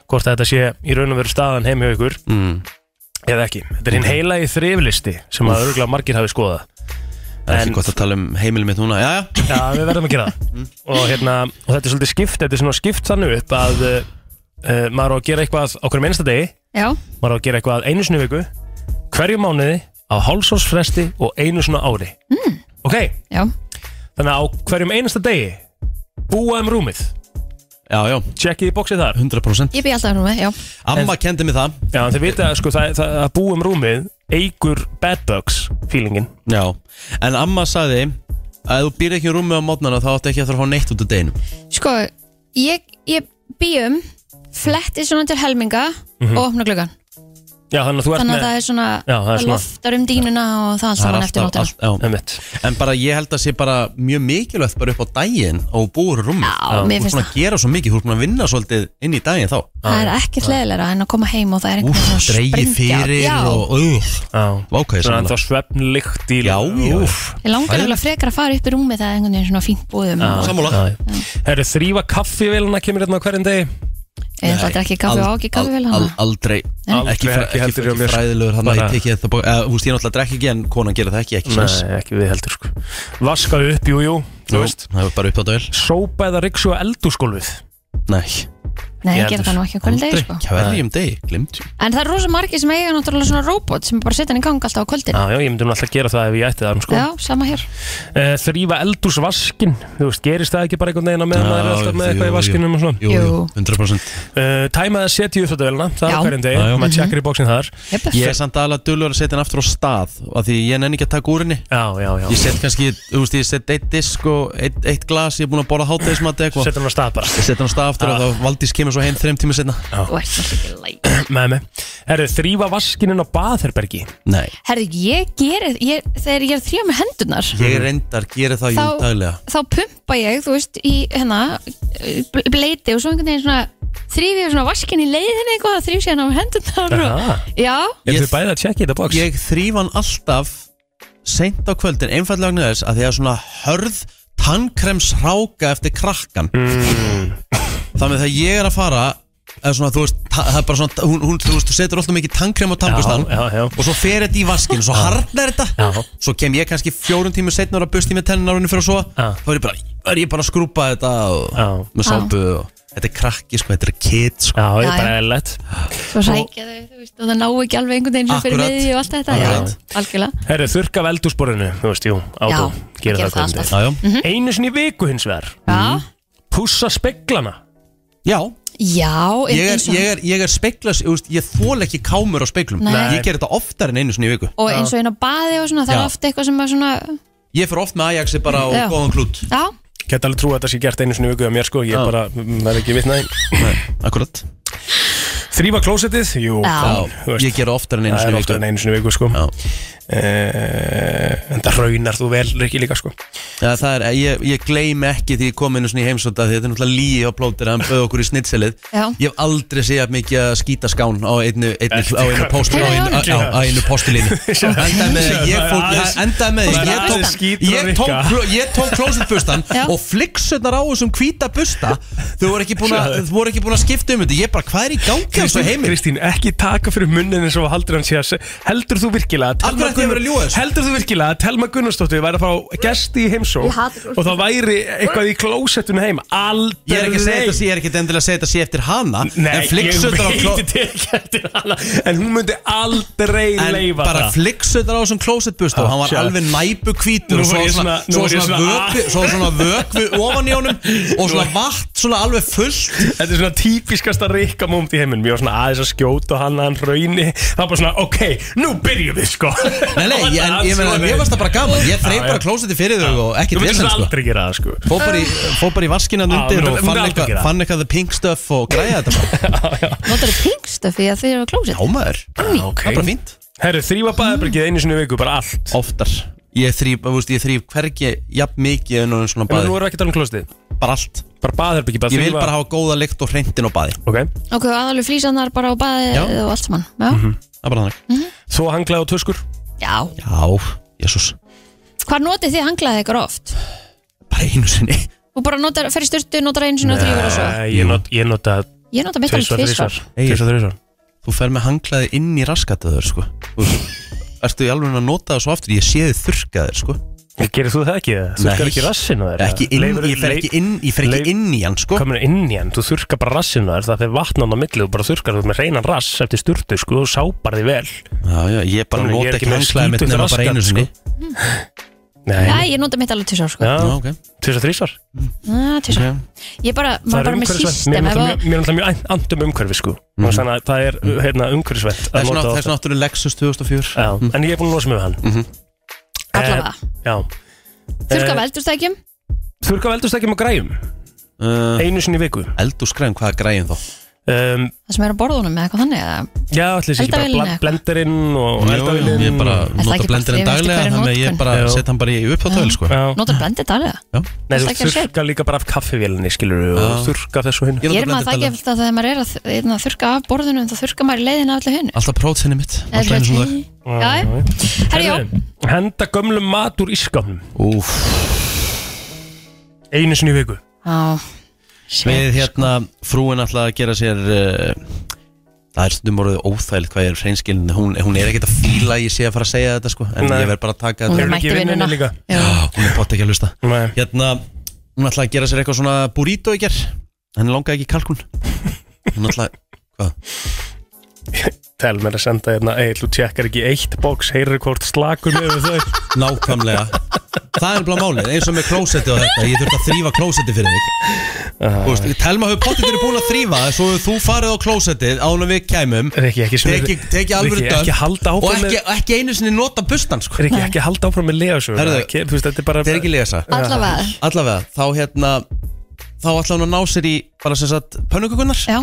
C: Hvort að þetta sé í raun og veru staðan heim hjá ykkur
A: Mm.
C: Eða ekki Þetta er hinn heilagi þriflisti sem að örgulega margir hafi skoðað
A: Það er
C: En-
A: ekki gott Mm. að tala um heimilið mitt núna Já, já,
C: Já, við verðum að gera það og, hérna, og þetta er svolítið skipt Þetta er svona skipt þannig upp að uh, uh, maður á að gera eitthvað okkur um einasta degi
B: Já,
C: maður á að gera eitthvað einu sinni í viku hverju mánuði á hálsórsfresti og einu svona ári mm. Ok,
B: já,
C: þannig að á hverjum einasta degi búa um rúmið
A: já, já,
C: tjekkið í bóksið þar
A: 100%
B: ég byrja alltaf hérna með, já
A: Amma kendi mig það
C: Já, þið vita sko, það, það, að búa um rúmið eigur bad bugs feelingin
A: Já, en amma sagði að þú býr ekki í rúmi á mótnana þá áttu ekki eftir að fá neitt út úr deginum
B: Sko, ég, ég býjum fletti svona til helminga og opna gluggan
C: Já, þannig að þú ert
B: Þannig að
C: með
B: það er svona,
C: Já, það er svona.
B: loftar um dýnuna og það allt
A: Það er
B: saman eftir
A: alltaf-
B: nóttina
A: allt- já.
C: Einmitt.
A: En bara ég held að sé bara mjög mikilvægt bara upp á daginn og búur rúmi
B: Já, mér
A: Þú er
B: finnst
A: svona
B: það
A: að gera svo mikið, þú er svona að vinna svolítið inn í daginn þá
B: Það er ekki hlæðilega en að koma heim og það er
A: Úf,
B: einhvern veginn svona
A: dreigi
B: springja.
A: fyrir
B: Já,
A: og uh,
C: Já,
A: vákaði
C: þannig að
A: samanlega
C: það svefnlykt í
A: Já, já, já.
C: Úff.
B: Ég langar alveg frekar að fara upp í rúmi það er einhvern veginn svona fínt búðum og
A: Sammála.
C: Já. Herru, þrýfa kaffivélina kemur hérna á hverjum degi
B: ég ætla að drekki kaffi og á ekki kaffi vel
A: al,
B: hana
A: Aldrei,
C: Nei.
A: ekki, fræ,
C: Aldrei, ekki
A: ekki, ekki,
C: heldur hjá mér.
A: fræðilegur hann að
C: Bara-
A: ég tekið þetta bók Þú veist, ég náttúrulega drekki ekki en konan gera það ekki, ekki sens
C: Nei, ekki við heldur sko Vaska upp, jú, jú, þú
A: Jú,
C: veist
A: Það er bara upp á dagil
C: Sópa eða ryksu á eldúsgólfið
A: Nei,
B: Nei,
C: ég
B: ég gera
C: heldur.
B: það nú ekki á hverjum degi sko.
A: hverjum degi, glimt
B: En það er rosa margir sem eiga náttúrulega svona robot sem bara setja hann í gang alltaf á kvöldin
C: Já, já, ég myndi nú alltaf gera það ef ég ætti það sko.
B: Já, sama hér
C: uh, Þrýfa eldúsvaskin Þú veist, gerist það ekki bara einhvern veginn á meðan maður er alltaf með eitthvað í vaskinum og svona
A: Jú, jú,
B: Jú.
A: 100%
C: uh, Tæma eða setja í uppfættavélina Það er
B: Já. Mhm.
C: á hverjum degi,
A: Já, já.
C: maður tjekkar í bóksin þar
B: Jöp,
A: Ég er samt aðalega dullur að setja hann aftur á stað af Því ég nenni ekki að taka úr henni
C: Já, já, já
A: Ég set kannski, þú veist, ég set eitt disk og eitt, eitt glas Ég er búin að borða hátegismat eða eitthvað
C: Setja hann á stað bara
A: Ég set hann á stað
C: Ah.
A: aftur og þá Valdís kemur svo heim þreim tíma setna
B: þú ert náttúrulega ekki læg
C: Með mig Herru, þrýfa vaskinin á baðherbergi
A: Nei,
B: Herðu, ég geri, ég, þegar ég er að þrjá með hendurnar
C: Mm.
A: ég reyndar gera það jú
B: Þá-
A: daglega
B: þá pumpa ég, þú veist, í hérna bl- bleiti og svo einhvern veginn svona þrýf ég svona vaskin í leiðinni eitthvað þrýf sér hann á hendurnar og,
C: Aha.
B: Já,
C: Eru
A: Ég-
C: þið bæði að tjekka í þetta bóks?
A: Ég þrýf hann alltaf seint á kvöldin, einfallega vegna þess að því að svona hörð tannkrems ráka eftir krakkan
C: Mm.
A: Þannig að þegar ég er að fara eða svona, þú veist, ta- það er bara svona hún, hún, þú veist, þú setur alltaf mikið tannkrem á tannbustan
C: Já, já, já.
A: og svo fer þetta í vaskin og svo harnar þetta
C: Já.
A: svo kem ég kannski fjórun tíma setna og er að busti með tennarunni fyrir að sofa
C: Já.
A: þá er ég bara, er ég bara að skrúpa þetta og,
C: Já.
A: með sápu og þetta er krakki, sko, þetta er kid sko.
C: Já,
B: Já,
C: ég er bara
B: já.
C: eðlætt
B: svo sækja þau, þú veist, og það ná ekki alveg einhvern veginn svona fyrir
A: Akkurat.
B: miði og allt þetta
A: Akkurat.
B: Já, algjörlega
C: Herru, þurrka af eldúsborinu Þú veist, jú,
B: Já,
C: átó
B: gera
C: Gera
B: það
C: það hverjum
B: alltaf. Mhm.
C: degi
A: Já, já.
C: Einu sinni í viku hins vegar
B: Já,
A: Mhm.
C: Pússa speglana
A: já,
B: já en
A: ég er,
B: eins og,
A: ég er, ég er speiklas, ég, veist, ég þól ekki kámur á speiklum
B: Nei.
A: ég ger þetta oftar en einu sinni í viku
B: og eins og einn á baði og svona það
A: Já.
B: er oft eitthvað sem er svona
A: ég fer oft með Ajaxi bara á
B: Já.
A: góðan klút
B: Já,
C: Gæti alveg trú að þetta sé gert einu sinni í viku að mér sko Ég
A: Já.
C: bara, maður er ekki vitnaði
A: akkurat,
C: Þrýfa klósettið? Jú,
B: Já.
C: það- þú veist,
A: ég ger það oftar en einu
C: það er
A: sinni í
C: ofta
A: viku
C: en einu sinni í viku sko
A: Já.
C: Eh, En það raunar þú vel, Rikki líka sko
A: Já, það er, ég, ég gleymi ekki því ég kom inn í heimsóta því þetta er náttúrulega líi á plótir hann bauð okkur í snitselið
B: Já.
A: ég hef aldrei séð mikið að skýta skán á einu, einu, á einu, postul, á einu, á, á, á einu postulínu endaði með því, ég fór
C: Það er aðeins-
A: endaði með því,
C: það er
A: ég
C: aðeins
A: tók,
C: skítur
A: ég
C: að
A: tók,
C: virka.
A: kló- ég tók klósetbustan
B: Já.
A: og fliksunar á þessum hvíta busta þau voru ekki búin að, þau voru ekki búin að skipta um þetta ég bara, hvað er í gangi á leiðilegasta í
C: Kristín,
A: heimi
C: Kristín, ekki taka fyrir munnin eins og haldur hann sé að se- heldur þú virkilega
A: Af hverju ætti
C: að
A: ég að vera að ljúga þessu?
C: heldur þú virkilega að Telma Gunnarsdóttir væri að fá gesti í heimsó
B: Ég hata fólk.
C: og það væri eitthvað í klósettun heim aldrei
A: Ég er ekki að segja þetta, ég er ekki endilega að segja þetta sé eftir hana
C: Nei,
A: En
C: ég
A: flikksöldar á kló-
C: veit þetta ekki eftir hana En hún myndi aldrei
A: En
C: leifa
A: bara
C: það
A: flikksöldar á þessum klósettbust og
C: Ah,
A: hann var
C: shit.
A: alveg næpu hvítur
C: Nú
A: og svo
C: var ég
A: svona,
C: svona- nú
A: svo
C: var ég
A: svona,
C: svona-
A: vökvi, svo svona vökvi ofan í honum og svona
C: Nú-
A: vatn svona alveg fullt
C: Þetta er svona típiskasta rikka mómt í heiminum Ég var svona aðeins að skjóta hann að hann rauni Það var bara svona, ok, nú byrjum við sko
A: Nei, nei, ég, en, ég meina, mér varst það bara gaman Ég þreif
C: Já,
A: bara
C: já.
A: klósetti fyrir þau og
C: Þú
A: ekkert
C: myndir
A: vesen
C: svona
A: sko
C: aldrei gera það sko
A: Fór bara í, fór bara í vaskina
C: Já,
A: undir
C: myndi-
A: og
C: myndi
A: fann
C: aldrei
A: eitthvað
C: gera.
A: fann eitthvað the pink stuff og græði þetta bara
B: Notar þú pingstöfi að þau eru á klósett?
A: Ámaður,
C: Já, Ah, ok.
A: það er bara fínt
C: Herru, þrýfa baðabrikið einu sinni í viku, bara allt
A: Oftar, ég þrýf, þú veist, ég þrýf hvergi jafn mikið en og svona
C: En nú
A: baði,
C: erum við ekki að tala um klostið
A: bara allt
C: Bara baðherbyggi, bara
A: Ég vil bara hafa góða lykt og hreintin á baði
C: Ok
B: Ok, og aðalveg flýsanar bara á baði
A: Já. Mhm.
B: og allt saman Já,
A: Það er bara þannig
C: Svo hanglaði og töskur
B: já.
A: Já, jésús,
B: Hvar notið þið hanglaðið ykkur oft?
A: bara einu sinni
B: Þú bara notar, fer í sturtu, notar einu sinni og þrýfur og svo
C: Nei, Eh, Ég, not, ég nota
B: Ég nota mitt alveg
C: tvisvar,
B: tvisvar
C: þrisvar Tvisvar, þrisvar
A: Þú fer með hanglaði inn í raskataður, sko Þú veist, Ertu í alveg að nota það svo aftur? Ég sé þið þurrkaðir, sko
C: Gerir þú það ekki? Þurkar ekki rassin á þér?
A: Ekki inn,
C: Leifur-
A: ég fer ekki
C: leif-
A: inn, ég fer
C: leif-
A: ekki inn í hann, sko
C: komin inn í hann, þú þurkar bara rassinu þar það fyrir vatnan á milli og bara þurkar þú ert með reynan rass eftir sturtu sko og sápar þig vel
A: Já, já, ég bara
C: Þannig, ég er
A: nota
C: ekki
A: ekki
C: með
A: hanglaði mitt
C: skítugt
A: nema bara
C: raskat,
A: einu sinni
B: Nei, ég nota mitt alveg tvisvar sko
A: Já,
C: Já,
A: ok
C: tvisvar, þrísvar
B: Ah, tvisvar. Ég bara, maður bara með
C: Mér
B: system
C: er
B: ef að-
C: náttúrulega- mér er náttúrulega mjög an- andum umhverfi sko mm. þannig að það er hérna, umhverfisvænt
A: Það er svona- það er svona áttur Lexus 2004
C: Já, en ég er búin að losa mig við hann
A: Mm.
B: Allavega,
C: Já,
B: þurrka
C: eh,
B: veldurstækjum
C: þurrka veldustækjum og græjum
A: uh,
C: einu sinni í viku
A: Eldúsgræðum, hvað er græðin þá?
C: um,
B: Það sem er á borðunum eða eitthvað þannig eða...
C: Já, allir sér ekki bara
B: Eldavélin
C: bla-
B: eitthvað?
C: blenderinn og
A: Jú, jú,
C: eldavélinn
A: Ég bara
C: og-
B: það
A: nota
B: ekki bara
A: blenderinn
B: þrifist í
A: daglega
B: hverri
A: Þannig að ég
B: notkun?
A: bara
C: Já.
A: set hann bara í upphátöðil sko
C: Já.
B: Notar blendið dalega
A: Já.
C: Nei, þú
B: Alltaf ekki að
C: þurrka líka bara af kaffivélinni, skilur við, og
A: Já.
C: þurrka þessu hinn.
A: Ég nota
B: Ég er maður það ekki
A: blenderdaglega.
B: eftir að þegar maður er að þ- hérna, þurrka af borðunum þá þurrka maður í leiðina af öllu hinu
A: Alltaf prótsinni mitt Alltaf einu svona dag
B: dag Herri, já,
C: Henda gömlum mat úr ískapnum,
A: Úf
C: einu sinni í viku.
B: Já.
A: Við hérna,
B: sko.
A: frúin alltaf að gera sér uh, Það er stundum orðið óþægild hvað ég er hreinskilin hún, hún er ekkert að fíla að ég sé að fara að segja þetta sko En
C: Nei.
A: ég verð bara að taka þetta
B: Hún er
C: Eru
B: mætt
C: ekki
B: í
C: í vinnunni
B: vinnuna
C: líka?
B: Já.
A: Já, Hún er bótt ekki að hlusta
C: Nei.
A: Hérna, hún ætlaði að gera sér eitthvað svona burrito í ger Henni langaði ekki í kalkun Hún ætlaði, hvað?
C: Tel mér að senda hérna, ei, þú tjekkar ekki eitt bóks, heyrir hvort slakur með þau.
A: Nákvæmlega Það er bara málið, eins og með klósetti og þetta Ég þurfti að þrýfa klósetti fyrir þig Þú veist, Telma hefur potið verið búin að þrýfa Svo hefur þú farið á klósettið ánum við kæmum
C: Riki, ekki svona-
A: Teki, teki alvöru
C: Riki,
A: döf
C: ekki halda áfram
A: Og ekki,
C: með-
A: ekki einu sinni nota bustan sko.
C: Er ekki ekki að halda áfram með legasögur?
A: Herðu,
C: þú veist, þetta er bara...
A: Þetta er ekki lesa
B: Allavega,
A: Allavega, þá hérna Þá ætla hún að ná sér í bara sem sagt pönnukökunnar
B: já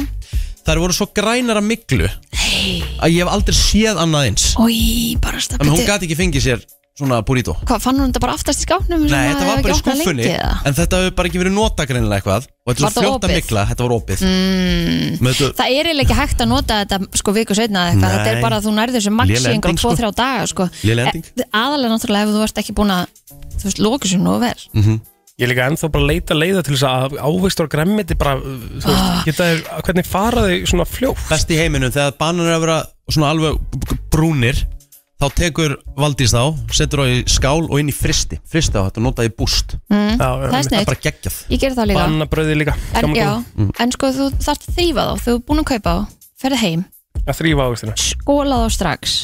A: Þær voru svo grænar að miklu Að ég hef aldrei séð annað eins
B: Ói, bara
A: En hún
B: stafniti
A: gati ekki fengið sér svona burrito
B: Hvað, fann hún þetta bara aftast í skápnum? sem
A: Nei,
B: maður
A: þetta var
B: hefur
A: bara í
B: ekki opnað
A: skuffunni
B: lengi, eða?
A: En þetta hefur bara ekki verið nota greinilega eitthvað Og þetta
B: Var
A: var
B: það
A: fljóta
B: opið?
A: mikla, þetta var opið mm. Með þetta
B: Það er eiginlega ekki hægt að nota þetta sko viku setna eða eitthvað,
A: Nei.
B: þetta er bara að þú nærður sem maxi
A: Léleg
B: einhver
A: ending, sko.
B: 2-3 daga sko.
A: Léleg ending.
B: E- Aðalega náttúrulega ef þú ert ekki búin að þú veist, lóku sér nú vel
C: Ég er líka ennþá bara að leita leiða til þess að ávegstur og gremmiti bara, þú veist, geta þér, hvernig fara þau svona fljótt?
A: best í heiminum þegar banan er að vera svona alveg b- b- brúnir þá tekur Valdís þá, setur þá í skál og inn í fristi, fristi á þetta og nota í búst það
C: Já,
B: Það er
A: er
B: sniðt,
A: bara geggjað
B: ég ger það líka
C: Bannabröði líka.
B: en,
C: Gaman
B: já,
C: góð.
A: Mm.
B: en sko þú þarft að þrýfa þá þú er búin að kaupa þá, ferð heim
C: Að þrýfa ávegstuna.
B: skóla þá strax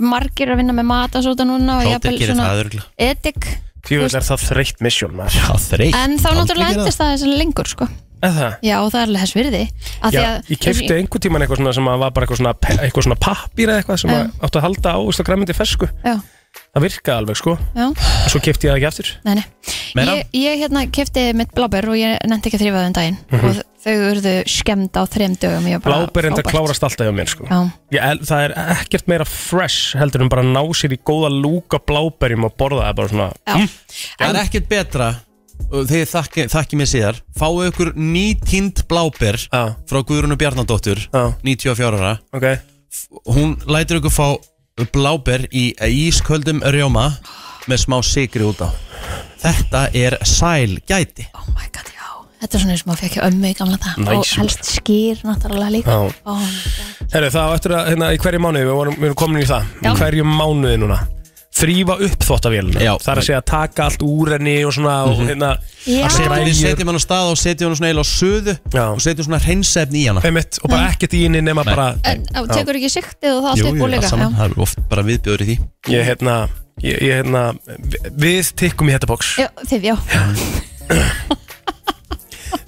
B: margir að vinna með matasóta núna og
A: Kátir
B: jafnvel
A: gerir
B: svona
A: það örugglega.
B: edik
C: Tjóðvill er það þreytt misjón, maður.
A: Já, þreytt.
B: en þá
A: Aldrei
B: náttúrulega
A: gera
B: endist það þessan lengur sko.
C: Er það?
B: já, það er alveg þess virði Af því
C: Já,
B: að-
C: ég kefti einhver tíman eitthvað svona sem að var bara eitthvað svona, pe- eitthvað svona pappir eða eitthvað sem að áttu að halda ávist og græmyndi fersku
B: já,
C: Það virkaði alveg sko
B: já
C: En Svo kefti ég það ekki aftur
B: Nei, nei.
A: Meira?
B: Ég, ég hérna kefti mitt bláber og ég nefndi ekki að þrýfa þau um daginn og þau urðu skemmt á þrem dögum Ég var bara
C: Bláber enda
B: frábært.
C: klárast alltaf hjá mér sko
B: Já.
C: ég, el- Það er ekkert meira fresh heldur en bara að ná sér í góða lúka bláberjum og borða það bara svona
B: Já.
A: það er ekkert betra og þegar þakki, þakki mér síðar fáu ykkur nýtínd bláber
C: Já.
A: frá Guðrunu Bjarnadóttur
C: Já.
A: 94 ára
C: Ok
A: hún lætur ykkur fá bláber í ísköldum rjóma með smá sigri út á þetta er sæl gæti
B: Oh my god, já Þetta er svona eins og maður fekk hjá ömmu í gamla dag
C: Nice,
B: og helst skýr náttúrulega líka
C: Já.
B: Ó,
C: Herru, það á eftir að, hérna, í hverju mánuði, við vorum, við erum komin í það
B: Já.
C: Í hverju mánuði núna Þrýfa upp þóttavélina
A: Já.
C: Það er að segja að taka allt úr henni og svona og, hérna,
B: Já.
C: að
A: Setjum- Við
C: græjur-
A: setjum hann á stað og setjum hann svona eiginlega á söðu
C: Já.
A: og setjum svona hreinsefni í hana
C: einmitt, og bara ekkert í henni nema bara
B: Mm. En á, tekur ekki siktið og það allt upp úr
A: allt
B: líka
A: saman,
B: já.
A: það er oft bara viðbjóður í því
C: Ég, hérna, ég, ég, hérna vi- Við tikkum í þetta bóks
B: Já, þið, já,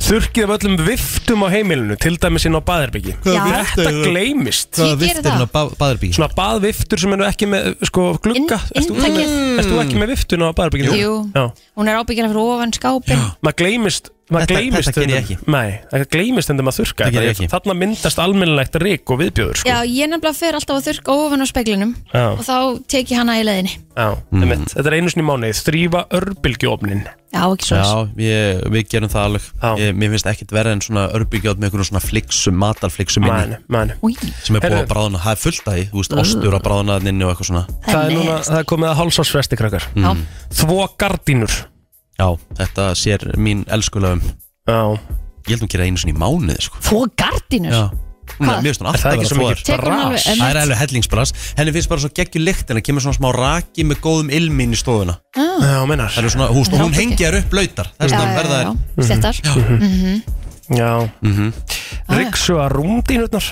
C: Þurkið af öllum viftum á heimilinu Til dæmis inn á baðherbyggi
B: Já.
C: Þetta gleymist
B: Ég geri það.
A: á baðarbyggi?
C: Svona baðviftur sem eru ekki með sko, glugga
B: Inn-
C: Erst þú ekki með-
B: inntakið.
C: ert þú ekki með viftun á baðherbygginu?
B: Jú.
C: Já.
B: hún er ábyggjala fyrir ofan skápin
C: maður gleymist maður
A: Þetta-
C: gleymist
A: þetta ger ég
C: stundum- nei, það gleymist hendur maður þurrka
A: Þetta ger ég
C: þetta.
A: ekki.
C: þarna myndast almennilegt rík og viðbjöður sko.
B: Já, ég nefnilega fer alltaf að þurrka ofan á speglinum
C: Já.
B: og þá tek ég hana í leiðinni
C: Já, einmitt. þetta er einu sinni í mánuði þrýfa örbylgjófnin
B: Já, ekki svo
A: Já, ég, við gerum það alveg
C: Já.
A: ég, Mér finnst ekkert verið en svona örbyggját með einhvern svona fliksum, matarfliksum inni
C: man, man.
A: sem er búið
C: Heyrðu.
A: að bráðna, það er fullt að því Þú veist,
B: Mm.
A: ostur að bráðna þarna inni og eitthvað svona
C: Það, er núna, það er komið að hálsásfresti krakkar
B: Já.
C: þvó gardínur
A: Já, þetta sér mín elskulegum
C: Já.
A: Ég held hún gera einu svona í mánuði, sko
B: Þó gardínur
A: Hún
B: Hvað?
A: er mjög svona
C: er
A: alltaf
C: það
A: að
C: ekki
A: vera
C: svo
A: þvóður
C: mikið
B: Tekur hún
C: bras
B: alveg-
A: Það er alveg hellingsbras Henni finnst bara svo geggjur lykt en það kemur svona smá raki með góðum ilmin í stofuna
C: Já, meinar.
A: Það er svona, húst,
B: Það er
A: hún
B: ábyggi.
A: hengi þær upp blöytar Þess
B: Já,
A: vegna
B: já,
A: verða
B: já,
A: þær
B: stettar
C: Já. ryksuga Mhm. rúmdínurnar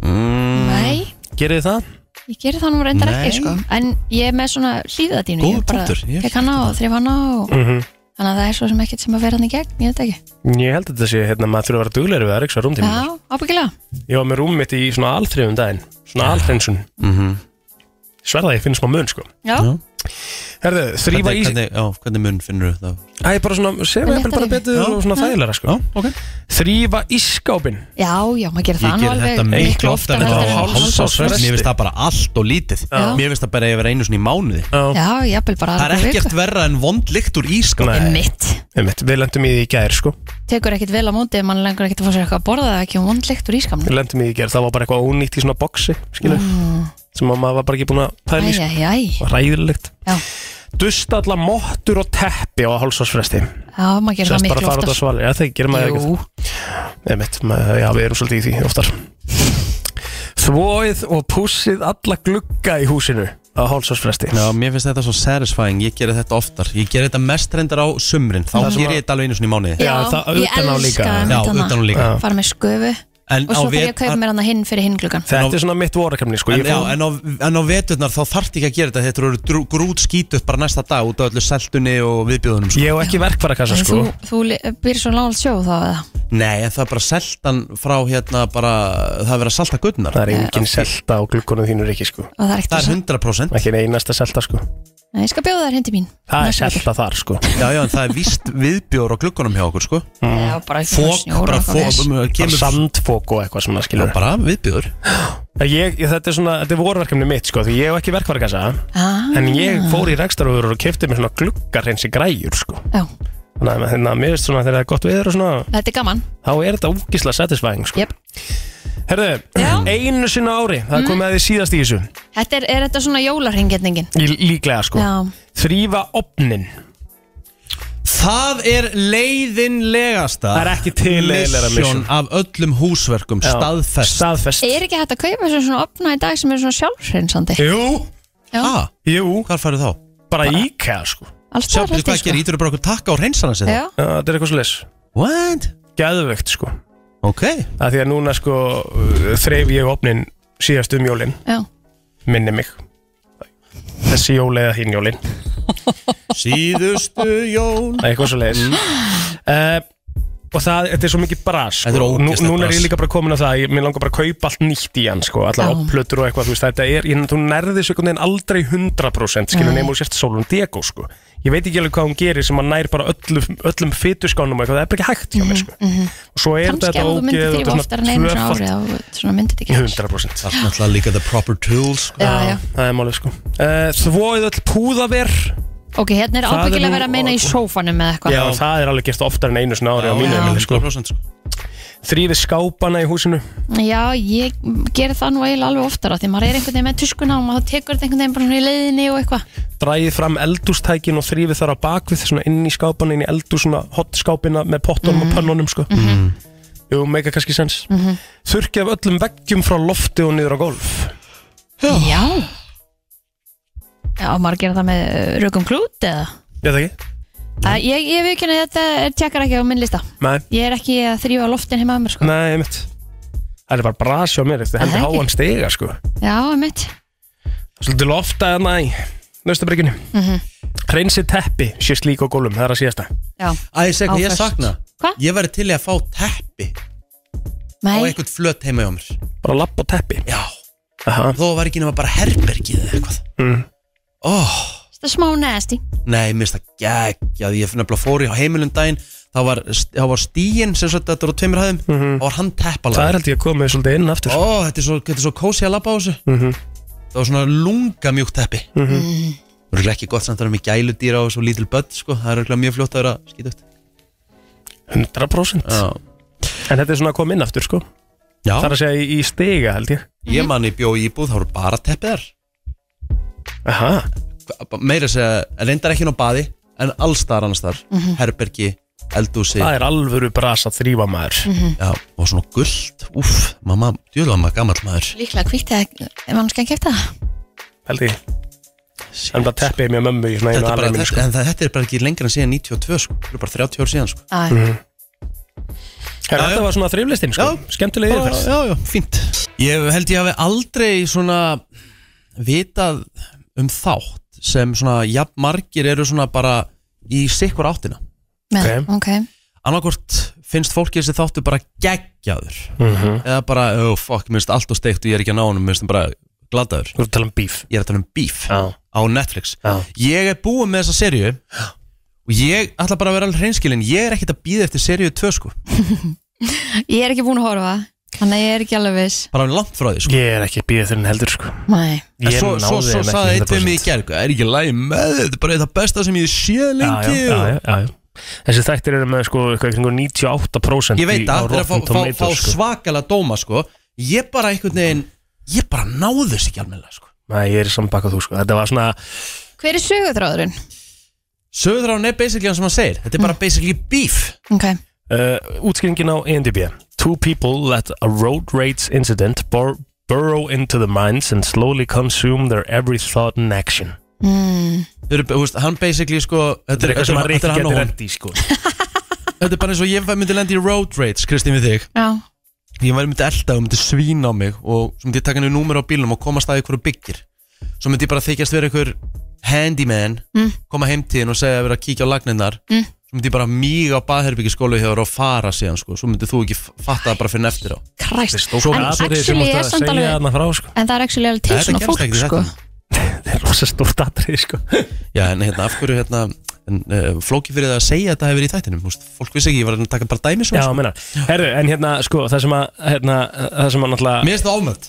B: Nei,
C: gerið þið það?
B: ég geri það nú reyndar ekki
A: Nei.
B: sko. en ég er með svona hlýðadínu
A: Góður punktur, ég
B: tek hana og þrif hana og
C: Mhm.
B: þannig að það er svo sem ekkert sem að vera hann í gegn ég veit ekki,
C: ég held að þetta sé hérna, maður þurfa að vera dugleiri við að ryksuga rúmdínurnar
B: já, ábyggilega
C: Ég var með rúmið mitt í svona alþrifum daginn Svona alþrinsun mm -hmm. Sverða ég finn smá mun sko
B: já,
C: Herðu, þrýfa
A: Hvernig,
C: í
A: hvernig, já, hvernig mun finnur þú það?
C: Æ, bara svona, sem
B: Með
C: ég bara
B: léttari.
C: betur og svona þægilega sko
A: ok
C: Þrýfa í skápin
B: já, já, maður gerir það
A: Ég
B: nú
A: ger
B: alveg
A: þetta miklu oftar en
B: heldur
A: það var
B: en-
C: á háls-
A: hálsásfresti
C: hálsásfresti.
A: Mér finnst það bara allt og lítið
B: Já.
A: Mér finnst það bara að vera einu svona í mánuði
B: já, jafnvel bara
A: Það er
B: aðra viku.
A: ekkert verra en vond sko. lykt úr ískap
C: Nei.
B: Sko, Einmitt.
C: Einmitt, Við lendum í því í gær sko
B: tekur ekkert vel á móti ef mann lengur ekkert að fá sér eitthvað að borða það ekki og vondlegt úr ískamna
C: Við lendum í því í gær, það var bara eitthvað ónýtt í svona boxi Skilur,
B: Mm.
C: sem að maður var bara ekki búin að pæla í
B: æj,
C: sko
B: æj, æj,
C: Var Ræðilegt
B: já,
C: Dusta alla mottur og teppi á hálsásfresti
B: já, maður gerir það
C: Sérst bara
B: miklu
C: að fara út að
B: oftar
C: svala Já, það gerir maður ekkert
B: jú,
C: Einmitt, maður- já, við erum svolítið í því oftar Þvóið og pússið alla glugga í húsinu á hálsásfresti
A: Já, mér finnst þetta svo satisfying Ég ger þetta oftar Ég ger þetta mest reyndar á sumrin Þá
C: Það sem
A: ger ég þetta alveg einu svona í mánuði
B: já,
C: það
B: ég
C: utan á líka.
A: Já,
B: elska einmitt
A: utan
B: hana.
A: og líka
C: Já.
B: fara með sköfu
A: En
B: og
A: á
B: svo fyrir ég að kaupa
A: vetar
B: mér hana hinn fyrir hinn gluggan
C: Þetta er svona mitt vorakefni sko.
A: En,
C: Ég
A: já,
C: fór-
A: en, á, en á veturnar þá þarf ekki að gera þetta Þetta eru drú- grút skítut bara næsta dag út af öllu seltunni og viðbjóðunum sko.
C: Ég hef ekki verkfærakassa
B: En
C: sko
B: Þú, þú li- býr svo nált sjó þá eða?
A: Nei, en það er bara seltan frá hérna bara, það er verið að salta gutnar
C: Það er engin selta á glukkunum þínur ekki sko
B: og það er ekkert
A: Það
B: að
A: er 100%
C: Ekki ein einasta selta sko
B: Nei, ég skal bjóða þær hindi mín
C: Það er
B: Næsta
C: selta þar sko
A: Já, já, en það er víst viðbjóður á glukkunum hjá okkur, sko
B: viku. Mm. Já, bara í
A: Fók,
B: snjór og
A: bara
B: eitthvað
A: fók,
B: ves.
C: Bara
A: kemur
C: sandfók og eitthvað svona
A: Já,
C: skilur
A: bara viðbjóður
C: ég, ég, Þetta er svona, þetta er vorverkefni mitt sko Því ég hef ekki verkfærakassa
B: Ah,
C: En ég fór í rekstaröfur og kefti mér svona gluggarhensi græjur sko
B: já,
C: Þannig að hérna, mér veist svona þegar það er gott veður og svona
B: Þetta er gaman
C: Þá er þetta úkislega satisfying sko
B: yep.
C: Herðu,
B: Já. Mm.
C: einu sinna ári Það er komið að því síðast í þessu
B: Þetta er, er þetta svona jólarhingetningin
C: Í, Líklega sko
B: Já.
C: Þrýfa opnin
A: Það er leiðinlegasta
C: Það er ekki til leiðilegra mission.
A: mission af öllum húsverkum staðfest
C: Staðfest
B: Er ekki hægt að kaupa sér svona opna í dag sem er svona sjálfsreynsandi
C: Jú,
B: Já,
A: ah,
C: jú,
A: Hvar færðu þá?
C: bara IKEA sko
B: alls
A: Sjá,
B: það
A: betur hvað gerir, ítur bara okkur takka á reynsana sig
B: sko. Já,
A: þá
C: Já, Þetta er eitthvað svo leys
A: What?
C: Gæðvögt sko
A: Ok
C: að Því að núna sko uh, þreif ég opnin síðast um jólin
B: já
C: Minni mig Þessi jól eða hinn jólin
A: Síðustu jól
C: Eitthvað svo leys Og það, þetta er svo mikið bras
A: Mm.
C: sko.
A: Þetta er
C: Nú,
A: ógeðslegt
C: Núna er
A: bras.
C: ég líka bara komin á það ég, Mér langar bara að kaupa allt nýtt í hann sko Allar
B: Já.
C: opplötur og eitthvað þú veist, Þetta er, ég, þú nærðir svo einhvern veginn aldrei 100% Skilur
B: Nei.
C: nema úr sért Solon Diego sko Ég veit ekki alveg hvað hún gerir sem að nær bara öllum, öllum fytuskánum og eitthvað, það er bara ekki hægt hjá mér sko. Og svo er
B: Mhm, Kannski
C: þetta
B: ef þú myndir
C: ógeð
B: þrýfa oftar en einu svona ári þá svona myndir þetta ekki
C: 100%
A: Það er náttúrulega líka the proper tools sko.
B: Já, já
C: Það er málið sko uh, Þvóið öll púðaver
B: Ok, hérna er
C: Það er
B: ábyggilega
C: nú-
B: verið að meina í sófanum eða eitthvað
C: Já, það er alveg gert oftar en einu sinna ári á mínu
B: Já.
C: heimili sko
A: 100% sko.
C: þrýfið skápana í húsinu
B: Já, ég ger það nú eiginlega alveg oftar því maður er einhvern veginn með tuskuna og maður tekur þetta einhvern veginn bara svona í leiðinni og eitthvað
C: dræðið fram eldústækin og þrýfið þar á bakvið svona inn í skápana, inn í eldús svona hotskápina með pottunum
A: Mhm.
C: og pönnunum sko. Jú, meika kannski sens mm -hmm. Þurkið af öllum veggjum frá lofti og niður á golf
B: Já Já, maður gera það með uh, rökum klút eða
C: Ég veit ekki
B: Æ, Ég, ég veit ekki að þetta er- tjekkar ekki á minn lista
C: Nei,
B: Ég er ekki að þrýfa loftin heima að mér sko
C: nei, mitt Það er bara brasi á mér, þetta heldur
B: Nei.
C: háan stiga sko.
B: Já, mitt
C: Svolítið lofta hérna eða næ Nöstabrygginu mm
A: Mhm.
C: -hmm. Reynsið teppi, sé slík á gólum, það er að síðasta
B: Já,
A: Æ, ég segi hvað ég
B: Áfest.
A: sakna
B: Hva?
A: Ég væri til í að fá teppi á
B: nei,
A: einhvern flöt heima hjá mér
C: Bara lapp og teppi
A: Já,
C: Aha.
A: þó var ekki nema bara herbergið eða eitthvað
C: Mm.
A: Ó,
B: þetta er smá nasty
A: nei, mér finnst það geggjað Ég nefnilega fór í á heimilum daginn þá var, þá var stíin sem sagt þetta var á tveimur hæðum þá var hann teppalega
C: Mhm. Það er held ég að koma með svolítið inn aftur
A: Ó, þetta er svo, þetta er svo kósi að labba á þessu
C: Mhm.
A: Það var svona lunga mjúkt teppi mm -hmm. Það er ekki gott samt að það er með gæludýra og svo lítil börn sko. Það er örugglega mjög fljótt að vera skýta upp
C: 100%
A: Já,
C: En þetta er svona að koma inn aftur sko
A: Já.
C: Það er að segja í, í stiga held ég
A: ég manni bjó í íbúð, það voru bara teppiðar
C: Aha.
A: Meira að segja, reyndar ekki ná baði En allstar annars þar, herbergi, eldúsi
C: Það er alvöru brasa þrýfa maður
A: Já, og svona gullt, úff, mamma, djúlega maður gammal maður
B: Líklega kvíkt eða ef hann skal kefta það
C: held ég En það teppið mér mömmu í svona einu
A: Þetta, er bara,
C: alveg minn
A: þetta,
C: sko
A: en það, þetta er bara ekki lengra en síðan 92 sko. Það er bara 30 ár síðan sko.
B: Æ,
C: Herra, Þetta var svona þrýflistin sko,
A: Já.
C: skemmtilega
A: Bara-
C: yfirferð
A: já, já, fínt Ég held ég hafi aldrei svona vitað um þátt sem svona jafn margir eru svona bara í sikkur áttina
B: með,
C: Ok.
B: ok
A: annarkvort finnst fólki þessi þáttu bara geggjaður
C: Mhm.
A: eða bara, oh fuck, minnst allt og steikt og ég er ekki að ná honum, minnst bara gladaður
C: Þú ert að tala um bíf
A: ég er að tala um Beef
C: Já.
A: á Netflix
C: Já.
A: ég er búin með þessa serju og ég ætla bara að vera alveg hreinskilin ég er ekkert að býða eftir serju 2 sko
B: Ég er ekki búin að horfa Þannig að ég er ekki alveg viss
A: bara langt frá því sko
C: Ég er ekki bíðið þurrin heldur sko
B: Nei,
A: En
C: Ég
A: svo,
C: náði
A: svo, svo
C: þeim ekki
A: saði einn við mig í
C: 100%.
A: gerg Það er ekki lægi með þetta, þetta er bara það besta sem ég sé
C: Já,
A: lengi
C: já, já, já, já. Þessi þættir eru með sko eitthvað í kringum 98%
A: Ég veit
C: í-
A: að
C: á
A: það er að fá,
C: Rotten
A: fá, fá
C: Tomatoes, sko.
A: svakalega dóma sko. Ég bara einhvern veginn Ég bara náði þess ekki alveg sko.
C: Nei, ég er sambakað þú sko Þetta var svona
B: hver er sögutráðurinn?
A: Söðurán er basically hann sem hann segir Þetta er bara basically beef
B: Ok,
C: Uh, útskýringin á ENDB Two people let a road rage incident bor burrow into the minds and slowly consume their every thought and action
A: Þau eru, þú veist, Hann basically sko
C: Þetta er eitthvað sem að
A: þetta
C: Rikki
A: er hann
C: geti
A: og hún.
C: rendi í sko
A: Þetta er bara eins og ég myndi lendi í road rage Kristín við þig
B: já,
A: Ég væri myndi elda og myndi svína á mig Og svo myndi ég taka henni númer á bílnum og komast að ykkur byggir Svo myndi ég bara þykjast vera ykkur handyman
B: Mm.
A: Koma heim til henn og segja að vera að kíkja á lagninnar mm. Svo myndi ég bara míga á baðherbyggi skólu hjá þér og fara síðan sko. Svo myndi þú ekki f- fatta það bara fyrir eftir á
B: kræst
C: Stók
B: En
C: atrið sem
B: actually
C: átt
B: er
C: að
B: samt
C: segja
B: alveg-
C: hana frá sko
B: En það er actually alveg til
A: Þetta
B: svona
A: gerst
B: fólk
A: ekki í
B: sko.
A: þættinum.
C: Þetta er rosa stórt atrið sko
A: Já en hérna af hverju hérna en, uh, Flóki fyrir það að segja að það hefur verið í þættinum Þú veist, Fólk vissi ekki, ég var að taka bara dæmi
C: Já,
A: svona sko.
C: meina Herru, en hérna sko það sem að hérna, það sem að náttúrulega
A: Mér finnst það ofmöld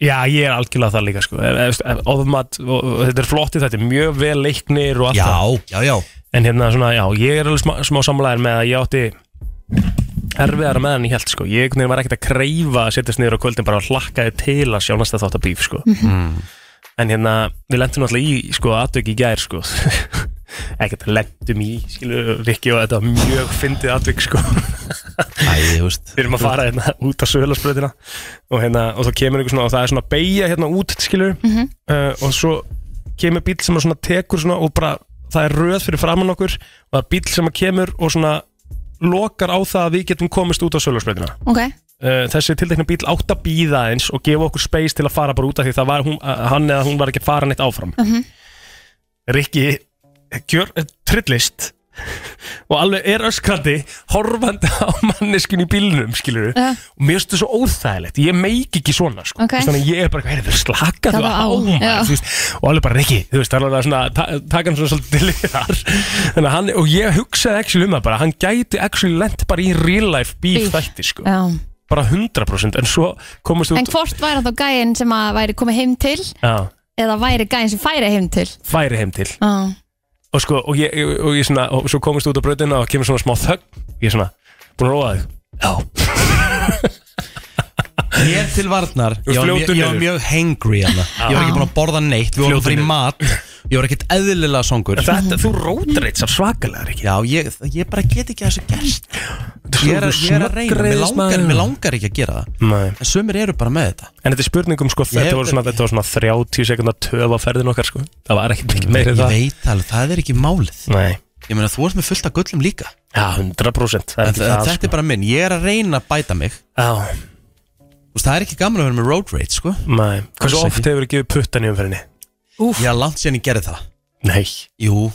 C: Já, ég er algjörlega það líka sko Ef- ef- ef- Ofmat, og- og þetta er flotti þetta er mjög vel leiknir og allt það
A: Já, já, já
C: En hérna svona, já, ég er alveg smá, smá samlæðir með að ég átti erfiðara með hann í held, sko. Ég einhvern veginn var ekkert að kreyfa að setjast niður á kvöldin, bara hlakkaði til að sjá næsta þátt að bíf, sko. En hérna, við lentum náttúrulega í, sko, atvöki í gær, sko. ekkert lentum í, skilu, Rikki og þetta var mjög fyndið atvöki, sko.
A: Æ, þú veist
C: við erum að fara hérna út á sögulasbröðina og hérna, og þá kemur einhver svona, og það er svona beigja hérna út, skilur, uh, og svo kemur bíl sem er svona tekur svona og bara, það er röð fyrir framann okkur og það er bíl sem að kemur og svona lokar á það að við getum komist út á sögulasbröðina.
B: Ok,
C: Uh, þessi tiltekna bíl átt að býða eins og gefa okkur space til að fara bara út af því það var hún, uh, hann eða hún var ekki að fara neitt áfram.
B: Mhm.
C: Rikki gjör, trillist og alveg er öskrandi horfandi á manneskun í bílnum skilur
B: Já.
C: og mér finnst þetta svo óþægilegt ég meik ekki svona sko.
B: Ok.
C: Þú veist, þannig að ég er bara, heyrðu, þú slaka þú
B: Slaka
C: á,
B: á, já.
C: maður, þú veist, og alveg bara Rikki þú veist, það er alveg svona, ta taka hann svona svolítið til liðar þannig að hann, og ég hugsaði actually um það bara, hann gæti actually lent bara í real life bíf
B: Bíf.
C: þætti sko.
B: já
C: bara 100% en svo komast þú
B: En hvort væri þá gæinn sem að væri komið heim til
C: já,
B: eða væri gæinn sem færi heim til
C: færi heim til
B: Já,
C: og sko, og ég, og, og ég svona, og svo komist út á bröðina og kemur svona smá þögn, ég svona, búin að róa þig já
A: Mér til varnar
C: Þú
A: Ég var, mjög-
C: fljótur
A: ég var
C: niður.
A: mjög hangry hana Ég var ekki búin að borða neitt Við vorum
C: Fljótur
A: að fara í
C: niður.
A: mat Ég var ekkert eðlilega songur
C: Þetta, þú rótreitsar svakalega, Ríkki
A: Já, ég, ég bara get ekki að þessu gerst Ég er, ég er að reyna Mér
C: Snöggreiðist,
A: langar,
C: maður.
A: mér langar ekki að gera það
C: Nei.
A: En sömur eru bara með þetta
C: En þetta er spurningum, sko, þetta
A: Ég-
C: voru svona, þetta var svona 30 sekundar töf á ferðin okkar, sko Það var ekkert mikið meira en
A: Ég
C: það
A: veit alveg, það er ekki málið
C: Nei,
A: Ég meina, þú ert með fullt af gullum líka
C: já, 100% Það
A: En
C: er ekki
A: það,
C: það, sko.
A: þetta er bara minn, ég er að reyna að bæta mig
C: Já,
A: Þú veist, Það er ekki gaman að vera með road rage, sko
C: nei Hversu
A: Alls
C: oft
A: ekki.
C: hefur gefið puttan í umferðinni?
A: Ég er langt síðan ég gerði það
C: Nei,
A: Jú,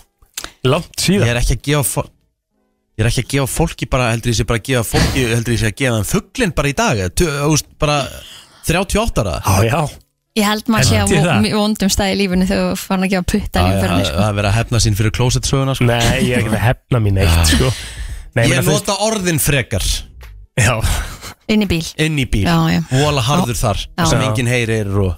C: langt
A: ég
C: síðan
A: er ekki að gefa fó- Ég er ekki að gefa fólki bara, heldur ég sé bara að gefa fólki, heldur ég sé að gefa þeim fugglinn bara í dag, eða tö- þú veist, bara 38 ára.
C: Já, já,
B: Ég held maður sé á
C: Heldur það?
B: vo- vondum stað í lífinu þegar þú fann að gefa putta í
A: Það
B: umferðinni
A: er
B: sko.
A: að vera að hefna sín fyrir klósetsöguna, sko.
C: nei, ég er ekki að hefna mín eitt, sko Nei,
A: Ég
C: meina, þú-
A: nota orðin frekar
C: Já,
B: inn í bíl
A: inn í bíl,
B: Já, já.
A: vola harður þar, sem
C: Já.
A: enginn heyrir og...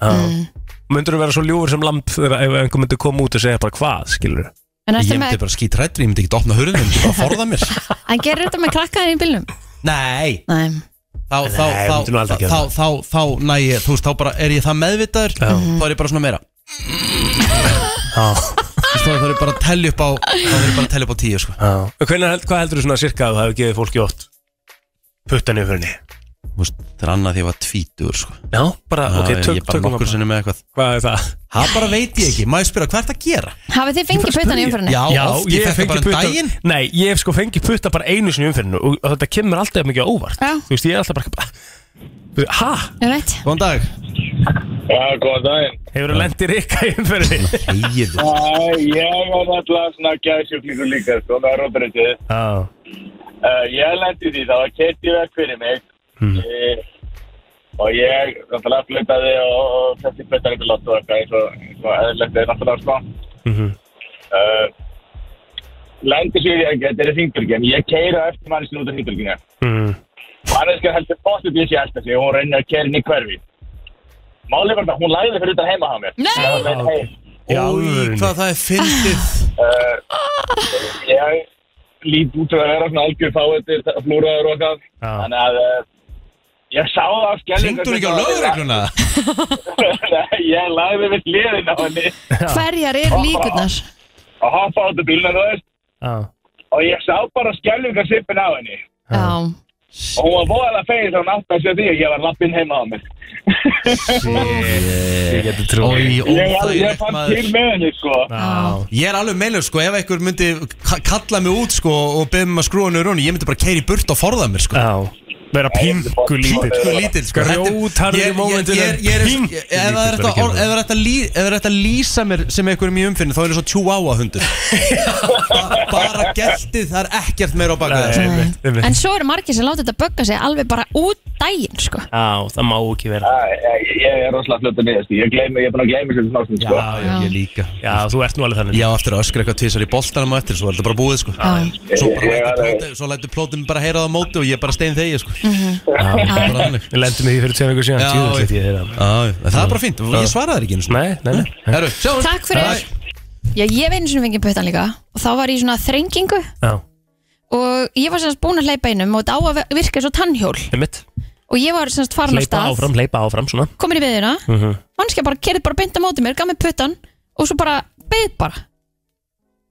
C: myndur þú vera svo ljúfur sem lamp þegar ef einhver myndur koma út og segja bara hvað, skilur
B: En
A: Ég
B: ertu
A: myndi
B: með,
A: bara skýt hrættur, ég myndi ekki opna hurðin, ég myndi bara forða mér.
B: hann gerir þetta með krakkaðir í bílnum?
A: Nei,
B: Nei,
A: þá, þá,
C: Nei, myndi nú
A: þá,
C: aldrei
A: þá,
C: gera
A: þá, þá, þá næ ég, þú veist, þá bara er ég það meðvitaður, þá er ég bara svona meira.
C: Já,
A: Þú veist, Þá þarf ég bara að tellja upp á, þá þarf ég bara að tellja upp á tíu, sko.
C: já Hvernig, held- Hvað heldur þú svona sirka að þú hefur gefið fólki oft puttan í umferðinni?
A: Þú veist, það er annað því að ég var tvítur sko.
C: Já, bara,
A: Já, ég-
C: ok, tök,
A: Ég bara
C: tökum
A: nokkur
C: það
A: sinni með eitthvað
C: Hvað er það?
A: Það bara veit ég ekki, má ég spyrja hvað er það að gera?
B: hafið þið fengið puttan í
A: Já,
B: umferðinni?
A: oft, ég fekk það bara um
C: putta-
A: daginn
C: Nei, ég hef sko fengið putta bara einu sinni í umferðinu og, og þetta kemur alltaf mikið á óvart
B: Já.
C: Þú veist, ég er alltaf bara bara, Ha?
B: Já, veit
A: Góðan dag
G: Já, góðan daginn.
C: Hefur það lendið rikka í umferðinu?
A: Heiðu
G: Ég var alltaf svona gæðsjúklingur líka, sko, með róbreytið.
C: Já,
G: Uh, ég lendi því, það var Ketty vekk fyrir mig mm. og ég náttúrulega flutaði og, og þessi flutaði ykkur lott og eitthvað eins og, eins og eðlilegt er náttúrulega sko.
C: Mhm.
G: uh, lendi sér ég, þetta er hringdurgin, ég keira eftir manneskinu út af hringdurginu.
C: mm,
G: Manneskinu heldur bóttið því að ég held að sig og hún reynir að keira inn í hverfi. Málið var það, hún lagði fyrir utan heima á mér.
B: Nei,
G: Þannig að hey,
A: Ói,
C: Já, alvörunni.
A: hvað það er fyndið
G: ég lít út að vera svona algjör fáið til flúraður og eitthvað.
C: já.
G: Þannig að uh, ég sá það á skellingu
A: Hringdu hún ekki á lögregluna?
G: Nei, ég lagði við hliðin á henni
B: hverjar eru líkurnar?
G: og hoppa át úr bílna þú veist
C: já.
G: og ég sá bara skellinga sippin á henni
B: Já,
G: og hún var voðalega fegin þegar hún átti að segja því að ég var lappinn heima á mér
C: Ég geti trú
A: Ói,
G: ég, ég, ég
A: óþægilegt
G: fann til
A: maður
G: með henni sko
C: Já,
A: Ég er alveg meilur sko, ef einhver myndi ka- kalla mig út sko og beðið mig að skrúa henni runni, ég myndi bara keiri burt og forða mér sko
C: já Verða pingu
A: Sko
C: lítið
A: lítill sko Þetta er-
C: Grjótharður í
A: ég- ég-
C: mómentinu,
A: ég er- ég er-
C: pink.
A: ég- Ef það er
C: Lítill
A: þetta
C: verður
A: orð-
C: gerður.
A: ef það er þetta lí- ef það er þetta lýsa mér sem einhverjum í umfinni þá er það svo chihuahua hundur Ba- Bara geltið, það er ekkert meira á baka
C: Nei.
A: það sko.
B: nei.
C: einmitt, einmitt.
B: En svo eru margir sem láta þetta bögga sig alveg bara út daginn sko.
C: Já, það má ekki vera
G: Æ, ég, ég er rosalega fljótt að niðast ég, gleymi, ég er búin að gleymi sér snásnum sko
A: Já, já, ég líka
C: Já, þú ert nú alveg þannig
A: Ég á eftir að öskra eitthvað tvisar í boltanum á eftir Svo er þetta bara búið sko
B: Já.
A: Svo bara
G: Ég- ég-
A: lætur plóti- Svo lætur plótum bara heyra það á móti Og ég bara stein þegi sko Bara þannig.
C: Við lendum í því fyrir tveim ykkur síðan
A: Já,
C: Tjóðum
A: ég-
C: þetta ég er að
A: Já, já, en Það er bara fínt Ég svaraði þér ekki eins og
C: Nei, nei, nei
A: Herru, sjáum
B: Takk fyrir Já, ég veginn sem fengið puttan líka og þá var ég í svona þrengingu
C: Já,
B: og ég var semst búin að hleypa einum og þetta á að virka svo tannhjól
C: einmitt
B: og ég var semst farin af
C: Leipa
B: stað
C: áfram, leipa áfram, svona
B: komin í veðina
C: Mhm.
B: mannskja bara kerði bara beint á móti mér, gaf mér puttan og svo bara beð bara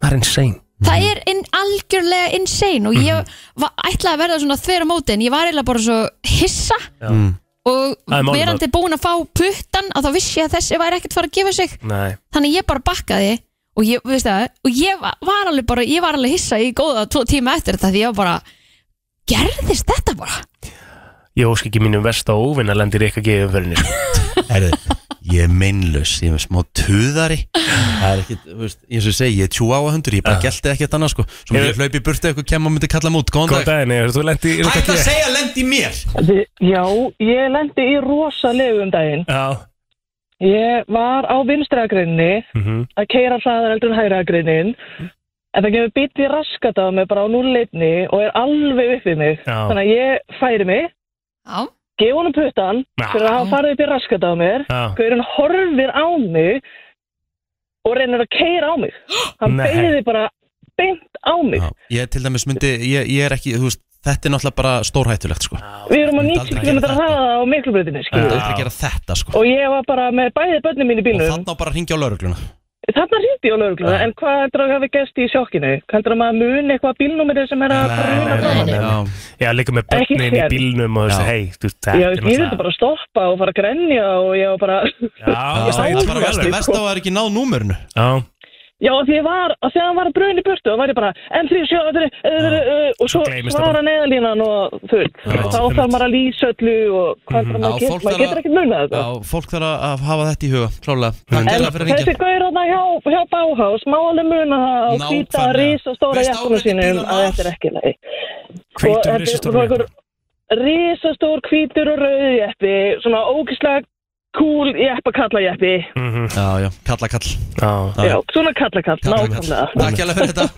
C: Það er insane
B: það er in, algjörlega insane og ég
C: Mhm.
B: var, ætlaði að verða svona þver á móti en ég var eiginlega bara svo hissa
A: Mm.
B: og
C: Það er málið
B: verandi búin að fá puttan að þá vissi ég að þessi væri ekkert fara að gefa sig
C: Nei
B: þannig ég bara bakkaði og ég, veist það, og ég va- var alveg bara ég var alveg hissa í góða tvo tíma eftir þetta því ég var bara gerðist þetta bara
C: Ég ósk ekki mínum vest á óvinna lendir ekki að gefa umferðinni sko.
A: Herru, ég er meinlaus Ég er smá tuðari Það er ekkit, þú veist, eins og ég segi Ég er tjú á að hundur Ég
C: Ah.
A: bara gelti ekkert annað sko Svo mér
C: Hefur-
A: hlaupi í burtu Eitthvað kem og myndi kalla mút Góðan
C: Góð
A: dag
C: daginn, eða þú lendi í
A: Hætt að segja lend í mér
J: Já, ég lendi í rosalegu um daginn.
C: Já,
J: Ég var á vinstragrinni
C: mhm,
J: að keira hraðar heldur en hægragrinnin en það kemur bíll í raskat á mig bara á núleitni og er alveg upp við mig.
C: Já.
J: Þannig að ég færi mig,
B: já,
J: gef honum puttan
C: Já.
J: fyrir að hafa farið upp í raskat á mér.
C: já
J: Hverjum horfir á mig og reynir að keira á mig. Hann
C: Nei.
J: beigði bara beint á mig.
A: Já, Ég til dæmis myndi, ég, ég er ekki, þú veist Þetta er náttúrulega bara stórhættulegt sko
J: Við erum á
A: Myndi
J: 90
A: aldrei
J: km
A: gera
C: sko.
J: hraða á miklubröðinni,
A: Ég myndi aldrei
J: skilur.
A: gera þetta sko
J: Og ég var bara með bæðið börnum mín í
A: Og
J: bílnum.
A: þannig á bara að ringja á laurugluna
J: Þarna ringdi ég á laurugluna, en hvað heldur að hafi gæst í sjokkinu? Heldur að maður muni eitthvað bílnúmerið sem er að bruna frá
C: nei,
J: manni?
C: nei. Já, líka með
J: Ekki
C: börnin í
J: séð.
C: bílnum og þessi, hei, þú veist, þetta
J: Ég
C: er
J: ég vildi bara stoppa og fara að grenja og ég var bara...
C: Já,
A: Það
C: ég
A: er
C: trúi
A: bara verst
C: alveg.
A: Verst á að það er ekki náð númerinu
C: Já,
J: Já, og því ég var, og þegar hann var að bruna í burtu, þá var ég bara, en því sjá, þetta er, og svo
A: gleymist það
J: svara neðalínan og þú veist,
A: Já,
J: þá þarf maður að lýsa öllu og hvað þarf maður að geta, maður getur ekkert munað þetta.
A: Já, fólk þarf að að hafa þetta í huga Klálega, takk
J: En
A: kærlega fyrir að
J: þessi
A: ringja
J: gaur þarna hjá, hjá Bauhaus má alveg muna það að hvita
A: Nákvæmlega.
J: risastóra jakkunum sínum að þetta er ekki leið.
C: Hvítur
K: Sko,
C: risastóra
J: risastóra jakkunum? Risastór, hvítur og rauð jeppi, svona ógislega cool jeppakalla jeppi.
A: Já, já, kalla kall
C: Mhm. Já,
J: Já, svona kallakall,
A: Kalla kall.
J: nákvæmlega.
A: Takk kærlega fyrir þetta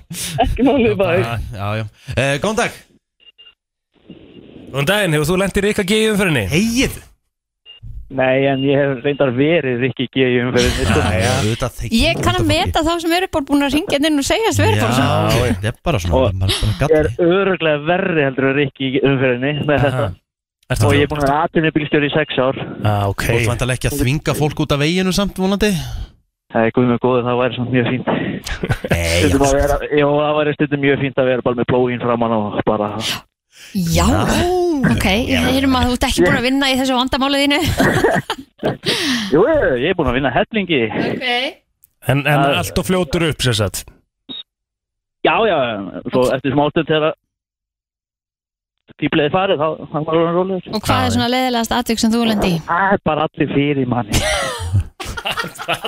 J: Ekki málið bæði.
A: Já, já Eh, Góðan dag
C: Góðan daginn, hefur þú lent í Rikka G í umfyrinni?
A: Heið
K: Nei, en ég hef reyndar verið Rikki G í umferðinni sko.
B: Ég kann að meta þá sem eru bara búin að ringja inn og segja þess verið bara svona
A: þetta er bara svona
K: Ég er öruglega verri heldur en Rikki í umferðinni með þetta
C: Ertu
K: Og ég er búin að vera atvinnubílstjóri í sex ár
C: ah, ok
A: Þú ætti vantilega ekki að þvinga fólk út af veginu samt vonandi
K: Það er guð með góðu, það væri svona mjög fínt Stundum að vera, Jó, það væri stundum mjög fínt að vera bara með blóin framann og bara
B: Já, ok, ég heyrum að þú ert ekki búin að vinna í þessu vandamáli þínu
K: Jú, ég er búin að vinna hellingi
B: Ok
C: En, en allt og fljótur upp, sér satt
K: Já, já, svo eftir smástund þegar típleði farið, þá þá var hann rólegur
B: Og hvað er svona leiðilegast atvik sem þú lendi í?
K: Það er bara allir fyrir manni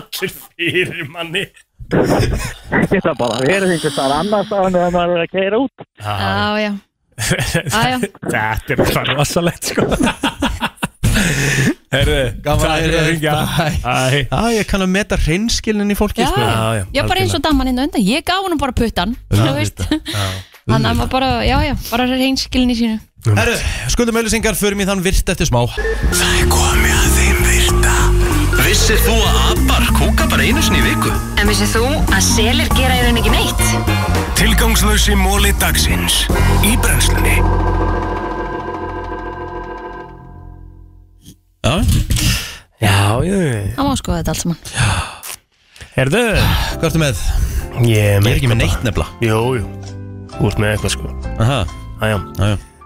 C: Allir fyrir manni
K: Þetta bara verið einhvers þar annars á henni að maður er að keira út
B: Já, já
C: Ah,
B: já.
C: Þetta er bara rosalegt, sko Herðu,
A: Gaman að heyra
C: takk fyrir að
A: þér.
C: ringja Æ.
A: Já, ég kann að meta hreinskilnin í fólki
B: Já,
A: sko.
B: já, Um já, bara eins og daman hérna undan Ég gaf hann bara puttan Þú veist Þannig að maður bara, já, já, bara reynskilin í sínu
A: Herru, skuldum auðlýsingar, förum í þann virt eftir smá
E: Það er komið að þeim virta Vissir þú að abar kúka bara einu sinni í viku?
L: En vissið þú að selir gera í rauninni ekki neitt?
E: Tilgangslösi móli dagsins Í brennslunni
A: Já,
C: já, já
B: Það má skoða þetta allt saman
C: Herðu
A: Hvað ertu með?
C: Ég er
A: Ég er ekki með neitt nefnilega.
C: Jú, jú Þú ert með eitthvað, sko
A: Aha.
C: Æjá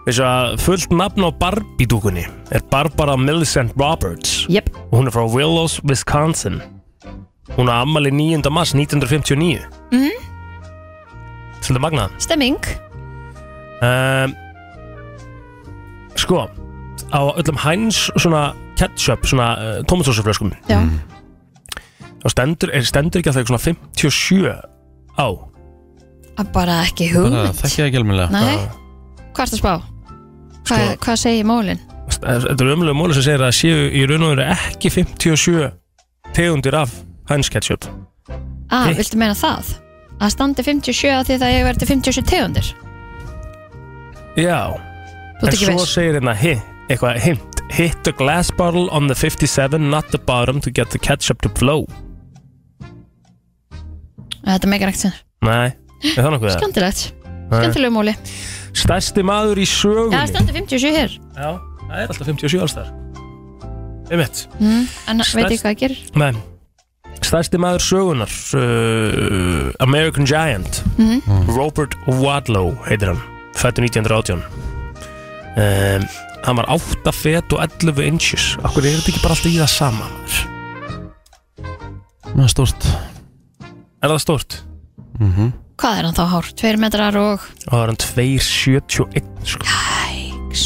C: Vissu að fullt nafn á Barbie-dúkunni er Barbara Millicent Roberts
B: Jep
C: og hún er frá Willows, Wisconsin Hún er ammali 9. mars 1959
B: mm,
C: Svolítið magnað
B: Stemming
C: um, Sko á öllum Heinz svona ketchup, svona uh, tomatósuflöskum
B: Já.
C: og stendur, er stendur ekki að það er svona 57 á
B: Að bara ekki hugmynd
A: Þekkja ekki alveg
B: Nei, hvað ertu að spá? Hva, Hvað segir mólin?
C: Þetta er umlega móli sem segir að það séu í raun og veru ekki 57 tegundir af Heinz ketchup
B: Ah, viltu meina það? Að standi 57 af því það hefur verið til 57 tegundir
C: Já
B: Þú ert
C: En
B: ekki
C: svo
B: viss.
C: segir hérna hi- eitthvað hint Hit the glass bottle on the 57 not the bottom to get the ketchup to flow
B: Þetta meikar ekkert sinn
C: Nei, er það nokkuð það?
B: Skandilegt
C: Nei.
B: Skandilegu móli
C: Stærsti maður í
B: Já, það
C: sögunni
B: standi 57 hér
C: Já, það er alltaf 57 alls þar Einmitt
B: mm, En veit ég
C: Stærst-
B: hvað það gerir?
C: Nei Stærsti maður sögunar uh, American Giant
B: Mhm.
C: Robert Wadlow heitir hann Fættu 1918 um, Hann var 8 fet og 11 inches Akkur er þetta ekki bara alltaf í það sama maður?
A: Það er stort
C: Er það stort?
B: Hvað er hann þá hár? 2 metrar og
C: Og það var hann 271 sko.
B: Jæks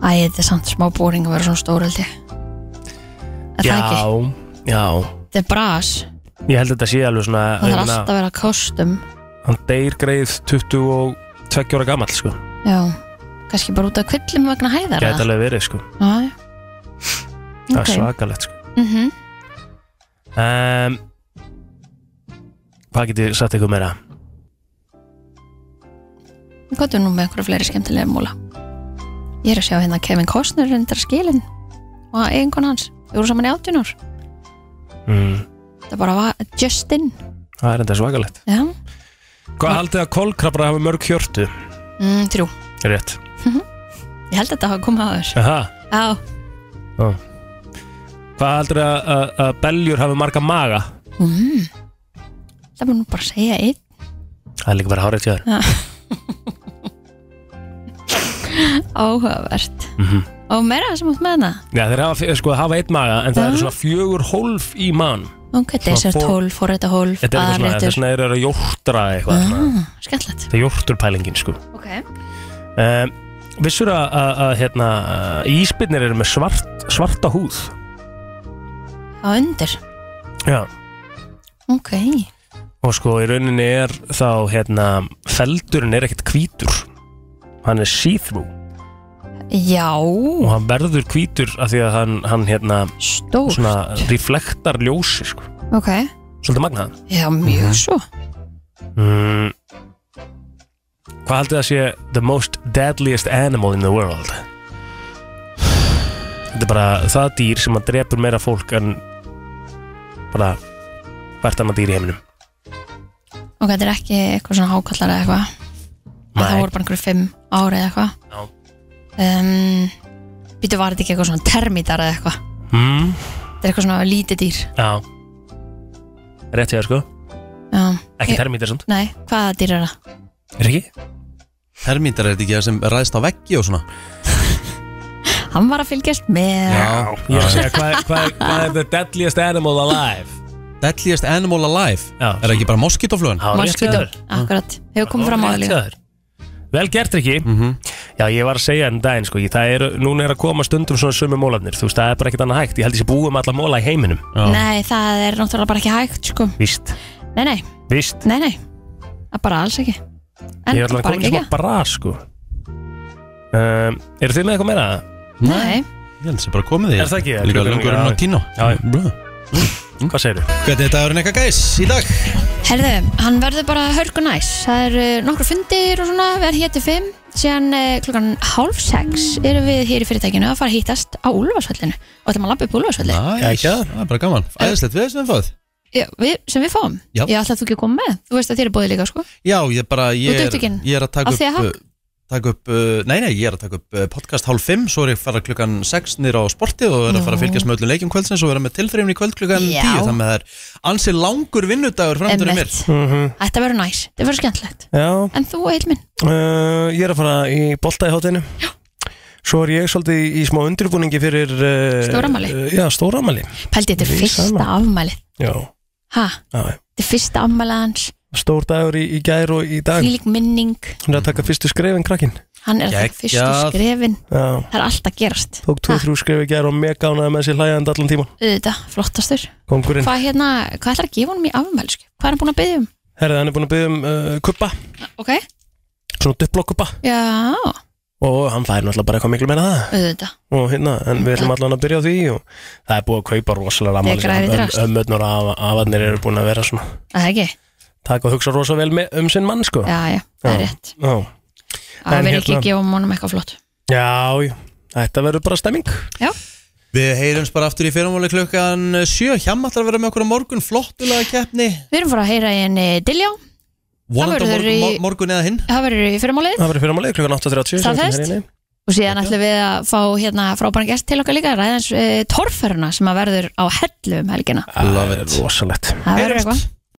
B: Æ, þetta er samt smá bóring að vera svona stór held ég Er það ekki?
C: Já, já
B: Þetta er bras
C: Ég held að þetta sé alveg svona
B: Það
C: ég
B: þarf
C: meina,
B: alltaf að vera kostum
C: Hann deyr greið 22 ára gamall sko.
B: Já, kannski bara út af kvillum vegna hæðar
C: Gæti alveg verið sko.
B: Já, Ok.
C: Það er svakalegt sko.
B: mm -hmm.
C: um, Hvað getið sagt eitthvað meira?
B: Hvað er nú með einhverja fleiri skemmtilega múla? Ég er að sjá hérna Kevin Costner reyndar skilin og eiginkon hans, við vorum saman í 18 ár
C: Mm.
B: Þetta bara var Justin
C: Það er enda svakalegt
B: Já,
C: Hvað haldið að kolkrabbar hafi mörg hjörtu?
B: mm, Þrjú
C: Rétt
B: Ég held að þetta hafa komið áður
C: Aha,
B: Já,
C: á. Hvað heldur að, að, að beljur hafi marga maga?
B: mm. Það var nú bara að segja einn
C: Það er líka bara hárið tjáður
B: Já. Áhugavert
C: Mhm.
B: Og meira sem átt með hana
C: Já, þeir hafa, f- sko, hafa einn maga en það
B: Já.
C: eru svona fjögur hólf í mann
B: Ok,
C: Svona
B: desert
C: fór-
B: hólf, forræta hólf,
C: Þetta er eitthvað svona,
B: aðarréttur
C: þess vegna eru að jórtra eitthvað svona.
B: ah, Skemmtilegt
C: Það er jórturpælingin, sko
B: Ok
C: um, Vissur að, að, að hérna, uh, ísbyrnir eru með svart, svarta húð
B: Á undir
C: Já
B: Ok
C: Og sko, í rauninni er þá, hérna, feldurinn er ekkert hvítur Hann er see-through
B: Já
C: og hann verður hvítur af því að hann, hann hérna
B: Stórt.
C: svona reflektar ljósi sko.
B: Ok
C: svolítið magnað
B: Já, mjög
C: Mhm.
B: svo
C: mm. hvað heldur það sé the most deadliest animal in the world þetta er bara það dýr sem að drepur meira fólk en bara hvert annað dýr í heiminum
B: Ok, þetta er ekki eitthvað svona hákallar eða eitthvað
C: Nei.
B: Það voru bara einhverju fimm ári eða eitthvað
C: Já.
B: um, Býtu var þetta ekki eitthvað svona termítar eða eitthvað
C: mm.
B: Þetta er eitthvað svona lítið dýr
C: já rétt ég sko
B: Já.
C: ekki
B: Ég-
C: termítir samt
B: Nei, hvaða dýr er það?
C: er ekki?
A: Hermítar er þetta ekki það sem ræðst á veggi og svona
B: Hann var að fylgjast með
C: ég er að segja hvað er- hvað er- hvað er the deadliest animal alive
A: Deadliest Animal Alive
C: já,
A: Er það ekki bara moskítoflugan?
B: Moskító, akkurat Hefur komið fram á það líka
C: Rétt hjá þér. Vel gert ekki Já, ég var að segja um daginn sko, ég, það er, Núna er að koma stundum svona sömu mólarnir Þú veist, það er bara ekkert annað hægt Ég held ég sé búið með alla móla í heiminum
B: Nei, það er náttúrulega bara ekki hægt sko.
C: Víst,
B: Nei, nei,
C: víst
B: nei, nei Það er bara alls ekki En
C: Ég er alveg
B: bara
C: komin í
B: ekki
C: smá bras sko um, Eru þið með eitthvað meira?
B: Nei,
A: Ég held sem bara komið því
C: Er það ekki?
A: Líka
C: Klukkan-
A: lengur
C: já.
A: en á tíno
C: Já,
A: Hvað
C: segir þú?
A: Hvernig er dagurinn eitthvað gæs í dag?
B: Herðu, hann verður bara hörku næs Það eru uh, nokkur fundir og svona Við erum hér til fimm Síðan uh, klukkan hálf sex erum við hér í fyrirtækinu að fara að hýtast á Úlfarsvöllinu og ætlum að labba upp Úlfarsvölli
A: Næs, það er bara gaman Æðislegt við þessum fóð
B: Já, við, sem við fáum
A: Já.
B: Ég ætla að þú ekki að koma með Þú veist að þér er bóðið líka sko
A: Já, ég bara
B: Þú
A: Ég
B: ert
A: er,
B: upptekinn?
A: ég er að
B: Á
A: taka
B: því að
A: upp,
B: hakk?
A: uh, taka upp uh, Nei, nei, ég er að taka upp uh, podcast hálf 5 Svo er ég að fara klukkan 6 nýra á sportið Og er að fara að
B: Nú.
A: fylgjast með öllum leikjum kvöldsins Og vera með tilþrifin í kvöld klukkan
B: Já.
A: 10 Þannig að það er ansi langur vinnudagur framöndur í mér
B: Einmitt. Þetta verður næs, þetta verður skemmtlegt
C: Mhm. Já,
B: En þú, Eilmin,
C: Uh, ég er að fara í bolta í hátinu Svo er ég svolítið í smá undirbúningi fyrir uh,
B: Stórafmæli.
C: uh, Já, stóramæli
B: pældi þetta er
C: Við
B: fyrsta
C: saman.
B: afmælið
C: Já,
B: Ha,
C: já
B: þetta er fyrsta afmælið hans
C: Stór dagur í, í gær og í dag
B: Þvílík minning,
C: Hún er að taka fyrstu skrefin krakkin
B: hann er það
C: Geggjað.
B: fyrstu skrefin
C: Já,
B: Það er allt að gerast
C: tók 2-3 skref í gær og mega ánæði með sér hlægjandi allan tíman
B: Þetta, flottastur
C: Kongurinn
B: Hvað hérna, hvað ætlar að gefa honum í afmæli sko? Hvað er hann búin að byggja um?
C: Herðið, hann er búin að byggja um uh, kuppa
B: Ok,
C: Svona dupplokuppa
B: já,
C: Og hann fær náttúrulega bara eitthvað miklu meira en það
B: þetta
C: Og hérna, en við ætlum allan að byrja á því Og það er búið að kaupa rosalega
B: Þeir græði drast.
C: Ömmurnar og afarnir eru búin að vera svona
B: Það er ekki,
C: Takk og hugsa rosa vel með, um sinn mann sko
B: já, já, það er
C: Já.
B: rétt
C: Já,
B: Það
C: En
B: verður ekki
C: hérna-
B: að gefa honum eitthvað flott
C: já, já. þetta verður bara stemming
A: Við heyrums bara aftur í fyrramáli klukkan 7 Hjam ætlar að vera með okkur á morgun Flottulega keppni
B: Við erum fór að heyra í henni Diljá
A: Vonandi á
B: verður
A: morgun,
B: í-
A: mor- morgun eða hinn
B: Það verður í fyrirmálið
C: Það verður fyrir ámalið klukkan 8.30 sem við
B: Staðfest?
C: kemur hérna inn í.
B: og síðan ætlum við að fá hérna frábæran gest til okkar líka eh, ræðans uh, torferuna sem að verður á hellu um helgina
C: Það er rosalegt
B: Það verður eitthvað